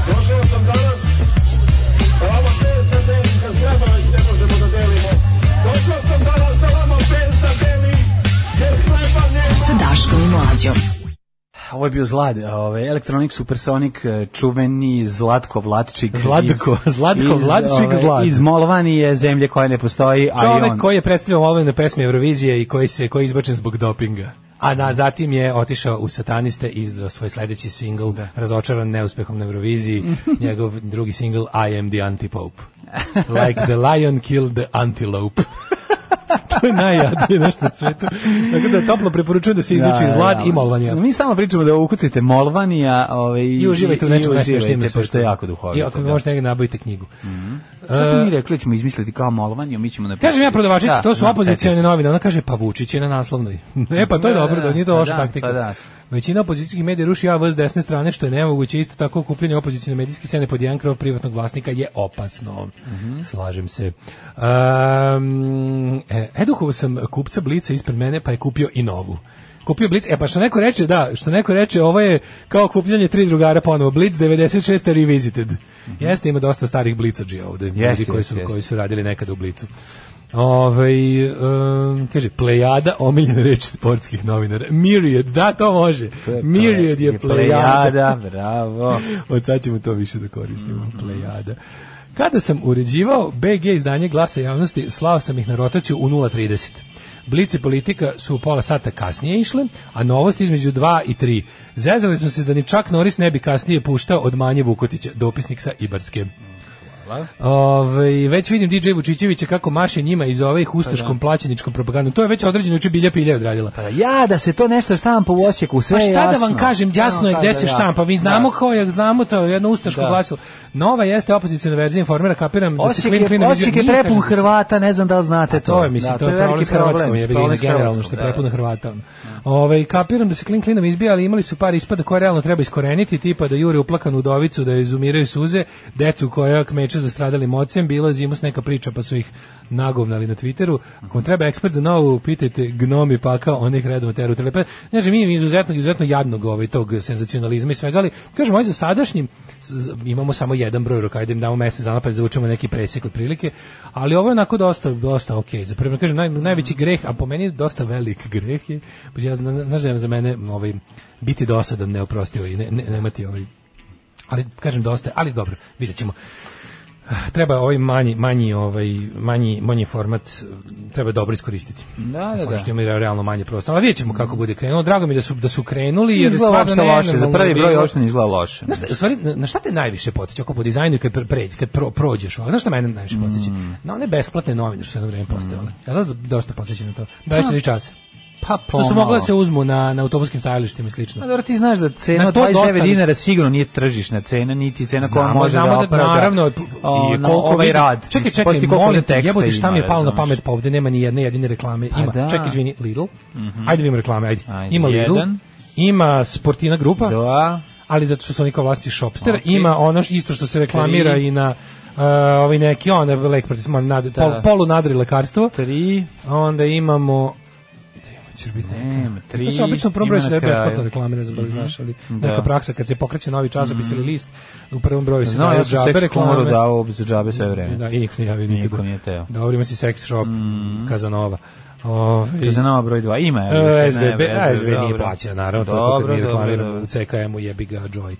Došao sam danas, sa vama pet da delim, kad zgraba već ne možemo da delimo. Došao sam danas, sa vama pet da delim, jer hleba nema.
Sa Daškom i Mlađom.
Ovo je bio Zlad, ovaj, Electronic Supersonic, eh, čuveni Zlatko Vlatčik.
Zlatko-
iz-
Zlatko
iz,
Vlatčik
ovaj,
Zlad.
Iz Molvani je zemlje koja ne postoji, a i
Čovek
on.
koji je predstavljao olovne pesme Eurovizije i koji se koji je izbačen zbog dopinga. A na, zatim je otišao u sataniste i izdao svoj sledeći singl, razočaran neuspehom na Euroviziji, njegov drugi singl I am the antipope. Like the lion killed the antelope. to je najjadnije nešto na svetu. Tako da toplo preporučujem da se izuči
Da,
iz Lad
da,
i Molvanija.
Mi stalno pričamo da ukucite Molvanija ovaj,
I uživajte u
i
nečemu najsmešnijim na
uživajte, pošto je
svetu.
jako duhovito.
I ako
da.
vi možete negdje nabavite knjigu.
Šta smo mi rekli, da ćemo izmisliti kao Molvaniju, mi ćemo napisati.
Kažem ja prodavačici,
Da,
to su
da,
opozicione novine. Ona kaže, pa Vučić je na naslovnoj. ne, pa to je
Da,
dobro,
da,
da nije to
pa
loša
da,
taktika.
pa da.
Većina opozicijskih medija ruši AV s desne strane, što je nemoguće. Isto tako kupljenje opozicijne medijske cene pod jedan krov privatnog vlasnika je opasno.
Mhm.
Slažem se. Um, e, edukovao sam kupca Blica ispred mene, pa je kupio i novu. Kupio Blic, e pa što neko reče, da, što neko reče, ovo je kao kupljanje tri drugara ponovo, Blic 96 Revisited. Jeste, ima dosta starih Blicađija ovde, ljudi
Mhm. Jeste,
koji
jeste,
su,
jeste.
koji su radili nekada u Blicu. Ove, kaže, plejada omiljena reč sportskih novinara. Myriad, da, to može.
To je
Myriad je plejada.
plejada, bravo.
Od sad ćemo to više da koristimo. Plejada. Kada sam uređivao BG izdanje glasa javnosti, slao sam ih na rotaciju u 0.30. Blice politika su u pola sata kasnije išle, a novost između 2 i 3. Zezali smo se da ni Čak Noris ne bi kasnije puštao od Manje Vukotića, dopisnik sa Ibarske. Ove, već vidim DJ Vučićevića kako maše njima iz ove ih ustaškom plaćeničkom propagandom. To je već određeno juče bilja pilja je odradila.
Pa ja da se to nešto štampa u Osijeku, sve
Pa
je
šta
jasno.
da vam kažem, jasno je
Šta vam
gde
kažem,
se
ja?
štampa. Mi znamo
Da.
kao je, znamo to, jedno ustaško
Da.
glasilo. Nova jeste opozicijna verzija informera, kapiram da se
Osijek
klin klin
je, Osijek je prepun Hrvata, ne znam da li znate to.
To je, mislim,
Da,
to, je problem s Hrvatskom, je bilo
problem s
generalno
Hrvatskom,
što je
da.
prepuno Hrvata. Ovaj kapiram da se klin klinom izbija, ali imali su par ispada koje realno treba iskoreniti, tipa da jure uplakanu udovicu, da izumiraju suze, decu koja kmeče zastradali mocem, bilo je zimus neka priča pa su ih nagovnali na Twitteru. Ako vam treba ekspert za novu, pitajte gnomi pakao onih redom teru telepe. Znači, mi izuzetno, izuzetno jadnog ovaj, tog senzacionalizma i svega, ali kažem, ovaj za sadašnjim s- z- imamo samo jedan broj roka, ajde im damo mesec dana pa zavučemo neki presjek otprilike, ali ovo je onako dosta, dosta ok. Za prvo kažem, naj, najveći greh, a po meni dosta velik greh je, pa ja zna- znaš da je za mene ovaj, biti dosadan neoprostivo i ne, ne, nemati ovaj ali kažem dosta, ali dobro, vidjet ćemo. treba ovaj manji manji ovaj manji manji format treba dobro iskoristiti.
Da, da, da.
Pošto imaju realno manje prostora. Ali vidjet ćemo kako bude krenulo. Drago mi je da su da su krenuli jer je
Izgleda
stvarno
uopšte loše. Za
nenormalno
prvi broj
bilo.
uopšte ne izgleda loše.
Znaš, šta- u stvari, na- na šta te najviše podsjeća ako po dizajnu i kad pre, pre- kad pro, prođeš, ovako, znaš šta mene najviše podsjeća? Na one besplatne novine što su jedno vrijeme postojale. Ja da dosta podsjeća na to. 24 časa.
Pa
Mm. Što su
pomalo.
mogla da se uzmu na na autobuskim stajalištima i slično.
A dobro, ti znaš da cena
Na
od
to dosta
29
više.
dinara sigurno nije tržišna cena, niti cena koja
Znamo,
može
znamo
da opravda.
naravno p- i
ono,
koliko
ovaj
vidim-
rad.
Čekaj,
Mislim,
čekaj,
postoji koliko
molim te,
teksta
jebote, šta mi je
ima,
palo na
razumeš.
pamet, pa ovde nema ni jedne jedine reklame.
Pa
Ima,
da.
čekaj, izvini, Lidl.
Mhm.
Ajde vidimo reklame, ajde.
Ajde,
Ima Lidl.
jedan.
Ima Sportina grupa.
Da.
Ali zato što su oni kao vlasti Shopster,
Ok.
ima ono š- isto što se reklamira
Tri.
i na Uh, ovaj neki on lek protiv man nad, pol, polu nadri lekarstvo
3
onda imamo ćeš biti
nema
Tri, Znači,
3
to se obično probroje da je besplatno reklame, ne znam da li znaš, ali
Mhm. Da.
neka praksa kad se pokreće novi časopis ili list, u prvom broju se
Znao
daju
ja sam
džabe
seks komoru
reklame.
dao za džabe sve vreme.
Da, i niko se nije javio nikada.
Niko nije teo. Mhm.
Dobro, ima si sex shop, Kazanova. Ove,
Kazanova broj dva, ima, je li,
E,
više,
SBB,
ne,
a, SBB nije
dobro.
plaća, naravno, to
Dobro,
kad mi
dobro,
reklamiramo
dobro.
u CKM-u jebi ga Joy.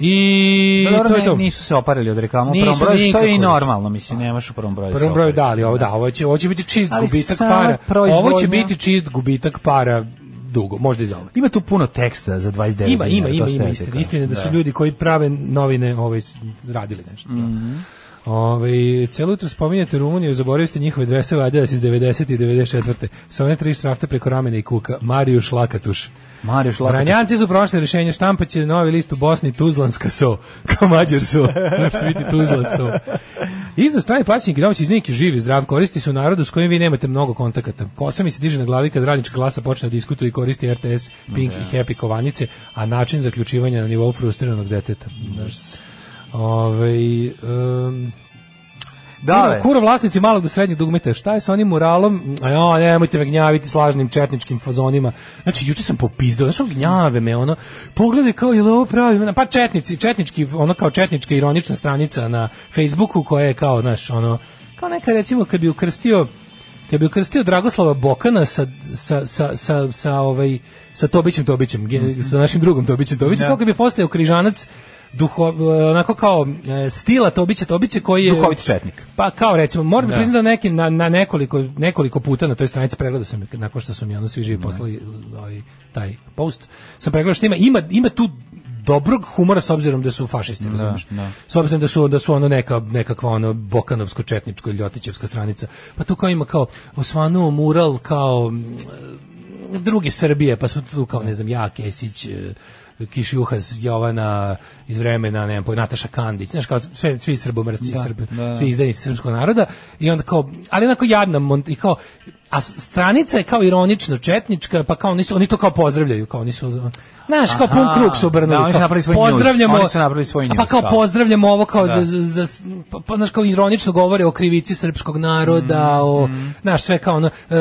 I
Pa dobro,
to je
ne,
to.
Nisu se oparili od reklama u
Nisu
prvom broju, što je i
nikako.
normalno, mislim, nemaš u prvom broju. da se
prvom broju
opariti.
da, ali ovo da, ovo će, ovo će biti čist
Ali
gubitak
sama
para. Ovo će
proizvodnja-
biti čist gubitak para dugo, možda i za ovaj. ovo.
Ima tu puno teksta za 29 dinara.
Ima, ima,
to
ima,
ste
ima
rekli,
istina,
kao.
istina da su ljudi koji prave novine ovaj, s- radili nešto. da. Ovaj, celo jutro spominjate Rumuniju, zaboravili ste njihove dresove Adidas iz 90. i 94. Sa one tri štrafte preko ramena i kuka. Mariju Šlakatuš.
Mario Šlakatuš.
Ranjanci su prošli rješenje, štampaće novi list u Bosni Tuzlanska so, kao Mađar so, znači će biti Tuzlan so. Iza strani plaćenik i domaći iz neki živi zdrav, koristi se u narodu s kojim vi nemate mnogo kontakata. Kosa mi se diže na glavi kad radnička klasa počne da diskutuje i koristi RTS, Pink i Happy kovanice, a način zaključivanja na nivou frustriranog deteta. Znaš. Ovaj, em,
Dale.
Kuro, kuro vlasnici malog do srednjeg dugmeta, šta je sa onim muralom? A Jo, nemojte me gnjaviti s lažnim četničkim fazonima. Znači, juče sam popizdao, znaš, ono, gnjave me, ono, pogledaj kao, je li ovo pravi? Pa četnici, četnički, ono kao četnička ironična stranica na Facebooku koja je kao, znaš, ono, kao neka recimo kad bi ukrstio kad bi ukrstio Dragoslava Bokana sa, sa, sa, sa, sa, ovaj, sa Tobićem Tobićem, ge- sa našim drugom Tobićem Tobićem,
Da.
kao kad bi postao križanac duho, onako kao e, stila Tobića Tobića koji je
Duhovit četnik.
pa kao recimo, moram da
Da.
priznam da neki na, na nekoliko, nekoliko puta na toj stranici pregledao sam je, nakon što su mi ono svi živi poslali ovaj, taj post. Sam pregledao što ima, ima, ima tu dobrog humora s obzirom da su fašisti, razumiješ?
da.
S obzirom da su da su ono neka nekakva ono bokanovsko četničko ili ljotićevska stranica. Pa tu kao ima kao osvanuo mural kao mm, druge Srbije, pa smo tu kao, ne znam, ja, Kesić, e, Kiš Juhas, Jovana iz vremena, ne znam, pojma, Nataša Kandić, znaš, kao sve, svi srbomrsci,
Da,
Srbi,
da.
svi izdajnici srpskog naroda, i onda kao, ali onako jadna, mon- i kao, a s- stranica je kao ironično četnička, pa kao oni su, oni to kao pozdravljaju, kao oni su, znaš, kao
Aha,
pun krug su obrnuli.
da, oni su
kao,
napravili svoj news,
pozdravljamo,
oni su napravili svoj
a pa
news,
kao
kao.
pozdravljamo ovo kao,
Da.
da. za, za- pa, pa, znaš, kao ironično govore o krivici srpskog naroda, o, znaš, sve kao ono, e,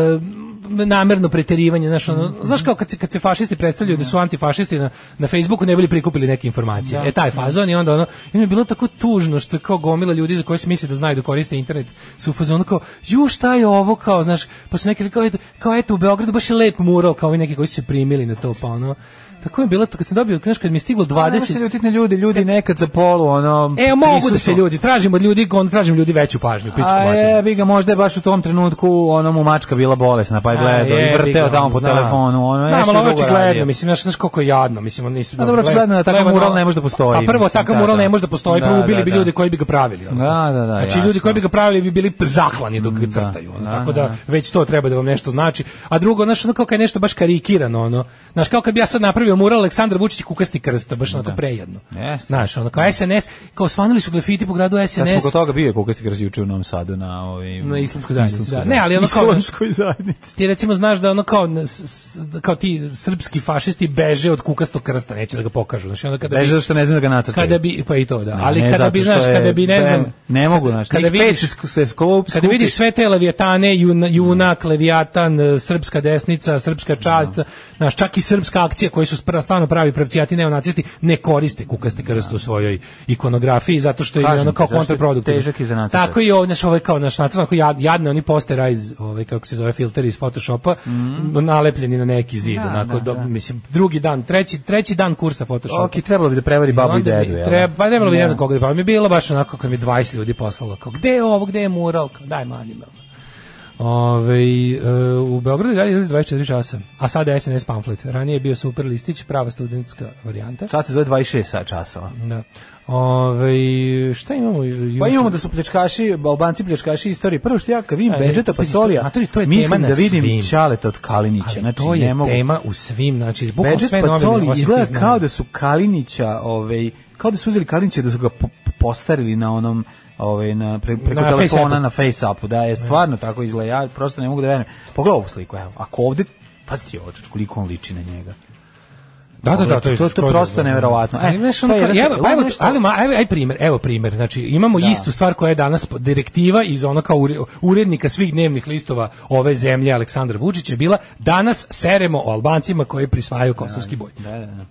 namerno preterivanje, znaš, ono, znaš kao kad se, kad se fašisti predstavljaju da su antifašisti na, na Facebooku ne bili prikupili neke informacije. E taj fazon i onda ono, i mi je bilo tako tužno što je kao gomila ljudi za koje se misli da znaju da koriste internet su u fazonu kao, ju šta je ovo kao, znaš, pa su neki rekli kao, eto, kao eto u Beogradu baš je lep mural, kao ovi neki koji su se primili na to, pa ono, tako mi je bilo to kad sam dobio, znaš, kad mi je stiglo
Pa nema se
20,
ljutiti na ljudi, ljudi nekad za polu, ono...
E, mogu da
prisustvo.
se ljudi, tražimo od ljudi, on tražim ljudi veću pažnju, pičku
A e,
materinu.
je, bi ga možda je baš u tom trenutku ono mu mačka bila bolesna, pa je gledao i vrteo tamo po telefonu, ono
da,
nešto
malo
drugo radio.
očigledno, mislim, znaš, znaš koliko je jadno, mislim, oni nisu...
Pa dobro, očigledno da takav
Gledano-
mural ne može da postoji,
ono, A prvo,
mislim,
takav
da,
mural
da.
ne može da postoji,
Da,
prvo
da,
ubili bi
da.
ljudi koji bi ga pravili. ono.
Da, da, da,
Znači, ljudi
jasno. Mm,
koji bi ga pravili bi bili zaklani dok ga crtaju, ono, tako da, već to treba da vam nešto znači. A drugo, znaš, ono kao kad je nešto baš karikirano, ono, znaš, kao kad bi ja sad napravio mural Aleksandar Vučić i kukasti krsta, baš onako prejedno.
Jeste.
Znaš, ono, kao SNS, kao svanili su grafiti po gradu SNS.
Kad smo kod toga bio je Kukasti Krz juče u Novom Sadu na ovim...
Na islamskoj zajednici, da. Ne, ali ono kao-
Islamskoj zajednici.
ti recimo znaš da ono kao s- s- kao ti srpski fašisti beže od kukastog krsta, neće da ga pokažu. Znači onda kada
Beže
bi,
zato što ne znaju da ga nacrtaju.
kada bi pa i to da,
Ne,
ali
ne
kada
zato
bi
što
znaš
je
kada bi ne
ben-
znam
Ne mogu, znaš,
kada
kada
vidiš-
vidiš, se sklop,
kada
skupi.
vidiš sve te levijatane, juna- junak, levijatan, e, srpska desnica, srpska čast, znaš, čak i srpska akcija koju su pra- stvarno pravi pravcijati neonacisti ne koriste kukaste krst u svojoj ikonografiji zato što im je
Kažem
ono
ti,
kao
zašto je
kontraproduktivno.
težak i za naciste.
Tako i ovo, znaš, ovo je kao naš nacrt, onako jad- jadne oni posterize, ovaj kako se zove filteri iz Photoshopa, nalepljeni na neki zid,
Mhm. Da,
onako,
da,
do-
da.
mislim, drugi dan, treći, treći dan kursa Photoshopa.
Ok, trebalo bi da prevari
I
babu i
onda mi
dedu. jel?
Treba, pa trebalo bi ne znam koga da pa mi je bilo baš onako kad mi je 20 ljudi poslalo, kao, gde je ovo, gde je mural, kao, daj mani me. Ove, e, u Beogradu dalje izlazi 24 časa, a sada je SNS pamflet. Ranije je bio super listić, prava studentska varijanta.
Sad se zove 26 sat časova.
Da. Ove, šta imamo? ju-
Pa
juče?
imamo da su pljačkaši, albanci pljačkaši istorije. Prvo što ja kad vidim
E,
Bedžeta
pazi, to-
Pasolija,
matori, to je tema
mislim
na
da vidim
svim.
Čaleta od Kalinića.
Ali
znači,
to je
ne mogu.
tema u svim, znači, bukvalno
Bedžet
sve novine.
Pacoli
osim tih
izgleda kao
novina.
da su Kalinića, ovaj, kao da su uzeli Kalinića i da su ga po- po- postarili na onom ovaj na pre, preko
Na
telefona
Face-upu.
na FaceAppu, da je stvarno tako izgleda. Ja prosto ne mogu da verujem. Pogledaj ovu sliku, evo. Ako ovde pazite ovo, čoveče, koliko on liči na njega.
Da, da, da, to je
Ovaj, to, to
skroz
prosto
razumno.
neverovatno. E,
Ali, znaš,
to
ono
je
kao,
jedna
evo,
stvar.
pa
Ovo
evo,
je nešto-
ali ma, evo, aj primer, evo primer, znači imamo
Da.
istu stvar koja je danas po- direktiva iz ono kao ure- urednika svih dnevnih listova ove zemlje Aleksandra Vučića je bila danas seremo o Albancima koji prisvajaju kosovski boj.
Da, da, da.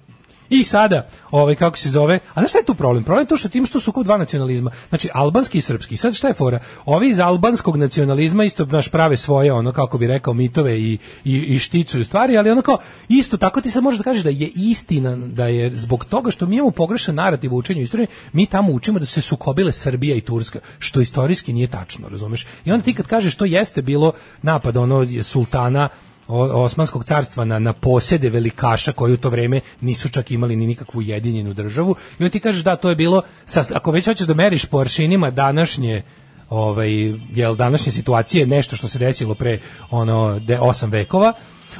I sada, ovaj kako se zove, a znaš šta je tu problem? Problem je to što tim što su sukob dva nacionalizma, znači albanski i srpski. Sad šta je fora? Ovi iz albanskog nacionalizma isto naš prave svoje ono kako bi rekao mitove i i, i šticuju stvari, ali ono kao isto tako ti sad možeš da kažeš da je istina da je zbog toga što mi imamo pogrešan narativ u učenju istorije, mi tamo učimo da su se sukobile Srbija i Turska, što istorijski nije tačno, razumeš? I onda ti kad kažeš to jeste bilo napad ono sultana o- Osmanskog carstva na, na posede velikaša koji u to vreme nisu čak imali ni nikakvu jedinjenu državu i onda ti kažeš da to je bilo, sa, ako već hoćeš da meriš po aršinima današnje ovaj, jel, današnje situacije nešto što se desilo pre ono, de, 8 vekova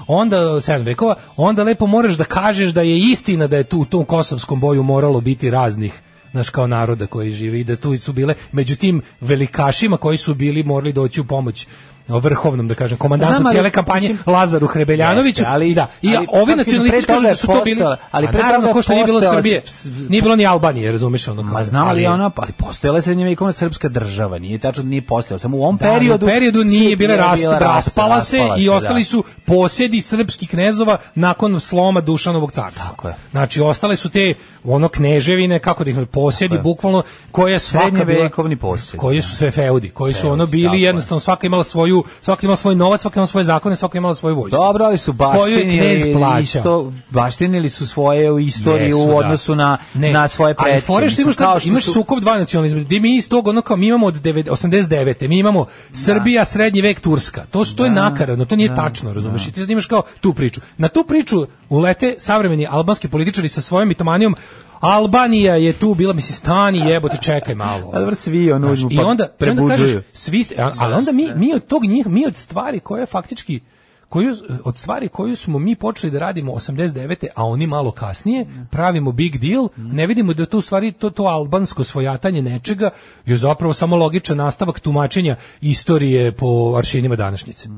onda 7 vekova, onda lepo moraš da kažeš da je istina da je tu u tom kosovskom boju moralo biti raznih naš kao naroda koji žive i da tu su bile među tim velikašima koji su bili morali doći u pomoć o, vrhovnom da kažem komandantu
Znam, ali,
cijele kampanje
mislim-
Lazaru Hrebeljanoviću
Jeste, ali-
da i
ali, kako
ovi
je
nacionalisti
pre toga
kažu da
je
su to bili
postojala- ali
a
pre
naravno
toga
ko
je
što nije bilo
postojala-
Srbije
s- s-
nije bilo ni Albanije razumeš ono
Ma
kao,
znam, ali, ona, pa ali postojala je srednjevekovna srpska država, nije tačno da nije postojala, samo u ovom
Da, ali
periodu...
u periodu nije
su-
bila
bila
rast,
rast-
raspala se
raspala
i
se, da.
ostali su posedi srpskih knezova nakon sloma Dušanovog carstva.
Tako je.
Znači ostale su te ono kneževine kako da ih nazovem, posedi
je.
bukvalno koje je svaka bila
Srednjevekovni posjed.
koje su sve feudi, koji su
Feudi,
ono
tako
bili
je.
jednostavno svaka imala svoju svaka imala svoj novac, svaka imala svoje zakone, svaka imala svoju vojsku.
Dobro, ali su
Koju je knez
baštinili,
plaćao.
isto, baštinili su svoje u istoriju
Jesu, da.
u odnosu na,
Ne.
na svoje
Ali
pretke.
fore što
Mislim,
imaš,
kao
kao imaš
su-
sukob dva nacionalizma. Gde mi iz tog ono kao mi imamo od devet- 89. Mi imamo Srbija, srednji vek, Turska. To, su, to je nakaradno, to nije tačno, razumeš? I ti zanimaš kao tu priču. Na tu priču ulete savremeni albanski političari sa svojom mitomanijom Albanija je tu bila, mislim, stani jebote, čekaj malo.
A dobro, svi ono
Znaš,
uzmu
i
pa
onda, i onda kažeš,
prebuđuju.
svi ste, a- ali onda mi, mi od tog njih, mi od stvari koje faktički koju, od stvari koju smo mi počeli da radimo 89. a oni malo kasnije pravimo big deal, ne vidimo da to u stvari to, to albansko svojatanje nečega je zapravo samo logičan nastavak tumačenja istorije po aršinima današnjice.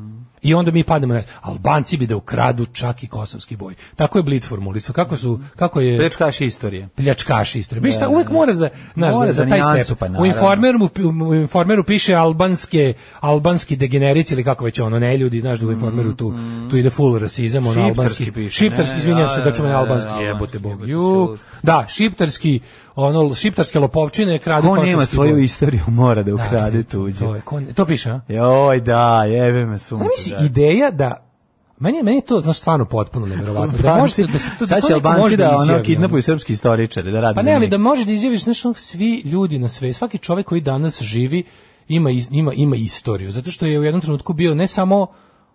I onda mi padnemo na Albanci bi da ukradu čak i kosovski boj. Tako je Blitz formulisao. Kako su kako je
Prečkaši istorije.
pljačkaši istre. Biš šta, uvek mora za, znaš,
Mora
za, za
za
taj
nijansu,
step.
pa
u,
naravno.
informeru, mu pi- u informeru piše albanske, albanski degenerici ili kako već ono, ne ljudi, znaš da u informeru tu, tu ide full rasizam, ono
Mm-hmm. Šiptarski
albanski.
piše,
šiptarski,
ne,
izvinjam
da,
se,
da,
da čujem
da, da,
albanski,
da,
jebote
albanski,
bog.
jebote,
Ju,
sud.
da, šiptarski, ono, šiptarske lopovčine, kradu
Ko nema
kosovski
svoju
boj.
istoriju mora da
Da,
ukrade tuđe.
To, je, ko ne- to piše, a?
Joj, da, jebe me sunce.
Zamisli
da.
ideja da Meni je, meni je to znaš stvarno potpuno neverovatno. Da Pa možete da se to da
Sad
to
će
neko
Albanci
može
da
izjavi,
ono
ono.
kidnapuju srpski istoričari da radi
Pa ne, ali da možeš da izjaviš, znaš, ono, svi ljudi na sve, svaki čovjek koji danas živi ima, iz- ima, ima istoriju, zato što je u jednom trenutku bio ne samo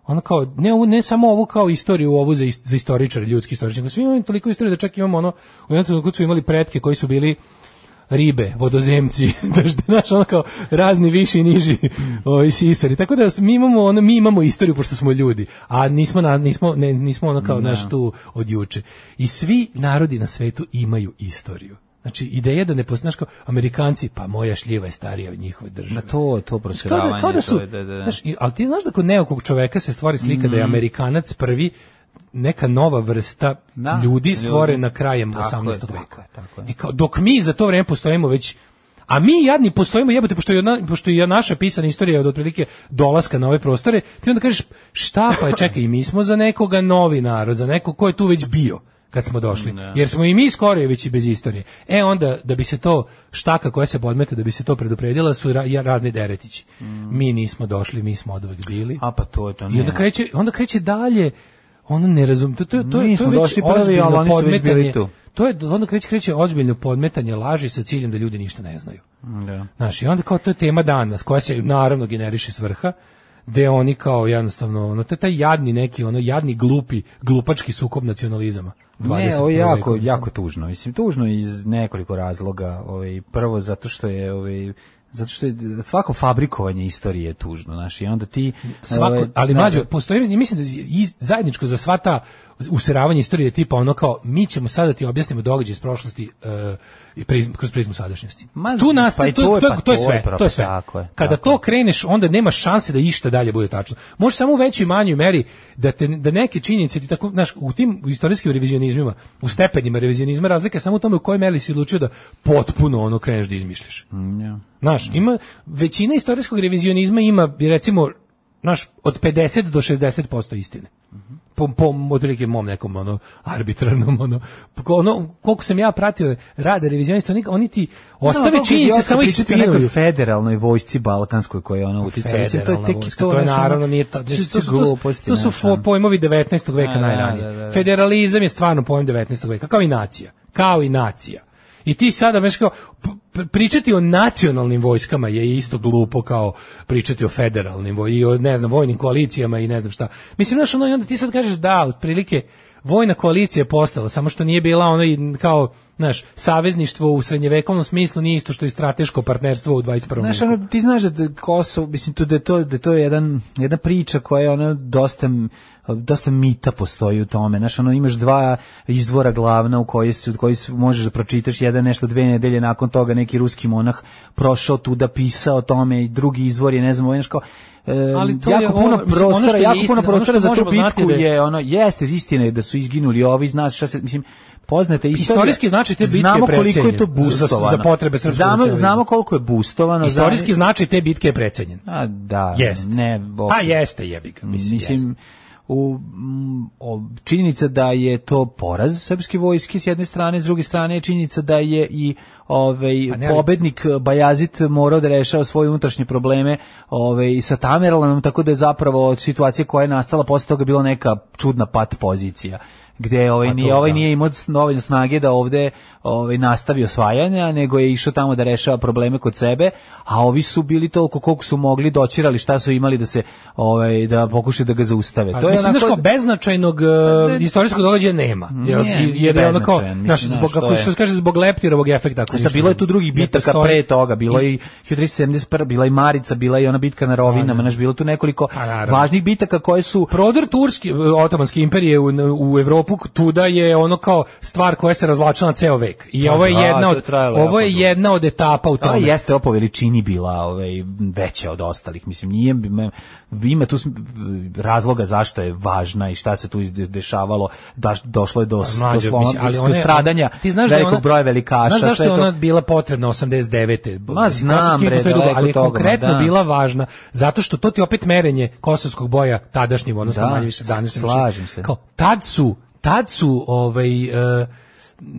ono kao, ne, ovu, ne samo ovu kao istoriju ovu za, is- za istoričare, ljudski istoričare, nego svi imaju toliko istorije da čak imamo ono, u jednom trenutku su imali pretke koji su bili ribe, vodozemci, znaš, znaš, ono kao razni viši i niži ovaj, sisari. Tako da mi imamo, ono, mi imamo istoriju pošto smo ljudi, a nismo, na, nismo, ne, nismo ono kao naš tu od juče. I svi narodi na svetu imaju istoriju. Znači, ideja da ne postoji, kao, Amerikanci, pa moja šljiva je starija od njihove države.
Na to, to
Kao
prosiravanje.
da, kao da su,
to je, da, da, Mm. da.
znaš, i- ali ti znaš da kod nekog čoveka se stvori slika da je Amerikanac prvi neka nova vrsta
Da,
ljudi
ljudi.
stvorena krajem
Tako je,
18.
tako
veka.
je, tako je.
I kao, dok mi za to vreme postojimo već A mi jadni postojimo jebote pošto je ona- pošto je naša pisana istorija od otprilike dolaska na ove prostore, ti onda kažeš šta pa je čekaj i mi smo za nekoga novi narod, za nekog ko je tu već bio. kad smo došli.
Ne.
Jer smo i mi Skorojevići bez istorije. E onda, da bi se to, štaka koja se podmete, da bi se to predupredila, su ra- ja- razni deretići. Mi nismo došli, mi smo odvek bili.
Mm. A pa to je to,
I onda
ne.
kreće, onda kreće dalje, ono ne razum, to, to, to, to,
Mi
je- to
smo
je već
došli prvi,
ozbiljno
ali oni su već bili
podmetanje-
tu.
To je, onda kreće, kreće ozbiljno podmetanje laži sa ciljem da ljudi ništa ne znaju.
Da.
Znaš, i onda kao to je tema dana, s koja se naravno generiše s vrha, gde oni kao jednostavno, ono, to je taj jadni neki, ono, jadni glupi, glupački sukob nacionalizama.
Ne, ovo
21.
je jako,
veka.
jako tužno. Mislim, tužno iz nekoliko razloga. Ovaj, prvo, zato što je... Ovaj, zato što je svako fabrikovanje istorije je tužno, znaš, i onda ti...
Svako,
ovaj,
ali
da,
mlađo, postoji, mislim da je i zajedničko za sva ta useravanje istorije tipa ono kao, mi ćemo sada da ti objasnimo događaj iz prošlosti e, i priz- kroz prizmu sadašnjosti.
Ma,
tu nas,
pa i
to,
to
to,
je-
to,
pa
je
to je
sve,
pravo,
to je sve.
tako je,
Kada
tako
to kreneš, onda nema šanse da išta dalje bude tačno. Može samo u većoj i manjoj meri da te da neke činjenice ti tako, znaš, u tim istorijskim revizionizmima, u stepenima revizionizma razlika je samo u tome u kojoj meri si odlučio da potpuno ono kreneš da izmišljaš. Znaš, ima većina istorijskog revizionizma ima bi recimo naš od 50 do 60% istine.
Mhm.
Po, po otprilike mom nekom ono arbitrarnom ono, po- ono koliko sam ja pratio rade revizionista oni, oni ti ostave
toliko
činjenice
idiota
samo ih
pričati o nekoj
spinuju
federalnoj vojsci balkanskoj koja je ona utica. Mislim, to je
Federalna
tek
vojska,
ono, to,
to je
znaš, ono,
naravno nije ta,
to su-
to, su, to, su-
gluposti,
to su
znaš,
fo-
ono.
pojmovi 19. veka
Da, da,
najranije.
da, da, da.
Federalizam je stvarno pojem 19. veka, kao i nacija. Kao i nacija. I ti sada već kao, p- p- pričati o nacionalnim vojskama je isto glupo kao pričati o federalnim voj, i o ne znam, vojnim koalicijama i ne znam šta. Mislim, znaš, ono, i onda ti sad kažeš da, otprilike, vojna koalicija je postala, samo što nije bila ono i kao, znaš, savezništvo u srednjevekovnom smislu nije isto što i strateško partnerstvo u 21. veku.
Znaš, ono, ti znaš da Kosovo, mislim, tu da je to, da je to jedan, jedna priča koja je ono dosta, dosta mita postoji u tome. Znaš, ono, imaš dva izvora glavna u koji, se, koji se možeš da pročitaš, jedan nešto dve nedelje nakon toga neki ruski monah prošao tu da pisao o tome i drugi izvor je, ne znam, ovo je znaš kao, e,
Ali to
jako
je ono-
puno
mislim, ono
prostora,
što je
jako
istina,
puno
ono
prostora
što
za tu
možemo znati
bitku
da je-
je ono jeste istina je da su izginuli ovi iz nas, šta se mislim poznate istorije.
Istorijski značaj te bitke je
znamo koliko je to
precenjen za- za- za
bustovano.
potrebe srpskog
znamo,
nacionalizma.
znamo koliko je bustovano.
Istorijski značaj te bitke je precenjen.
A da,
Jeste.
ne, bo,
Pa jeste jebi ga, mislim. jeste.
mislim u mm, o- činjenica da je to poraz srpske vojske s jedne strane, s druge strane je činjenica da je i ovaj
Pa ne, ali-
pobednik eh, Bajazit morao da rešava svoje unutrašnje probleme ovaj sa Tamerlanom, tako da je zapravo od situacije koja je nastala posle toga bila neka čudna pat pozicija gde ovaj
Pa to
nije ovaj
da.
nije imao s- dovoljno snage da ovde ovaj nastavi osvajanja, nego je išao tamo da rešava probleme kod sebe, a ovi su bili toliko koliko su mogli doćirali šta su imali da se ovaj da pokušaju da ga zaustave.
Pa,
to je
mislim,
onako Pa
znaš, kao beznačajnog e, istorijskog događaja nema. Jel,
Nije,
jer,
nije
jer je ono kao,
beznačajan, mislim,
znaš,
znaš,
zbog,
to
kako
je.
što se kaže, zbog leptirovog efekta. Ako
Znaš,
ništa
bilo je
ne-
tu drugi
ne
bitaka
postoji.
pre toga, bilo je
I-
i 1371, bila je i Marica, bila je i ona bitka na Rovinama, znaš, bilo je tu nekoliko
Pa, naravno.
važnih bitaka koje su
Prodor Turski, otomanske imperije u, u Evropu, tuda je ono kao stvar koja se razvlačila na ceo vek. I
Pa
ovo je
da, to
jedna
je
od,
trajalo
ovo je
jako dugo.
jedna od etapa u
Ta
tome.
jeste ovo po veličini bila ovaj, veća od ostalih. Mislim, nije, ima tu sm- razloga zašto je važna i šta se tu izde- dešavalo. Da, došlo je do, do,
Mlađo,
sloma-
mislim, ali
do
ona je-
stradanja
ti znaš da je
velikog
ona-
broja velikaša.
Znaš zašto
sve
je
to-
ona bila potrebna 89.
Ma,
Mislim,
znam,
kosovski
bre,
postoji dugo,
daleko
ali je
od toga, ma,
konkretno
da.
bila važna zato što to ti je opet merenje kosovskog boja tadašnjim odnosno
Da,
manje više današnjim.
slažem se.
Kao tad su tad su ovaj e,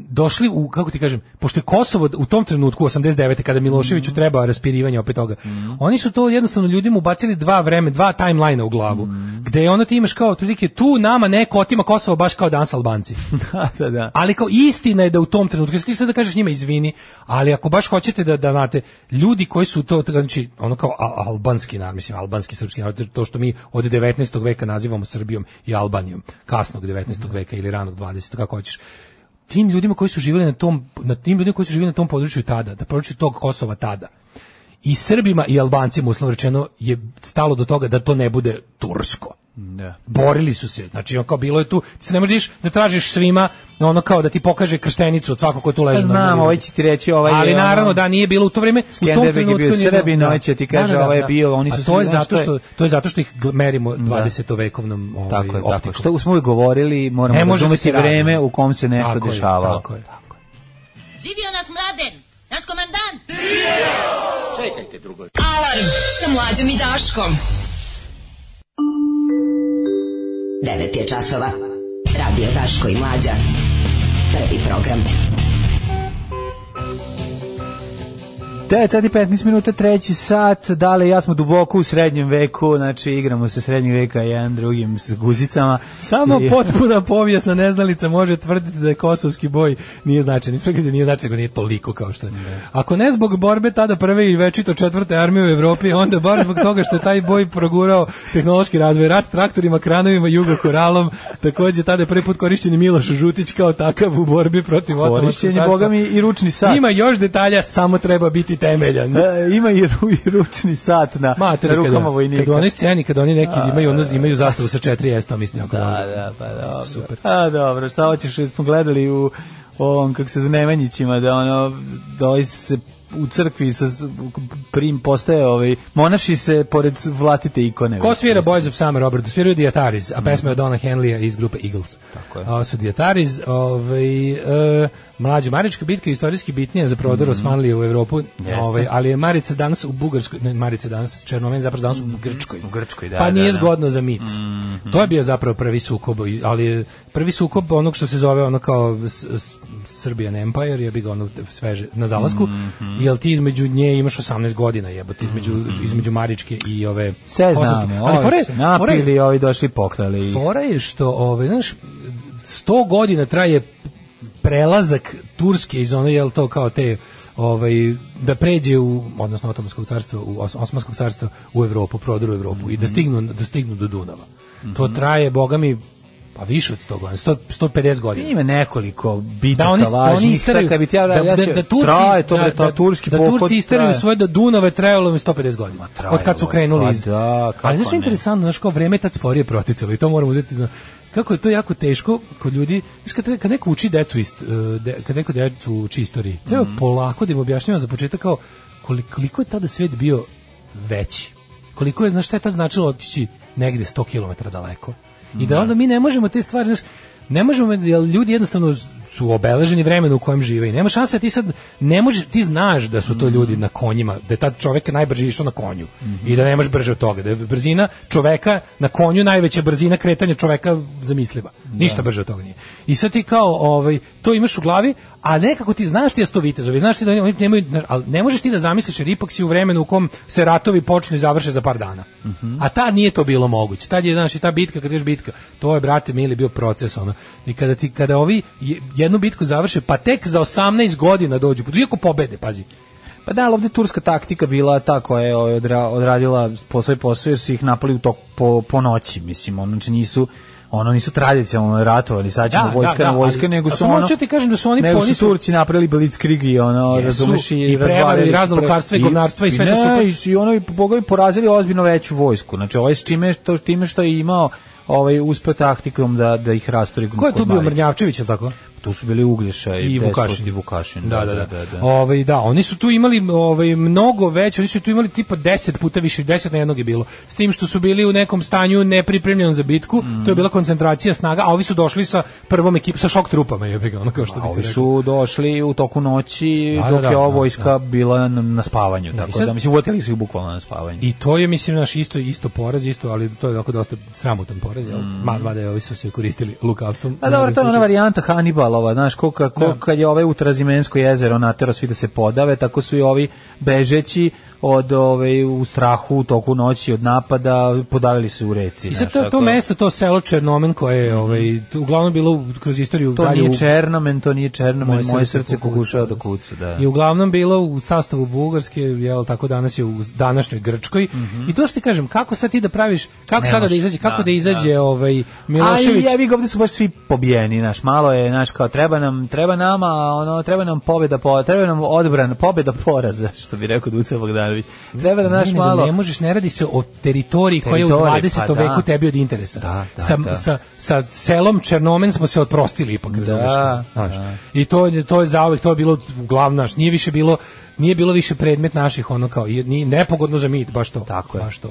došli u kako ti kažem pošto je Kosovo u tom trenutku 89 kada Miloševiću treba raspirivanje opet toga
Mhm.
oni su to jednostavno ljudima ubacili dva vreme dva timelina u glavu
Mhm.
gde je ono ti imaš kao otprilike tu nama neko otima Kosovo baš kao danas Albanci
da, da, da.
ali kao istina je da u tom trenutku, jesi ti sad da kažeš njima izvini, ali ako baš hoćete da, da znate, ljudi koji su to, znači, ono kao a- albanski narod, mislim, albanski srpski narod, to što mi od 19. veka nazivamo Srbijom i Albanijom, kasnog 19. veka ili ranog 20. kako hoćeš, tim ljudima koji su živjeli na tom, na tim ljudima koji su živjeli na tom području tada, da području tog Kosova tada, i Srbima i Albancima, uslovno rečeno, je stalo do toga da to ne bude Tursko
Da.
borili su se. Znači, on kao bilo je tu, ti se ne možeš da tražiš svima ono kao da ti pokaže krstenicu od svakog ko tu leži. na
Znam,
moru.
ovaj će ti reći, ovaj je,
Ali naravno
ono,
da nije bilo u to vrijeme, u tom
Skenderbeg je bio
trenutku nije bilo-
Srbin, ovaj će ti kaže, ovaj je bio, oni
A
su
to je
svi- znaš,
zato
to
što
je-
to je zato što ih gl- merimo 20. vekovnom ovaj,
Tako je, tako.
optikom.
je. Što smo uvijek govorili, moramo
Ne
ne
može
razumeti
da se radi.
vreme u kom se nešto
Tako je,
dešavalo.
tako je.
Živio nas mladen, naš komandant.
Čekajte, drugo.
Alarm sa mlađom i Daškom.
9 je časova. Radio Daško i Mlađa. Prvi program.
9 sati 15 minuta, treći sat, dale ja smo duboko u srednjem veku, znači igramo se srednjeg veka jedan drugim s guzicama.
Samo
I-
potpuna povijesna neznalica može tvrditi da je kosovski boj nije značajan. Ispred da nije značajan, nego nije toliko kao što je. Ako ne zbog borbe tada prve i večito četvrte armije u Evropi, onda bar zbog toga što je taj boj progurao tehnološki razvoj, rat traktorima, kranovima, jugokoralom, takođe tada je prvi put korišćen i Miloš Žutić kao takav u borbi protiv otomanskog
Korišćen je,
carstva.
boga mi, i ručni sat.
Ima još detalja, samo treba biti temeljan.
E, ima i, ru, i ručni sat na,
Mater,
na rukama
kada,
vojnika.
Kada oni sceni, kada oni neki
A,
imaju, ono, imaju zastavu sa 4S, to mislim jako
Da,
dobro.
da, pa dobro. Super. A, dobro, šta hoćeš, jer smo gledali u ovom, kako se zove, Nemanjićima, da ono, da ovaj se u crkvi sa s- prim postaje ovaj monaši se pored vlastite ikone.
Ko
već.
svira Boys of Summer, Robert? Sviraju The Ataris, a pesma je od Dona Henleya iz grupe Eagles. Tako
je.
A su The Ataris, ovaj, e, mlađa Marička bitka je istorijski bitnija za prodor Osmanlije u Evropu,
Mhm. Jeste.
ovaj, ali je Marica danas u Bugarskoj, ne, Marica danas, Černomen zapravo danas u Grčkoj.
u Grčkoj, da.
pa nije
da, Mhm. da.
zgodno za mit. To je bio zapravo prvi sukob, ali je prvi sukob onog što se zove ono kao s- s- Serbian Empire, je bi ga ono sveže na zalasku,
Mhm.
jel ti između nje imaš 18 godina jebote, između, između Maričke i ove
Sve
Kosovske.
znamo,
Ali fora
ovi
je-
se
fora je-
napili, ovi došli i poklali.
Fora je što, ovaj, znaš, 100 godina traje prelazak Turske iz ono, jel to kao te, ovaj, da pređe u, odnosno Otomanskog carstva, u Os- Osmanskog carstva u Evropu, prodoru u Evropu i da stignu, da stignu do Dunava. To traje, boga mi, pa više od 100 godina, 100, 150 godina.
Ima nekoliko bitaka
Da oni da
važnih.
oni
Sad
isteraju
kad bi ti ja,
da,
ja
da,
ću-
da Turci
traje to,
da,
bre, to
da-
turski
da
pohod
Turci isteraju
traje.
svoje da Dunave trajalo mi 150 godina.
trajalo
Od kad su
je,
krenuli
pa
iz.
da, kako
Ali znaš što je
ne?
interesantno, znači kao vreme je tad sporije proticalo i to moramo uzeti na kako je to jako teško kod ljudi, znaš kad, treba- kad neko uči decu ist, e, de, kad neko decu uči istoriji, treba
Mhm.
polako da im objašnjava za početak kao koliko, koliko je tada svet bio veći. Koliko je, znaš šta je tad značilo otići negde 100 km daleko. I da onda mi ne možemo te stvari, znaš, ne možemo, jer ljudi jednostavno su obeleženi vremenu u kojem žive i nema šanse da ti sad, ne možeš, ti znaš da su to ljudi na konjima, da je tad čovek najbrže išao na konju i da ne možeš brže od toga, da je brzina čoveka na konju najveća brzina kretanja čoveka zamisliva, ništa brže od toga nije. I sad ti kao, ovaj, to imaš u glavi, a nekako ti znaš ti da su to vitezovi, znaš ti da oni, oni nemaju, znaš, ali ne možeš ti da zamisliš jer ipak si u vremenu u kom se ratovi počnu i završe za par dana. A ta nije to bilo moguće. Tad je, znaš, i ta bitka, kad ješ bitka, to je, brate, mili, bio proces, ono. I kada ti, kada ovi je- jednu bitku završe, pa tek za 18 godina dođu, iako pobede, pazi.
Pa da, ali ovde turska taktika bila ta koja je ovaj, odra- odradila po svoj posao jer su ih napali u tok po, po noći, mislim, ono, znači nisu ono nisu tradicionalno ratovali, sad ćemo
Da,
vojska
da, da,
na vojske,
ali-
nego
a
su
samo
ono...
hoću ti kažem da su oni
nego
poni-
su Turci napravili blitzkrieg i ono,
Jesu,
razumeš, i,
i prevaru,
razvalili-
i razno lukarstvo, i govnarstvo, i sve to
ne,
super.
i su- I ono, i bogovi porazili ozbiljno veću vojsku, znači ovaj s čime, što, time što je imao ovaj, uspeo taktikom da, da ih rastori
Ko je
kod
tu bio
Marice.
Mrnjavčević, je li tako?
Tu su bili Uglješa i,
i
Despot
Vukašin.
i Vukašin.
Da, da, da. Ovaj, da, oni su tu imali ovaj, mnogo veće, oni su tu imali tipa 10 puta više, 10 na jednog je bilo. S tim što su bili u nekom stanju nepripremljenom za bitku,
Mm.
to je bila koncentracija snaga, a ovi su došli sa prvom ekipom, sa šok trupama, je ga, ono kao što
A
bi se
ovi
reklo.
su došli u toku noći
Da, da,
dok
da,
je ova
da,
vojska bila na, na spavanju, tako
sad-
da mislim uvatili su ih bukvalno na spavanju.
I to je mislim naš isto isto poraz, isto, ali to je onako dosta sramutan poraz, jel? Ma, mada je ovi su se koristili lukavstvom.
Mm. A dobro, to je ono- ona varijanta Hanibalova, znaš, ko, ka- ko-
Da.
kad je ovaj u Trazimensko jezero natero svi da se podave, tako su i ovi bežeći od ove, u strahu u toku noći od napada podavili se u reci.
I sad
znaš,
to, to
tako-
mesto, to selo Černomen koje je ovaj, tu uglavnom bilo u- kroz istoriju
To
dalje
nije
u-
Černomen, to nije Černomen,
Moje
moje,
srce
srce
kukuca.
pokušava da kuca, da.
je uglavnom bilo u sastavu Bugarske, jel tako danas je u današnjoj Grčkoj. I to što ti kažem, kako sad ti da praviš, kako
Mhm. Ne
sada da
može,
izađe, kako da,
da,
izađe ovaj
Aj,
Milošević.
ja vi ga ovde su baš svi pobijeni, znaš, malo je, znaš, kao treba nam, treba nama, a ono, treba nam pobeda, po, treba nam odbrana, pobeda poraza, što bi rekao Duca Bogdanović. Treba nam,
Ne,
znaš,
nego
malo...
ne možeš, ne radi se o teritoriji koja je u
Teritoriji,
20.
pa da.
veku tebi od interesa.
Da, da,
sa,
da.
Sa, sa selom Černomen smo se otprostili ipak, razumeš?
da.
Znaš. I to, je- to je zauvek, to je bilo uglavnom naš, nije više bilo nije bilo više predmet naših ono kao i- nije nepogodno za mit baš to
Tako je. Mhm.
baš to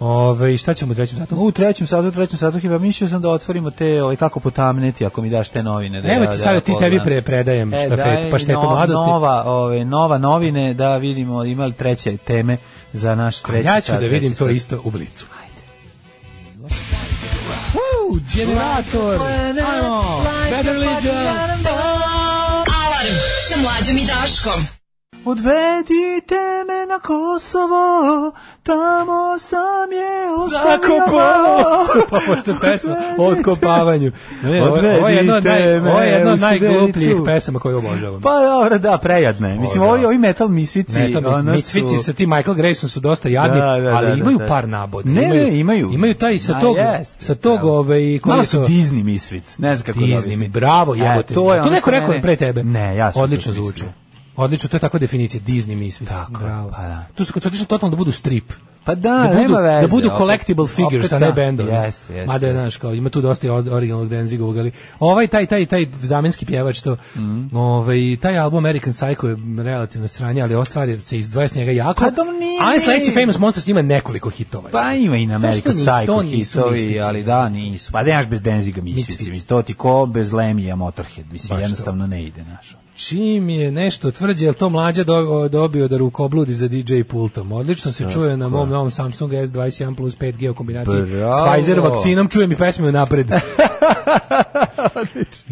Ovaj, šta ćemo u trećem satu
U trećem satu, u trećem satu, pa mislio sam da otvorimo te, ovaj, kako potamniti, ako mi daš te novine. Da,
Evo
ja-
ti
da
sad ti tebi
pogledam.
pre predajem
E,
štafetu,
daj
pa štetu
no-
mladosti.
Nova, ove, nova novine, da vidimo ima li treće teme za naš treći
ja ću
sat,
da
treći
vidim to
sat.
isto u blicu. Ajde. Generator! Ajmo! Better Legion.
Alarm sa mlađom i Daškom.
Odvedite me na Kosovo, tamo sam je
Zakopao! Pa pošto je pesma o otkopavanju. Ne, ovo, ovo je jedno od, naj,
Odvedite
ovo je jedno od
me u
najglupljih
Studenicu.
pesama koje obožavam.
Pa dobro, da, prejadne. Mislim,
O, da.
ovi, ovi metal misvici,
Ne, to
ono
mi, mitvici
su-
sa tim Michael Grayson su dosta jadni,
Da, da,
ali
da, da,
imaju
da.
par naboda.
Ne, ne, imaju.
Imaju taj sa
Ma,
tog,
jeste,
sa tog,
pravo si.
ovaj, koji
Malo
je
su
to?
Disney misvic, ne znam kako da
Disney,
objasnim.
mi, bravo,
E,
jebote.
to je
to
ono
neko
što
rekao
mene-
pre tebe.
Ne, ja sam to
Odlično zvuči.
mislio.
Odlično, to je takva definicija Disney misvic. Tako, bravo.
pa da.
Tu su kad su otišli totalno da budu strip.
Pa da,
da budu,
nema veze.
da budu
opet-
collectible figures,
opet
a ne
da,
bendovi.
Jeste, jeste.
Mada,
jeste.
znaš, kao, ima tu dosta i od- originalnog Denzigovog, ali ovaj, taj, taj, taj zamenski pjevač, to,
Mhm.
ovaj, taj album American Psycho je relativno sranje, ali ova stvar je- se izdvaja s njega jako.
Pa dobro, nije-
A sledeći Famous Monsters ima nekoliko hitova.
Pa ima i na
Zašto
American
ni-
Psycho
to nisu
hitovi,
mislici?
ali da, nisu. Pa nemaš bez Denziga
Misvici.
misvici. mislim, To ti ko bez Lemija Motorhead. Mislim,
Baš to.
jednostavno ne ide, znaš.
Čim je nešto tvrđe, je li to mlađa do- dobio da rukobludi za DJ pultom? Odlično se čuje na mom novom Samsung S21 plus 5G u kombinaciji
Bravo.
s Pfizer vakcinom, čujem i pesme u napred.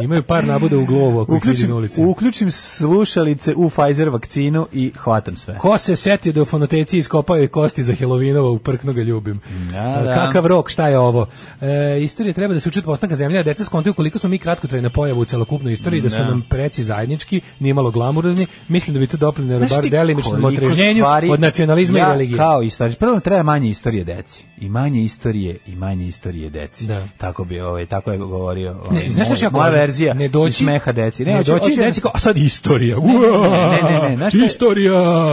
Imaju par nabuda u glovu ako ih vidim na
Uključim,
ulici.
uključim slušalice u Pfizer vakcinu i hvatam sve.
Ko se setio da u fonoteci iskopao je kosti za Helovinova, uprkno ga ljubim. E,
Da, da.
Kakav rok, šta je ovo? E, istorija treba da se uči od postanka zemlje, a deca skontaju koliko smo mi kratkotrajna pojava u celokupnoj istoriji, da su
Da.
nam preci zajednički, nimalo glamurozni, mislim da bi to doprinelo bar
ti
delimičnom
koliko
otrežnjenju
stvari
od nacionalizma
ja
i religije.
Kao istorije. Prvo treba manje istorije deci. I manje istorije i manje istorije deci.
Da.
Tako bi ovaj tako je govorio. Ovaj,
Ne, znaš
moj-
šta ja
moja
govorim?
verzija
ne doći,
iz smeha deci.
Ne,
hoću-
doći
hoću-
deci kao, a sad istorija.
ne, ne, ne, ne, znaš šta je-
Istorija.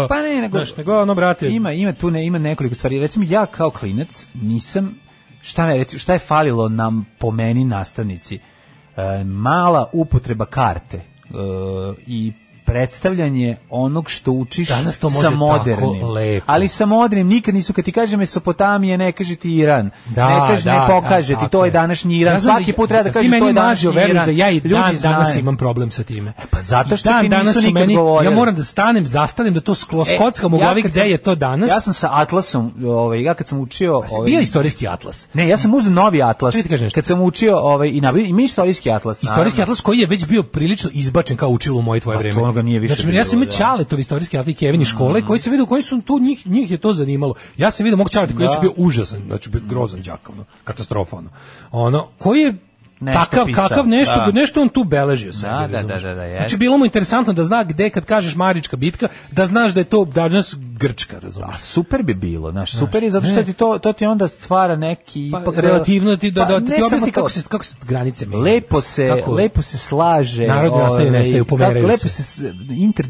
Pa ne, nego,
Znaš, nego ono, brate,
Ima, ima tu ne, ima nekoliko stvari. Recimo ja kao klinac nisam šta me recimo, šta je falilo nam po meni nastavnici? E, mala upotreba karte e, i predstavljanje onog što učiš
Danas to može
sa
tako
modernim.
lepo.
Ali sa modernim nikad nisu, kad ti kaže Mesopotamije, ne kaže ti Iran.
Da,
ne kaže,
da,
ne pokaže
da,
ti,
tako
to je
je.
današnji Iran.
znam
Svaki
da-
put treba da
ti
kaže,
meni
to je
mlađo
današnji
veruješ
Iran.
da ja i
Ljudi
dan danas
znaju.
imam problem sa time.
pa zato
I
što ti nisu
danas su
nikad
meni, ja
govorili.
moram da stanem, zastanem, da to sklo,
E,
skockam u glavi
kad
gde
sam-
je to danas.
Ja sam sa Atlasom, ovaj, ja kad sam učio... ovaj,
bio istorijski atlas.
Ne, ja sam uzeo novi atlas.
Čekaj, ti kažem nešto.
Kad sam učio ovaj i nabavio i mi istorijski atlas.
Istorijski
naravno.
atlas koji je već bio prilično izbačen kao učilo u moje tvoje
Pa
vreme.
to ga nije više
Znači, ja sam imao
bilo, da.
Ćaletov istorijski atlas i Kevin iz škole koji se vidio koji su tu njih njih je to zanimalo. Ja sam vidio mog Ćaleta koji je
Da.
već bio užasan, znači bio grozan đak, ono, katastrofa ono. Ono koji je
Nešto
takav
pisao,
kakav nešto
da.
nešto on tu beležio sebi,
Da, da,
razumeš?
da, da, da, jest.
znači bilo mu interesantno da zna gde kad kažeš Marička bitka da znaš da je to danas Grčka razumeš
A super bi bilo, znaš, super je zato što ti to to ti onda stvara neki
pa,
ipak
relativno ti da,
Pa
da,
ne
ti
samo
objasni
to.
kako se, kako se granice menjaju.
Lepo se,
Kako-
lepo se slaže.
Narodi nastaju i
ovaj,
nestaju, pomeraju
kako- Lepo se,
se.
s-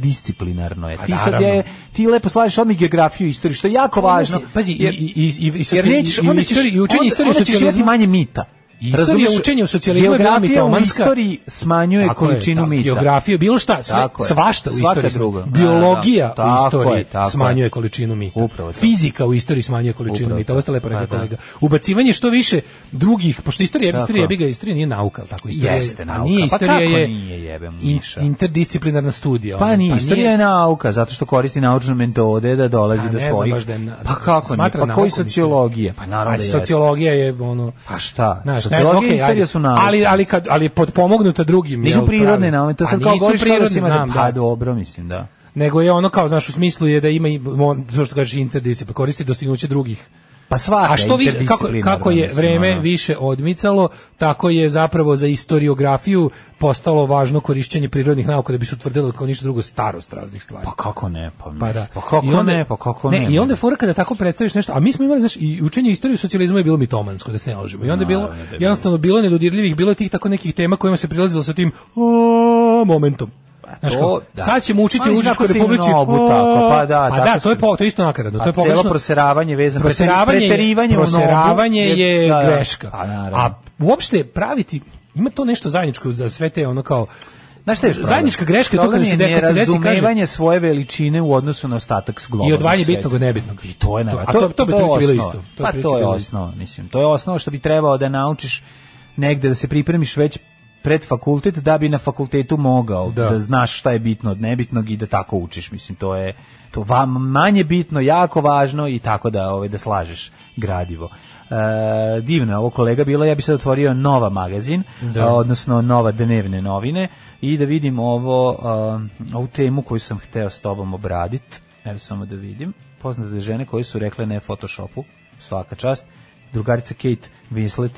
interdisciplinarno je.
Pa
ti sad
naravno. Pa
je, ti lepo slažeš odmah i geografiju i istoriju, što je jako važno.
Pazi, i, i, i, i, i,
jer nećeš,
i, i,
onda ćeš,
istoriji, i učenje
onda-
istorije
onda ćeš imati
socijalizma.
manje mita.
Istorija
Razumeš?
učenja o socijalizmu je bila
Geografija u
mitomanska.
istoriji smanjuje
Tako je,
količinu
tako,
mita.
Geografiju, bilo šta, sve,
Tako je.
svašta u
Svaka
istoriji.
druga.
smanjuje. Biologija
Da, da,
u
tako
istoriji
je, tako je.
smanjuje količinu mita.
Upravo to.
Fizika u istoriji smanjuje količinu
Upravo
mita.
to.
Ovo ste lepo rekao
Pa, da.
kolega. Ubacivanje što više drugih, pošto istorija,
Tako.
istorija, jebi ga, istorija nije nauka, ali tako istorija. je-
Jeste
a
nauka.
Nije,
Pa
istorija
kako
je
nije, jebem,
in-
Miša?
interdisciplinarna studija.
Pa
ono,
nije, istorija je nauka, zato što koristi naučne metode da dolazi
Pa
do
ne znam
svojih.
baš da je na-
pa kako nije?
smatra
Pa koji
naukom
sociologija? Pa naravno
A
da jeste.
sociologija je ono
Pa šta?
Znaš, ne,
Sociologija i
okej,
istorija
ajde.
su nauke.
Ali, ali, kad, ali je podpomognuta drugim.
Nisu
jel,
prirodne
pravi?
nauke, to
A
sad kao
nisu
govoriš kao da
prirodne,
si ima da
znam,
pa
da.
dobro, mislim, da.
Nego je ono kao, znaš, u smislu je da ima, i on, to što kaže interdisciplin, koristi dostignuće drugih.
Pa svaka ono.
A što vi, kako, kako je vreme više odmicalo, tako je zapravo za istoriografiju postalo važno korišćenje prirodnih nauka da bi se utvrdilo kao ništa drugo starost raznih stvari.
Pa kako ne, pa, mislim.
Pa da.
pa kako
I onda-
ne, pa kako ne.
I onda je fora kada tako predstaviš nešto, a mi smo imali, znaš, i učenje istorije socijalizma je bilo mitomansko, da se ne lažemo. I onda je bilo,
Naravno da je
jednostavno bilo nedodirljivih, bilo je tih tako nekih tema kojima se prilazilo sa tim o, momentom. Znaš,
Pa to,
kao,
da.
sad ćemo učiti
Pa,
u
mislim,
Užičkoj
tako si i
republici.
na obu
o,
tako, pa da,
pa
tako
da, to
si.
je, po, to je isto nakaradno. To
A
je
Pa celo
pogrešno.
proseravanje vezano-
Proseravanje je-
preterivanje u nobu
proseravanje
je-
je
da, da.
greška.
Pa, naravno.
A uopšte praviti, ima to nešto zajedničko za sve te ono kao
Znaš šta je još problem?
Zajednička greška je to
Problem
kada se de- kad se deci kaže-
nerazumevanje svoje veličine u odnosu na ostatak globalnog
I odvajanje
sveta.
bitnog od nebitnog.
I to je naravno.
A to- to bi otprilike bilo
osnova.
isto.
Pa
To je otprilike
to je
bilo
osnova, mislim. To je osnova što bi trebao da naučiš negde da se pripremiš već pred fakultet da bi na fakultetu mogao da,
Da.
znaš šta je bitno od nebitnog i da tako učiš. Mislim, to je to vam manje bitno, jako važno i tako da, ovaj, da slažeš gradivo. E, divna ovo kolega bila, ja bi sad otvorio nova magazin,
Da.
a, odnosno nova dnevne novine i da vidim ovo, a, ovu temu koju sam hteo s tobom obraditi. Evo samo da vidim. Poznate žene koje su rekle ne Photoshopu, svaka čast. Drugarica Kate Winslet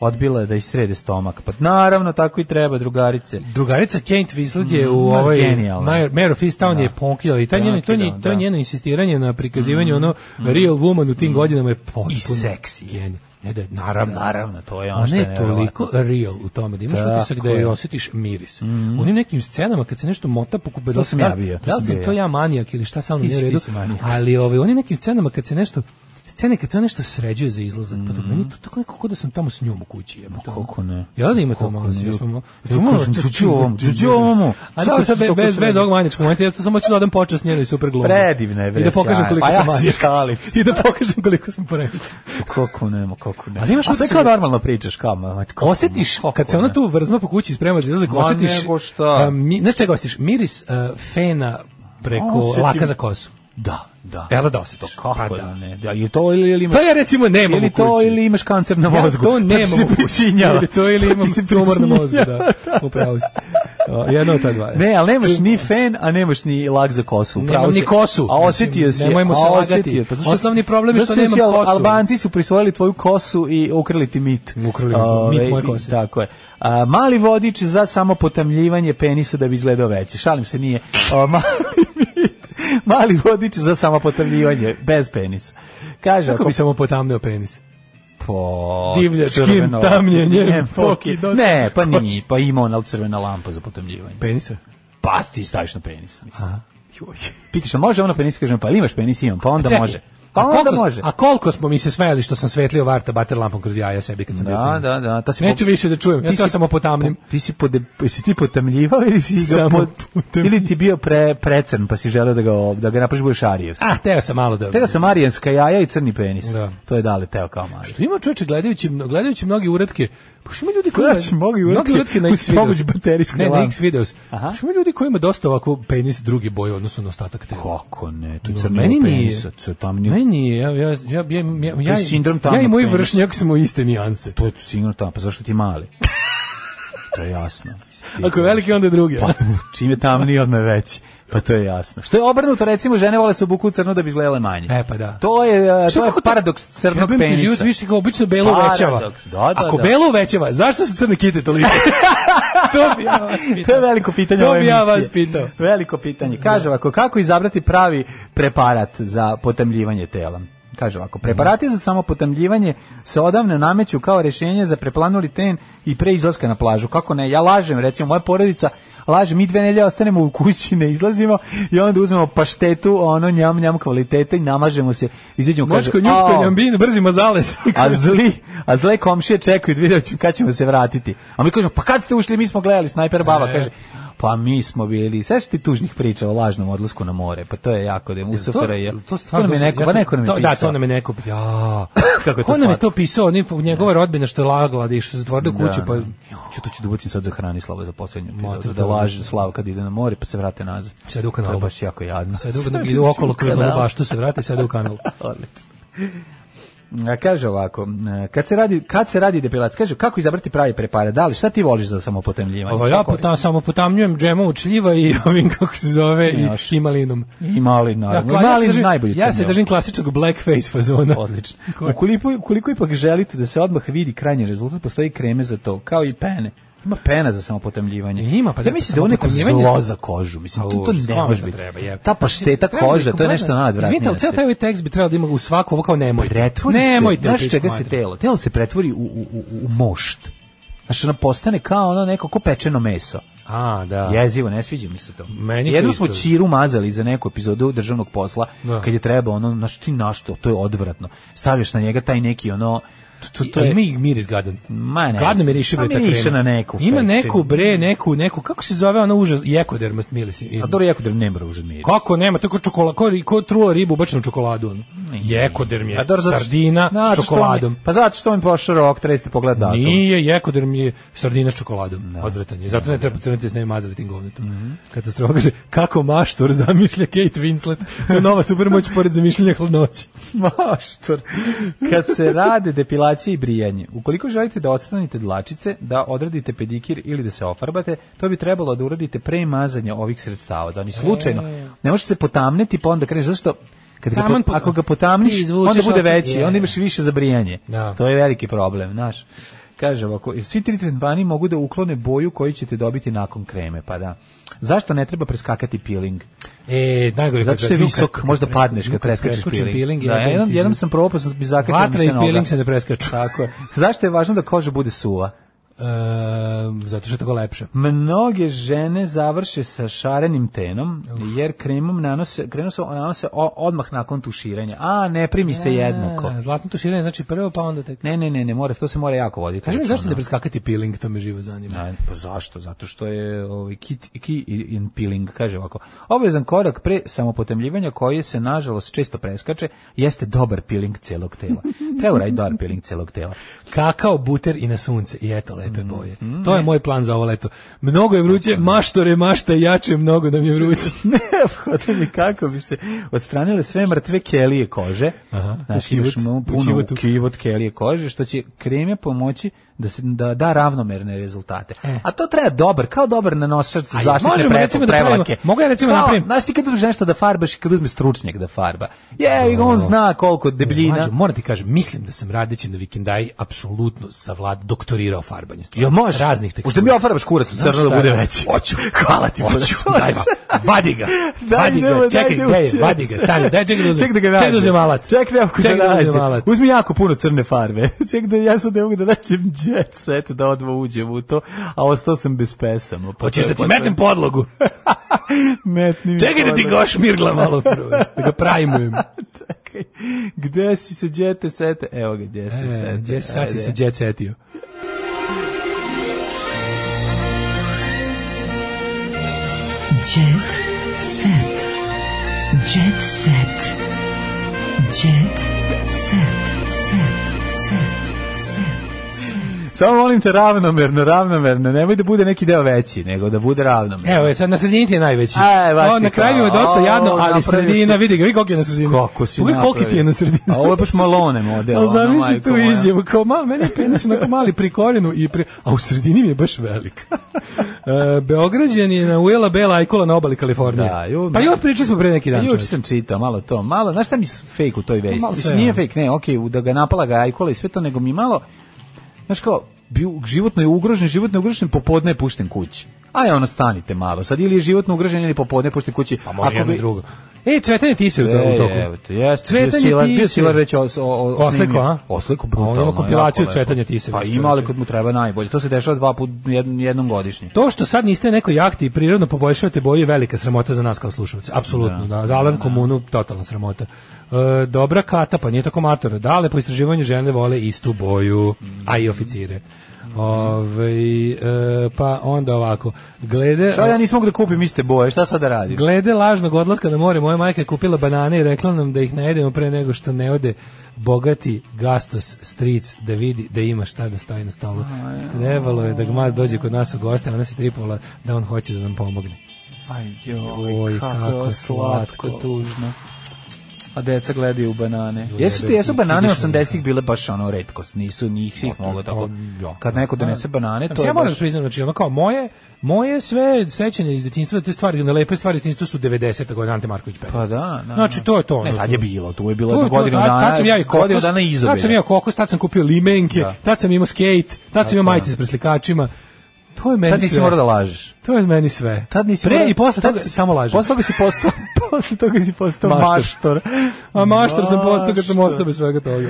odbila je da isrede stomak. Pa naravno, tako i treba, drugarice.
Drugarica Kate Winslet je u
Mm, Ma,
ovaj
genijalna.
Mayor- Mayor of Easttown je ponkila i taj njeno, to, nje,
Ponkila,
to
da. Mm,
njeno insistiranje na prikazivanju ono real woman u tim godinama je potpuno
I seksi.
genij- Ne da, je- naravno.
Naravno, to je ono što
Ona
je
je toliko real u tome da imaš
Tako
utisak da je
je. Mhm.
osjetiš miris. U onim nekim scenama kad se nešto mota pokupe,
To sam ja bio, to
da
sam
li sam
bio
to
ja.
ja manijak ili šta sa mnom
Ti
nije u
si- ti
redu,
si manijak.
ali ovaj, u onim nekim scenama kad se nešto scene kad se ona nešto sređuje za izlazak, pa to meni to tako nekako kao da sam tamo s njom u kući. jebote. ono.
Kako Mhm. ne?
Ja da ima to malo, svi smo malo. Ču malo,
kažem,
ču-
čuči ovomu, čuči ovomu.
A da, sad
Soko-
bez,
soko
bez
sredio.
ovog manjačkog momenta, ja to samo ću da odam počas njenoj super glumi.
Predivna je, bre,
I da pokažem
sjajna.
koliko
Pa ja
sam
se
manjački.
šalim.
I da pokažem koliko sam poremećen.
Kako ne, ma kako ne.
Ali imaš
A sve
utisak
kao
da-
normalno pričaš, kao, ma, ma, kako
Osjetiš,
ne, kako
kad se ona
ne.
tu vrzma po kući sprema za izlazak,
Ma
osjetiš...
nego šta.
a, mi- Znaš čega osjetiš? Miris a, fena preko
Osjetim.
laka za kosu.
Da, da.
Jel E, da osjetiš?
Kako
Pa
da
da.
ne? Da, je to ili, ili imaš...
To ja recimo nemam
ili
u kući.
to ili imaš kancer na
Ja
mozgu.
to
Pa ti
nemam
se
u kući.
pričinjava.
Ili to ili
Pa ti
imam
se
tumor na mozgu,
pričinjava.
da. Upravo si. O, Jedno od ta dva. je.
Ne, ali nemaš ni fen, a nemaš ni lak za kosu.
E, Nemam
Pravo si.
ni kosu.
A osjetio
Mislim,
si je.
nemojmo
a
se lagati.
osjetio je. Pa zašto-
Osnovni problem je što
zašto si
nemam
al-
kosu.
Albanci su prisvojili tvoju kosu i ukrali ti mit.
Ukrali mi mit
Ove,
moje kose.
Tako je. A, mali vodič za samo potamljivanje penisa da bi izgledao veći. Šalim se, nije. O, mali, mit- mali vodič za samo potamljivanje, bez penisa. Kaže,
Kako
ako
bi samo potamneo penis?
po
Divljačkim
crveno-
tamnjenjem
Ne, foki-
pokidosa.
Ne, pa nije, pa ima ona crvena lampa za potamljivanje.
Penisa?
Pa ti staviš na penis, mislim.
A, joj.
Pitaš, a može ona penis, kažem, pa jel imaš penis, imam, pa onda
Čekaj,
može. Pa
a
onda
koliko,
može.
A koliko smo mi se smejali što sam svetlio varta bater lampom kroz jaja sebi kad sam bio
Da,
klinac.
da, da. Ta si
Neću više da čujem, ja
ti
to
si-
samo potamnim.
po- Ti si, pode, si ti potamljivao ili si ga
Samo
pod-
potamljivao.
ili ti bio pre, precrn pa si želeo da ga, da ga napraviš budeš arijevski.
A, teo sam malo da...
Teo sam arijenska jaja i crni penis.
Da.
To je dale, teo kao mali.
Što ima čoveče gledajući, gledajući mnogi uretke, pa što ima ljudi koji...
Gledajući mnogi uratke
uratke na
uz
X videos.
pomoć baterijske
Ne, na
lampe.
X videos. Pa
Aha.
Što ima ljudi koji ima dosta ovako penis drugi boje odnosno na ostatak tela.
Kako ne, to je
No,
crni penis, to je tamni
Meni je, ja, ja, ja, ja, ja, ja,
je sindrom
ja i
tamnog
moj
penisa.
vršnjak smo iste nijanse.
To je sigurno tamo, pa zašto ti mali? to je jasno. Mislim, ti-
Ako je veliki, onda je drugi.
Pa, čim je tamniji, odmah je veći. Pa to je jasno. Što je obrnuto, recimo, žene vole se obuku u crno da bi izgledale manje.
E, pa da.
To je, uh,
Što
to je
kako
paradoks crnog
Jebem ti
penisa.
Život više kao obično belo
Paradoks,
uvećava.
da, da,
Ako
da.
belo uvećava, zašto su crne kite toliko? to bi ja vas pitao.
To je veliko pitanje
To
ove
bi ja
emisije.
vas pitao.
Veliko pitanje. Kaže ovako, kako izabrati pravi preparat za potamljivanje tela? Kaže ovako, preparati za samo potamljivanje se odavno nameću kao rješenje za preplanuli ten i pre izlaska na plažu. Kako ne? Ja lažem, recimo, moja porodica laže, mi dve nelje ostanemo u kući, ne izlazimo i onda uzmemo paštetu, ono njam njam kvalitete i namažemo se, izađemo, kaže,
Močko
"Au."
njuška, njambin, brzi mazales.
a zli, a zle komšije čekaju da vidjet ću kad ćemo se vratiti. A mi kažemo, pa kad ste ušli, mi smo gledali, snajper baba
E.
kaže, pa mi smo bili, sve ti tužnih priča o lažnom odlasku na more, pa to je jako da je usofara je.
to stvarno
nam je
sam-
neko,
ja
pa
to-
neko nam je
to- Da,
pisao.
to nam je neko. Ja.
Kako je to
Ko nam je
slatko?
to pisao? Oni njegova rodbina što je lagala da je išla zatvorila kuću,
Da.
pa
Ja to ću da ubacim sad za hrani Slava za posljednju
Mater,
epizodu, da
to-
laže Slava kad ide na more pa se vrate nazad.
Sad u kanalu.
To je baš jako jadno.
sad dugo nam ide okolo kroz onu
kanalu.
baštu se vrati sad u kanal.
Odlično. A kaže ovako, e, kad se radi, kad se radi depilacija, kaže kako izabrati pravi preparat, da li šta ti voliš za samopotemljivanje?
Ovo
Šta
ja
koristiš?
potam, samo potamnjujem džemom od šljiva i ovim kako se zove i,
Još.
i malinom.
I mali, naravno.
Dakle,
mali
ja se držim,
najbolji
Ja se
crnilo.
držim klasičnog blackface fazona.
Odlično.
Koje?
Ukoliko, ukoliko ipak želite da se odmah vidi krajnji rezultat, postoji kreme za to, kao i pene. Ima pena za samopotamljivanje.
Ima, pa
ja
da,
mislim da je ovo neko
samopotamljivanje-
zlo za kožu. Mislim, to, to
Užas,
ne
kome
može
to
biti.
treba, jebe.
Ta pašteta
Treba da
koža, to je
kompletno-
nešto najodvratnije.
Izvinite, ali
na
ceo taj
svetu.
ovaj tekst bi trebao da ima u svaku ovo kao nemojte.
Pretvori
nemojte,
se, znaš
otići
čega
u
se
materiju.
telo? Telo se pretvori u, u, u, u mošt. Znaš, ona postane kao ono neko ko pečeno meso.
A, da.
Jezivo, ne sviđa mi se to.
Meni
Jednom
isto.
smo Čiru mazali za neku epizodu državnog posla,
Da.
kad je trebao ono, znaš ti našto, to je odvratno. Stavljaš na njega taj neki ono, to, to
Ali
je...
mi mir izgadan.
Ma ne.
Gadno miriše
Pa
bre ta krema.
miriše na neku
Ima
fekčinu.
neku bre, neku, neku, kako se zove ona užas, jekoderma miris.
A dobro, jako da nema ružan miris.
Kako nema, to je ko čokolada, ko, ko truo ribu bačenu u čokoladu. ono. Jekoderm je,
A dobro, zato što-
sardina
zato
s
što
čokoladom.
mi- Pa zato što mi pošao rok, treba ste pogledati datum.
Nije, jekoderm je sardina s čokoladom. Odvratan je. Zato ne treba crniti s nema mazalitim govnetom.
Mhm.
Katastrofa kaže, kako maštor zamišlja Kate Winslet. To je nova supermoć pored zamišljanja hladnoći.
Maštor. Kad se rade depilacije i brijanje, ukoliko želite da odstranite dlačice, da odradite pedikir ili da se ofarbate, to bi trebalo da uradite pre mazanja ovih sredstava. Da oni slučajno,
E.
ne može se potamniti pa onda kreneš, zašto Kad ga
Taman
pot-
pot-
ako ga potamniš,
ti izvučeš
onda bude
ostane-
veći,
Je.
onda imaš više za brijanje.
Da.
To je veliki problem, znaš. Kaže ovako, svi tri tretmani mogu da uklone boju koju ćete dobiti nakon kreme, pa da. Zašto ne treba preskakati peeling?
E, najgore
Zato što je visok, možda padneš kad preskačeš
peeling.
peeling. Da,
jebem ti
jedan,
život.
jedan sam probao, pa sam bi zakačio
Vatra i peeling se ne preskaču.
Tako je. Zašto je važno da koža bude suva?
Ehm, zato što je tako lepše.
Mnoge žene završe sa šarenim tenom, jer kremom nanose, krenu se nanose o- odmah nakon tuširanja. A, ne primi se jednako.
A, zlatno tuširanje znači prvo, pa onda tek.
Ne, ne, ne, ne, mora, to se mora jako voditi.
Kaži mi zašto
računa.
ne preskakati peeling, to me živo zanima.
Ne, pa zašto? Zato što je ovaj kit key in peeling kaže ovako. Obavezan korak pre samopotemljivanja koji se nažalost često preskače jeste dobar peeling celog tela. Treba raditi dobar peeling celog tela.
Kakao, buter i na sunce. I eto, lepe boje. to je moj plan za ovo leto. Mnogo Mhm. je vruće, maštore, mašta i jače, mnogo nam je vruće.
Neophodno je kako bi se odstranile sve mrtve kelije kože.
Aha,
znači,
u
imaš
kivot,
mnogo
u
puno
kivotu.
u kivot kelije kože, što će kreme pomoći da se da, da ravnomerne rezultate. A to treba dobar, kao dobar nanosač za
E. A
zaštitne
možemo
pre-
recimo da
prevlake.
pravimo- mogu ja recimo
Kao,
napravim-
Znaš ti kad uzmeš nešto da farbaš i kad uzme stručnjak da farba. Je, on zna koliko debljina.
Mlađo, moram ti kažem, mislim da sam radeći na vikendaji apsolutno savlad doktorirao farbanje. stvari.
Jel može?
Raznih tekstura.
Hoćeš da mi ofarbaš kurac u
Znaš
crno da
šta?
bude veći?
Hoću.
Hvala ti,
Hoću.
kurac.
Daj, va- vadi ga.
Daj,
vadi
idemo,
ga.
daj,
Čekaj,
idemo
gde je?
u
Vadi ga. Stani, daj, čekaj da uzmem.
Ček da ga nađe.
Čekaj da uzmem alat.
Ček da
Čekaj da uzmem
nađe.
alat.
Uzmi jako puno crne farbe. Ček da ja sad ne mogu da nađem jet set, da odmah uđem u to, a ostao sam bez pesama. Pa
Hoćeš
to
da
je
ti
potrebno.
metem podlogu?
Metni mi
Čekaj da ti
podlogu.
goš mirgla malo prvo. Da ga E, prajmujem.
Čekaj, gde si se džete sete? Evo ga, gde se sete.
Gdje si E, sad si
Ajde.
se jet setio?
Jet set. Jet set. Jet set. Set. Set.
Samo molim te ravnomerno, ravnomerno. Nemoj da bude neki deo veći, nego da bude ravnomerno.
Evo, je, sad na sredini ti je najveći.
Aj, baš
O,
ti
na kraju je
pravo.
dosta jadno,
O,
ali
napravio
sredina,
si.
vidi ga, vidi koliko je na sredini.
Kako si
Pogledaj koliko ti je na sredini.
A ovo je baš malone model.
Ali
ono,
zamisli
majko
tu
moja.
izjavu, kao ma, meni je penis onako mali pri korenu, i pri, a u sredini mi je baš velik. E, Beograđan je na Uela Bela Ajkula na obali Kalifornije.
Da, ju-
pa i pričali smo pre neki dan.
Juče
čoveče.
sam čitao malo to, malo, znaš šta mi s- fake u toj vesti?
Malo
Mislim,
sve,
nije
ono.
fake, ne, okej, u da ga napala ga ajkola i sve to, nego mi malo, znaš kao, bi- životno je ugrožen, životno je ugrožen, popodne je pušten kući. Aj, ono, stanite malo, sad ili je životno ugrožen ili popodne je pušten kući.
Pa može jedno i drugo. E, cvetanje ti se u
E,
u toku.
evo te, jeste, bio
Cvetanje
Silar,
ti
bio
se.
Silar već os- o- o-
Osliku,
snimio.
a?
Osliku
A on ima
brutalno. jako
kompilaciju
lepo.
cvetanja Tisave,
Pa
znači. čoveče.
ima, ali kad mu treba najbolje. To se dešava dva put, jednom, jednom godišnje.
To što sad niste na nekoj jahti i prirodno poboljšavate boju je velika sramota za nas kao slušalce. Apsolutno. Da, za Alarm komunu totalna sramota. E, dobra kata, pa nije tako matora. Dale, po istraživanju žene vole istu boju, a i oficire. Ovaj, e, pa onda ovako. Glede...
Šta ja nisam mogu da kupim iste boje, šta sad da radim?
Glede lažnog odlaska na more, moja majka je kupila banane i rekla nam da ih ne jedemo pre nego što ne ode bogati gastos stric da vidi da ima šta da stoji na stolu. Trebalo je da gmaz dođe kod nas u goste, a ona se tripovala da on hoće da nam pomogne.
Aj
Joj,
joj, kako
kako
je slatko,
slatko.
tužno. A deca gledaju u banane.
Joj,
Jesu ti,
jebe,
jesu
ti Pa
banane
ideš na
80-ih bile baš ono retkost, nisu njih svih moglo tako.
ja.
Kad neko donese banane, to
Mislim,
je
ja moram
baš...
da priznam, znači ono kao moje, moje sve sećanje iz detinjstva, te stvari, one lepe stvari iz detinjstva su 90. godina Ante Marković Pera.
Pa da, da.
Znači, to je to,
Ne,
ono.
tad je bilo, tu je
To
bilo
je
na
to,
godinu
tad-
dana.
Tad sam ja i kokos,
Godinu dana izobile.
Tad sam ja kokos, tad sam kupio limenke,
Da.
tad sam imao skate, tad sam imao majice s preslikačima. To je meni
Tad nisi
sve.
morao da lažeš.
To je meni sve.
Tad nisi
Pre
morao-
i posle
tad
toga
si-
samo lažem.
Posle toga si postao, posle toga si postao
Maštor.
maštor.
A maštor sam postao kad sam
Maštor.
ostao bez svega toga.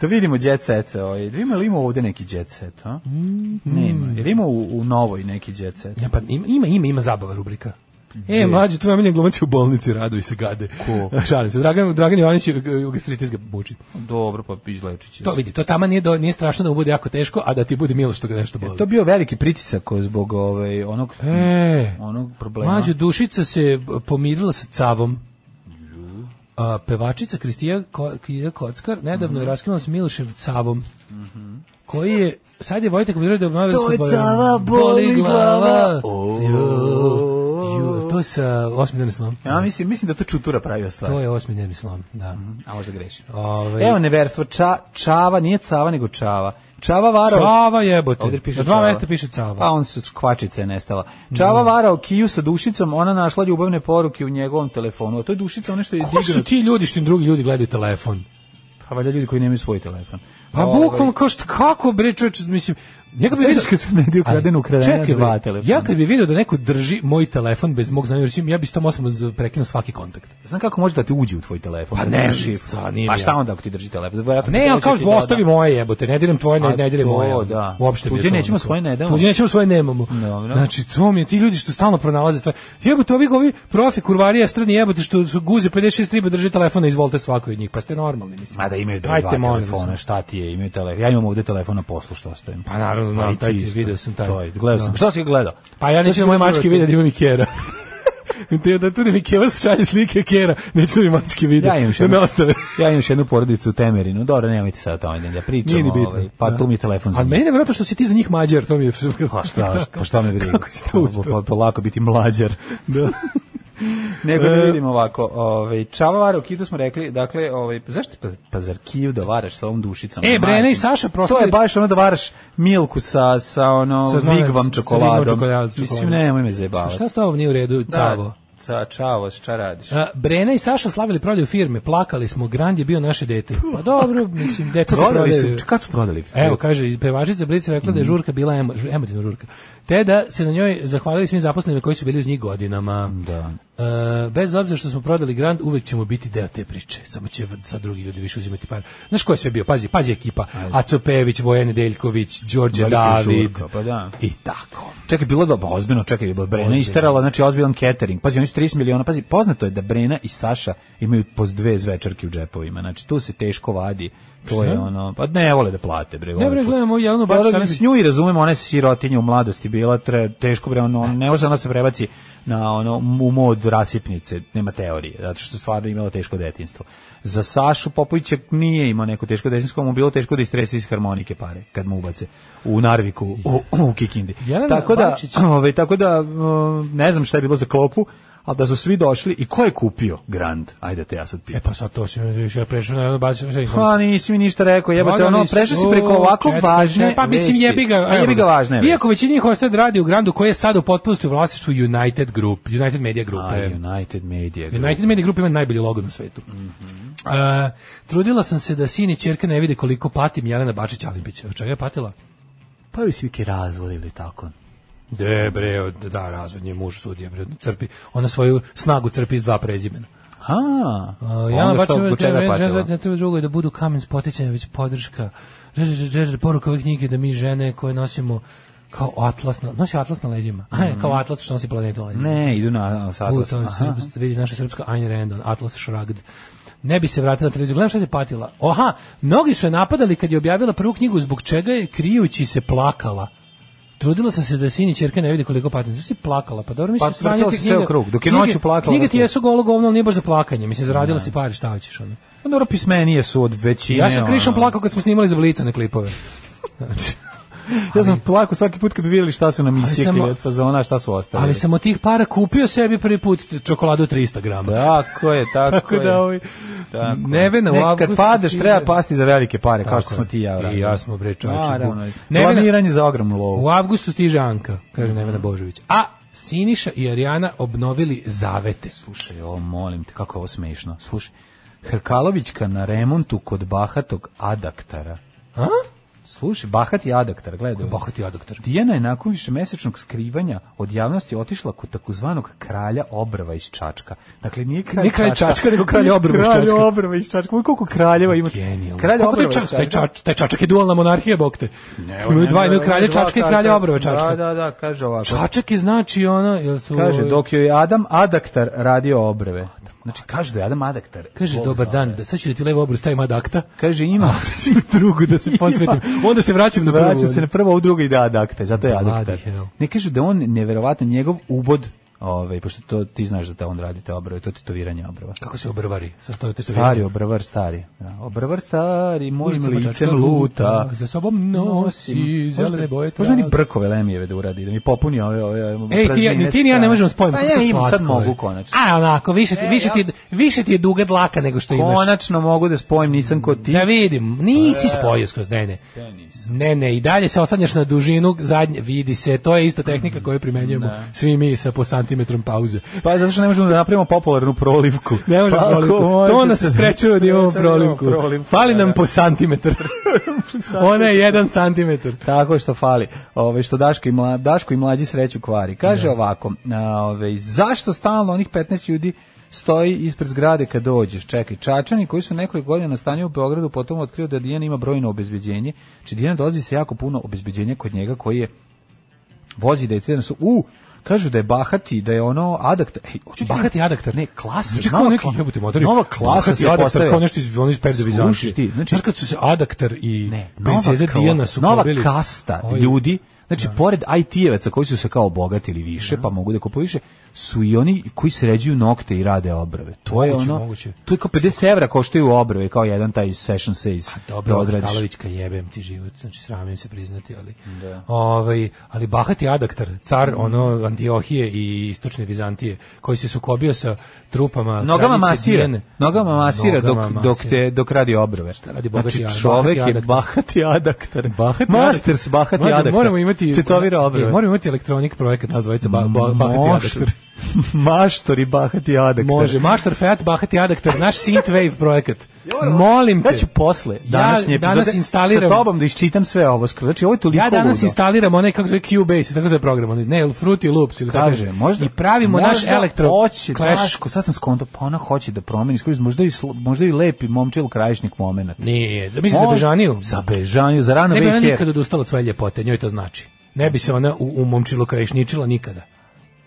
Da vidimo jet set. Ovaj. Da Ima li ima ovde neki jet set? A?
Mm,
Nema. Jer ima u, u novoj neki jet set.
Ja, pa ima, ima, ima, ima zabava rubrika. E, mlađi, tvoj omiljen glumac je u bolnici, raduj se, gade.
Ko?
Šalim se. Dragan, Dragan Jovanić e, je gastritis ga muči.
Dobro, pa izlečit će
To
se.
vidi, to tamo nije, do, nije strašno da mu bude jako teško, a da ti bude milo što ga nešto boli.
To je bio veliki pritisak zbog ovaj, onog,
E,
onog problema.
mlađo, dušica se b- pomirila sa cavom. A, pevačica Kristija Ko- Kristija Kockar nedavno
Mhm.
je raskinula s Milošem Cavom. Koji je, sad je Vojtek Mirović da obnavlja
To je
svoju-
Cava, boli glava.
Jo, jo, to sa osmi dnevni slom.
Ja mislim, mislim da to Čutura pravio stvar.
To je osmi dnevni slom, da.
A možda grešim.
Ovaj,
Mhm. Evo neverstvo, ča, čava, nije cava, nego čava. Čava varao...
Cava jebote.
Ovdje piše
Na dva
Čava.
mesta piše Cava.
Pa on su kvačica je nestala. Čava varao kiju sa dušicom, ona našla ljubavne poruke u njegovom telefonu. A to je dušica, ono što je
Ko su
dignuto.
ti ljudi što im drugi ljudi gledaju telefon?
Pa valjda ljudi koji nemaju svoj telefon.
Pa
Ovaj,
bukvalno kao što, kako bre čoveče, mislim, ja kad bi
Sećaš
vidio...
kad su negdje ukradeno,
Ali,
ukradeno
čekaj, bre,
dva telefona?
Ja kad bi video da neko drži moj telefon bez mog znanja, recimo, ja bi s tom osobom za- prekinuo svaki kontakt.
Znam kako može da ti uđe u tvoj telefon.
Pa
da
ne,
nemaš
mislim,
šifru.
to nije
Pa
mi
šta
jasno.
onda ako ti drži telefon? Vjerojatno
Ne,
ti
ali
hoće
kao
ti da-
ostavi
da-
moje jebote, ne diram tvoje, ne,
A
ne diram
to,
moje. ono,
da.
Uopšte mi je
Tuđe
to
nećemo,
onako.
svoje ne damo.
Tuđe nećemo, svoje nemamo.
Dobro.
Znači, to mi je ti ljudi što stalno pronalaze stvari. Jebote, ovi ovi profi kurvarija strani jebote što su guze 56 riba drži telefona, izvolite svako od njih. Pa ste normalni, mislim.
Ma da imaju bre
Ajte,
dva
molim vas.
telefona, šta ti je, imaju telefon. Ja imam ovde telefon na poslu što ostavim.
Pa naravno, znam,
Pa i
taj ti
isto.
video sam taj.
To je, gledao sam.
Da.
Šta si ga gledao?
Pa ja neću da moje mačke vide da ima mi kjera. Te da tu da mi keva šalje slike kjera, neću da mi mačke vide.
Ja imam još
da me
jednu-
ostave.
Ja imam još jednu porodicu u Temerinu. Dobro, nemojte sad o tome da pričamo.
Nije ni bitno.
ovaj, pa
Da.
tu mi je telefon za
Ali meni je vjerojatno što si ti za njih mađar, to mi je...
Pa šta, pa šta me briga?
Kako si to uspeo?
Pa, pa lako biti mlađar. da. Nego da
E.
vidimo ovako, ovaj Čava vara u Kidu smo rekli, dakle, ovaj zašto pa, pa zar Kijev da varaš sa ovom dušicom?
E, Brena i
Majkom.
Saša prosto-
To je baš ono da varaš Milku sa sa ono
Sa znanjem,
vigvam
sa
čokoladom.
vigvom čokoladom.
Mislim nemoj me zajebavati.
Šta s tobom nije u redu, cavo?
Ca, čavo, šta radiš?
A, Brena i Saša slavili prodaju firme, plakali smo, Grand je bio naše dete. Pa dobro, mislim, deca se
Prodali
prodaju.
su, kad su prodali?
Evo, kaže, prevažica Blic rekla
Mhm.
da je žurka bila emo, žu- emotivna žurka. Te da se na njoj zahvalili svim zaposlenima koji su bili uz njih godinama.
Da.
E, bez obzira što smo prodali Grand, uvek ćemo biti deo te priče. Samo će sad drugi ljudi više uzimati par. Znaš ko je sve bio? Pazi, pazi ekipa. Aco Pević, Vojen Nedeljković, Đorđe
Velika
David.
žurka, pa da.
I tako.
Čekaj, bilo da, pa ozbiljno, čekaj, ba, Brena isterala, znači ozbiljan catering. Pazi, oni su 30 miliona, pazi, poznato je da Brena i Saša imaju po dve zvečarke u džepovima, znači tu se teško vadi, to je ono, pa ne vole da plate, bre,
Ne
vole
bre,
ču-
gledamo Jelenu
Dobro,
Bačić.
mislim, s nju i razumemo, ona je sirotinja u mladosti bila, tre, teško bre, ono, ne može ona se prebaci na ono, u mod rasipnice, nema teorije, zato što stvarno je imala teško detinstvo. Za Sašu Popovića nije imao neko teško detinstvo, mu je bilo teško da istresi iz harmonike pare, kad mu ubace u Narviku, u, u Kikindi.
Jelena
tako da,
Bačić.
ovaj, tako da, um, ne znam šta je bilo za klopu, ali da su svi došli i ko je kupio Grand? Ajde te ja sad
E
pitam.
pa sad to si mi više prešao na Jelenu Bačić. sad ih
Pa nisi mi ništa rekao, jebate,
Prodali
ono, prešao si
su
preko ovako
četiri-
važne
Pa mislim
vesti.
jebi ga.
A Jebi ga važne vesti.
Iako većina njih ostaje da radi u Grandu koji je sad u potpunosti u vlasništvu United Group, United Media Group.
A,
e.
United Media Group.
United Media Group ima najbolji logo na svetu.
Mhm.
E, trudila sam se da sin i ćerka ne vide koliko patim Jelena Bačić Alimpić. Od čega je patila?
Pa bi svi ki razvod ili tako.
De bre, od- da, razvod nje muž sudija bre, crpi. Ona svoju snagu crpi iz dva prezimena.
Ha,
A,
ja
Ja
Pa onda
baš
što, po čega je patila?
ne treba drugo je da budu kamen spoticanja, već podrška. Žeže, žeže, žeže, poruka ove knjige da mi žene koje nosimo kao atlas, na, nosi atlas na leđima. A, kao
Mhm.
atlas što nosi planetu na leđima.
Ne, idu na sad.
U, to je srpsko- ono, vidi naša srpska Ayn Rand, on Atlas Shrugged. Ne bi se vratila na televiziju. Gledam šta se patila. Oha, mnogi su je napadali kad je objavila prvu knjigu zbog čega je krijući se plakala. Trudila sam se da sin i ćerka ne vidi koliko patim. Zašto si plakala? Pa dobro, mislim,
Pa, vrtila
sranje
si
te
sve u
knjige-
krug. Dok je
knjige-
noću plakala,
Knjige ti
dakle.
jesu golo govno, ali nije baš za plakanje. Mislim, zaradila si pari, šta hoćeš ono.
Pa dobro, pismenije su od većine.
Ja sam krišom
ono.
plakao kad smo snimali za Blica na klipove. Znači,
Ja sam plakao svaki put kad bi vidjeli šta su nam isjekli
samo-
od fazona, šta su ostavili.
ali sam od tih para kupio sebi prvi put čokoladu 300 grama.
Tako je, tako,
Tako
je.
da ovaj
Tako.
Nevena u
Ne, Kad
avgustu
padeš,
stiže-
treba pasti za velike pare, kao
Tako
što smo
je.
ti i ja.
I ja smo bre čoveče.
Naravno.
bu- Nevena,
Planiranje za ogromnu lovu.
u avgustu stiže Anka, kaže Nevena Božović. A Siniša i Arijana obnovili zavete.
Slušaj, ovo molim te, kako je ovo smešno. Slušaj, Hrkalovićka na remontu kod bahatog adaktara.
A?
Slušaj, bahati adaktar, gledaj.
Bahati adaktar.
Dijana je nakon višemesečnog skrivanja od javnosti otišla kod takozvanog kralja obrva iz Čačka. Dakle, nije kralj,
Nije kralj Čačka, nego kralj obrva iz
Kralj
Čačka.
obrva iz Čačka. Uj, koliko kraljeva ima.
Genijalno.
Kralj
Kako
obrva
taj
iz
čačak, taj
Čačka.
čačak, taj čačak je dualna monarhija, bog te. Imaju dva, imaju kralja čačka i kralja obrova čačka.
Da, da, da, kaže ovako.
Čačak je znači ono, jel su...
Kaže, dok joj je Adam Adaktar radio obrve. Znači, kaže da je Adam Adaktar.
Kaže, dobar dan, da sad ću da ti levo obru stavim ad akta.
Kaže, Znači, ima.
drugu da se posvetim. Onda se vraćam na prvu.
Vraća se na prvo, u drugo ide Adaktar, zato je
Bloody
Adaktar.
hell.
Ne kaže da je on neverovatno njegov ubod Ove, pošto to ti znaš da te on radi te obrve, to je tetoviranje obrva.
Kako se obrvari? Sastoje te
Stari obrvar stari. Da. Obrvar stari, mojim
Ulicama
licem
Čačka
luta.
luta, za sobom nosi zelene boje
Možda meni
trave.
brkove Lemijeve da uradi, da mi popuni ove, ove
Ej, ti, ja-
praznine
ni ti ni ja ne
stana.
možemo spojiti.
Pa ja imam, sad mogu konačno.
A, onako, više ti,
E,
više ti, više ti je duga dlaka nego što imaš.
Konačno mogu da spojim, nisam ko ti.
Da vidim,
E,
nisi spojio skroz, ne, ne. Ne, ne, i dalje se oslanjaš na dužinu zadnje, vidi se, to je ista
Mm,
tehnika koju primenjujemo svi mi sa po santimetrom pauze.
Pa zato što ne možemo da napravimo popularnu prolivku.
Ne možemo
Pa ako
prolivku. To
možete
nas
se-
sprečava da imamo
sprečava da imamo
prolivku. Fali nam po santimetar. Ona je jedan santimetar.
Tako što fali. Ove, što Daško i, mla, Daško i mlađi sreću kvari. Kaže ovako, a, ove, zašto stalno onih 15 ljudi stoji ispred zgrade kad dođeš? Čekaj, Čačani koji su nekoliko godina nastanio u Beogradu potom otkrio da Dijana ima brojno obezbeđenje. Či Dijana dolazi sa jako puno obezbeđenja kod njega koji je vozi da je jedan su... U, kažu da je bahati, da je ono adaktar. Ej, hoću ti-
Bahati adaktar.
Ne, klasa.
Znači kao
nova
neki
kla-
jebote motori.
Nova klasa
Bahati
se
adaktar,
postavila.
Kao nešto iz, ono iz perioda
Slušaj
Vizantije.
ti,
Znači, Znaš kad su se adaktar i
nova
princeza
kla-
Dijana su
nova
pobili-
kasta
Oj,
ljudi Znači, pored IT-evaca koji su se kao obogatili više, pa mogu da kupuju više, su i oni koji sređuju nokte i rade obrave. To je
Moguće,
ono,
moguće.
to je kao 50 evra koštaju obrave, kao jedan taj session says da
Dobro,
odradiš.
Katalovićka jebem ti život, znači sramim se priznati, ali ovaj, ali bahati adaktar, car ono Antiohije i istočne Vizantije, koji se sukobio sa trupama
Nogama
kraljice
masira,
Dijane.
nogama masira dok,
Nogama
dok,
masira.
te, dok radi obrave. Šta
radi bogati
znači,
ad-
čovek
bahati
je
adaktar?
bahati adaktar.
Bahati
Masters
adaktar.
bahati
Mlađe,
adaktar.
Moramo imati
Tetovira obrave.
E, moramo imati elektronik projekat nas dvojica ba, ba, bahati
Može.
adaktar.
Maštori bahati adaktar.
Može, maštor Fiat bahati adaktar, naš synthwave projekat. Molim te.
Ja ću posle današnje
ja danas
epizode
instaliram
sa tobom da iščitam sve ovo. skroz. Znači, ovo je toliko
Ja danas
ludo.
instaliram onaj kako se zove Cubase, tako se zove program, onaj ne, Fruity Loops ili tako.
Kaže,
nešto.
možda,
i pravimo naš
možda
elektro
hoće,
clash.
Daško, sad sam skonto, pa ona hoće da promeni, iskoristi, možda i, sl- možda i lepi momčil krajišnik momenat.
Nije, da misliš za Bežaniju?
Za Bežaniju, za rano
Ne bi ona
veher.
nikada odustala od svoje ljepote, njoj to znači. Ne bi se ona u, u momčilu krajišničila nikada.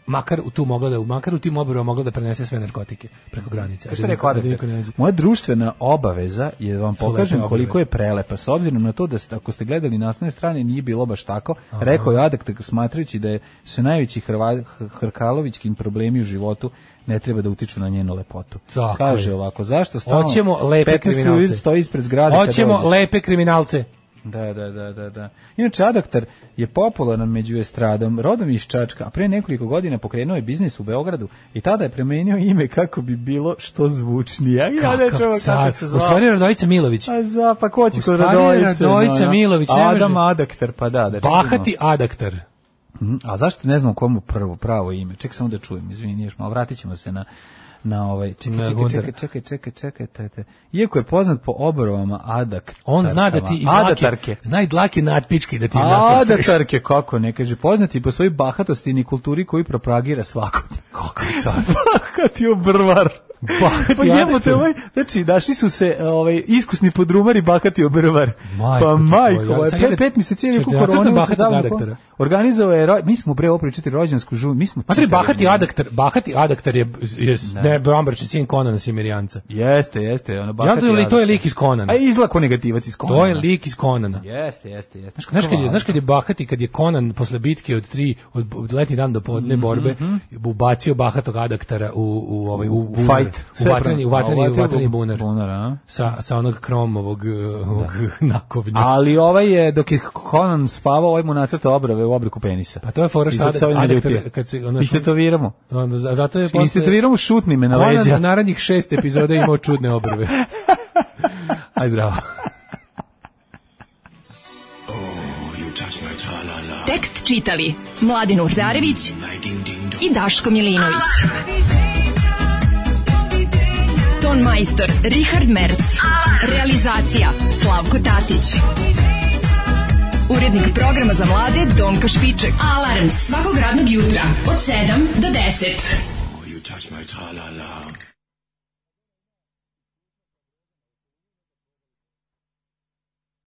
Makar u tu mogla da, makar u tim obrvama mogla da prenese sve narkotike preko granice. a
Šta
da
je rekao
niko- da
Adaktar?
niko ne nađe.
Moja društvena obaveza je da vam
Su lepe
pokažem
obrve.
koliko je prelepa. S obzirom na to da ste, ako ste gledali nastavne strane nije bilo baš tako, rekao je Adaktar smatrajući da je se najveći Hrva, H- Hrkalovićkin problemi u životu ne treba da utiču na njenu lepotu.
Tako
Kaže
je.
ovako, zašto stalno
Hoćemo lepe
15 ljudi
kriminalce.
stoji ispred zgrade kad
Hoćemo
dođeš?
lepe kriminalce.
Da, da, da, da, da. Inače, Adaktar je popularan među estradom, rodom iz Čačka, a pre nekoliko godina pokrenuo je biznis u Beogradu i tada je premenio ime kako bi bilo što zvučnije. Ja, ja
Kakav
čuo kako
car.
se
U
zvao.
stvari je Radojica Milović.
A za, pa ko će
U
kod
stvari je
Radojice?
Radojica
ono?
Milović, ne
Adam
može.
Adaktar, pa da, da čekamo.
Bahati adaktar.
Mhm, A zašto ne znam komu prvo pravo ime? Ček samo da čujem, izvini, još malo vratit ćemo se na na ovaj čekaj
Na
čekaj
Gundara.
čekaj čekaj čekaj čekaj tete. Iako je poznat po obrvama Adak.
On zna da ti i dlake,
Adatarke.
zna i dlake natpički da ti
A
natpičkariš.
Adatarke kako ne kaže poznati po svojoj bahatosti i ni kulturi koju propagira svakodnevno.
Kakav car.
Bahati obrvar.
Bahati
pa jebote
Adatar.
ovaj, znači našli su se ovaj iskusni podrumari bahati obrvar.
Majko
pa
ti
majko,
tvoja,
ovaj,
sad
pet,
ga-
pet mjeseci je
čekaj,
neku
ja crtam
koronu
Bahati Adaktara.
Organizovao je, ro- mi smo bre opravo čitali rođensku žu, mi smo
Matri,
čitali-
bahati adaktar, bahati adaktar je, je ne, Bromberče, sin Konana Simirijanca.
Jeste, jeste, ono
Ja,
bahati.
to, je li, to je
Adatar.
lik iz Konana.
A izlako negativac iz Konana.
To je lik iz Konana.
Jeste, jeste, jeste.
Znaš kad, je, znaš kad je bahati, kad je Konan posle bitke od tri, od, od letnji dan do podne
Mhm,
borbe, ubacio bahatog adaktara u, u, ovaj, u, bunar.
fight.
u vatreni, u vatreni, u vatreni bunar.
Bunar, a?
Sa, sa onog kromovog eh, ovog nakovnja.
Ali ovaj je, dok je Conan spavao, ovaj mu nacrta obrave u obliku penisa.
Pa to je fora šta
I sad se
Adaktar,
ovaj naljutio.
kad se... Ono,
Istetoviramo.
onda, za- zato je posle...
Istetoviramo šutni me na
Conan
leđa.
u narednih šest epizoda imao čudne obrve. Aj zdravo.
Tekst čitali Mladin Urdarević i Daško Milinović. Ton majstor Richard Merc. Realizacija Slavko Tatić. Urednik programa za mlade Donka Špiček. Alarms svakog radnog jutra od 7 do 10.
You touch my tra-la-la.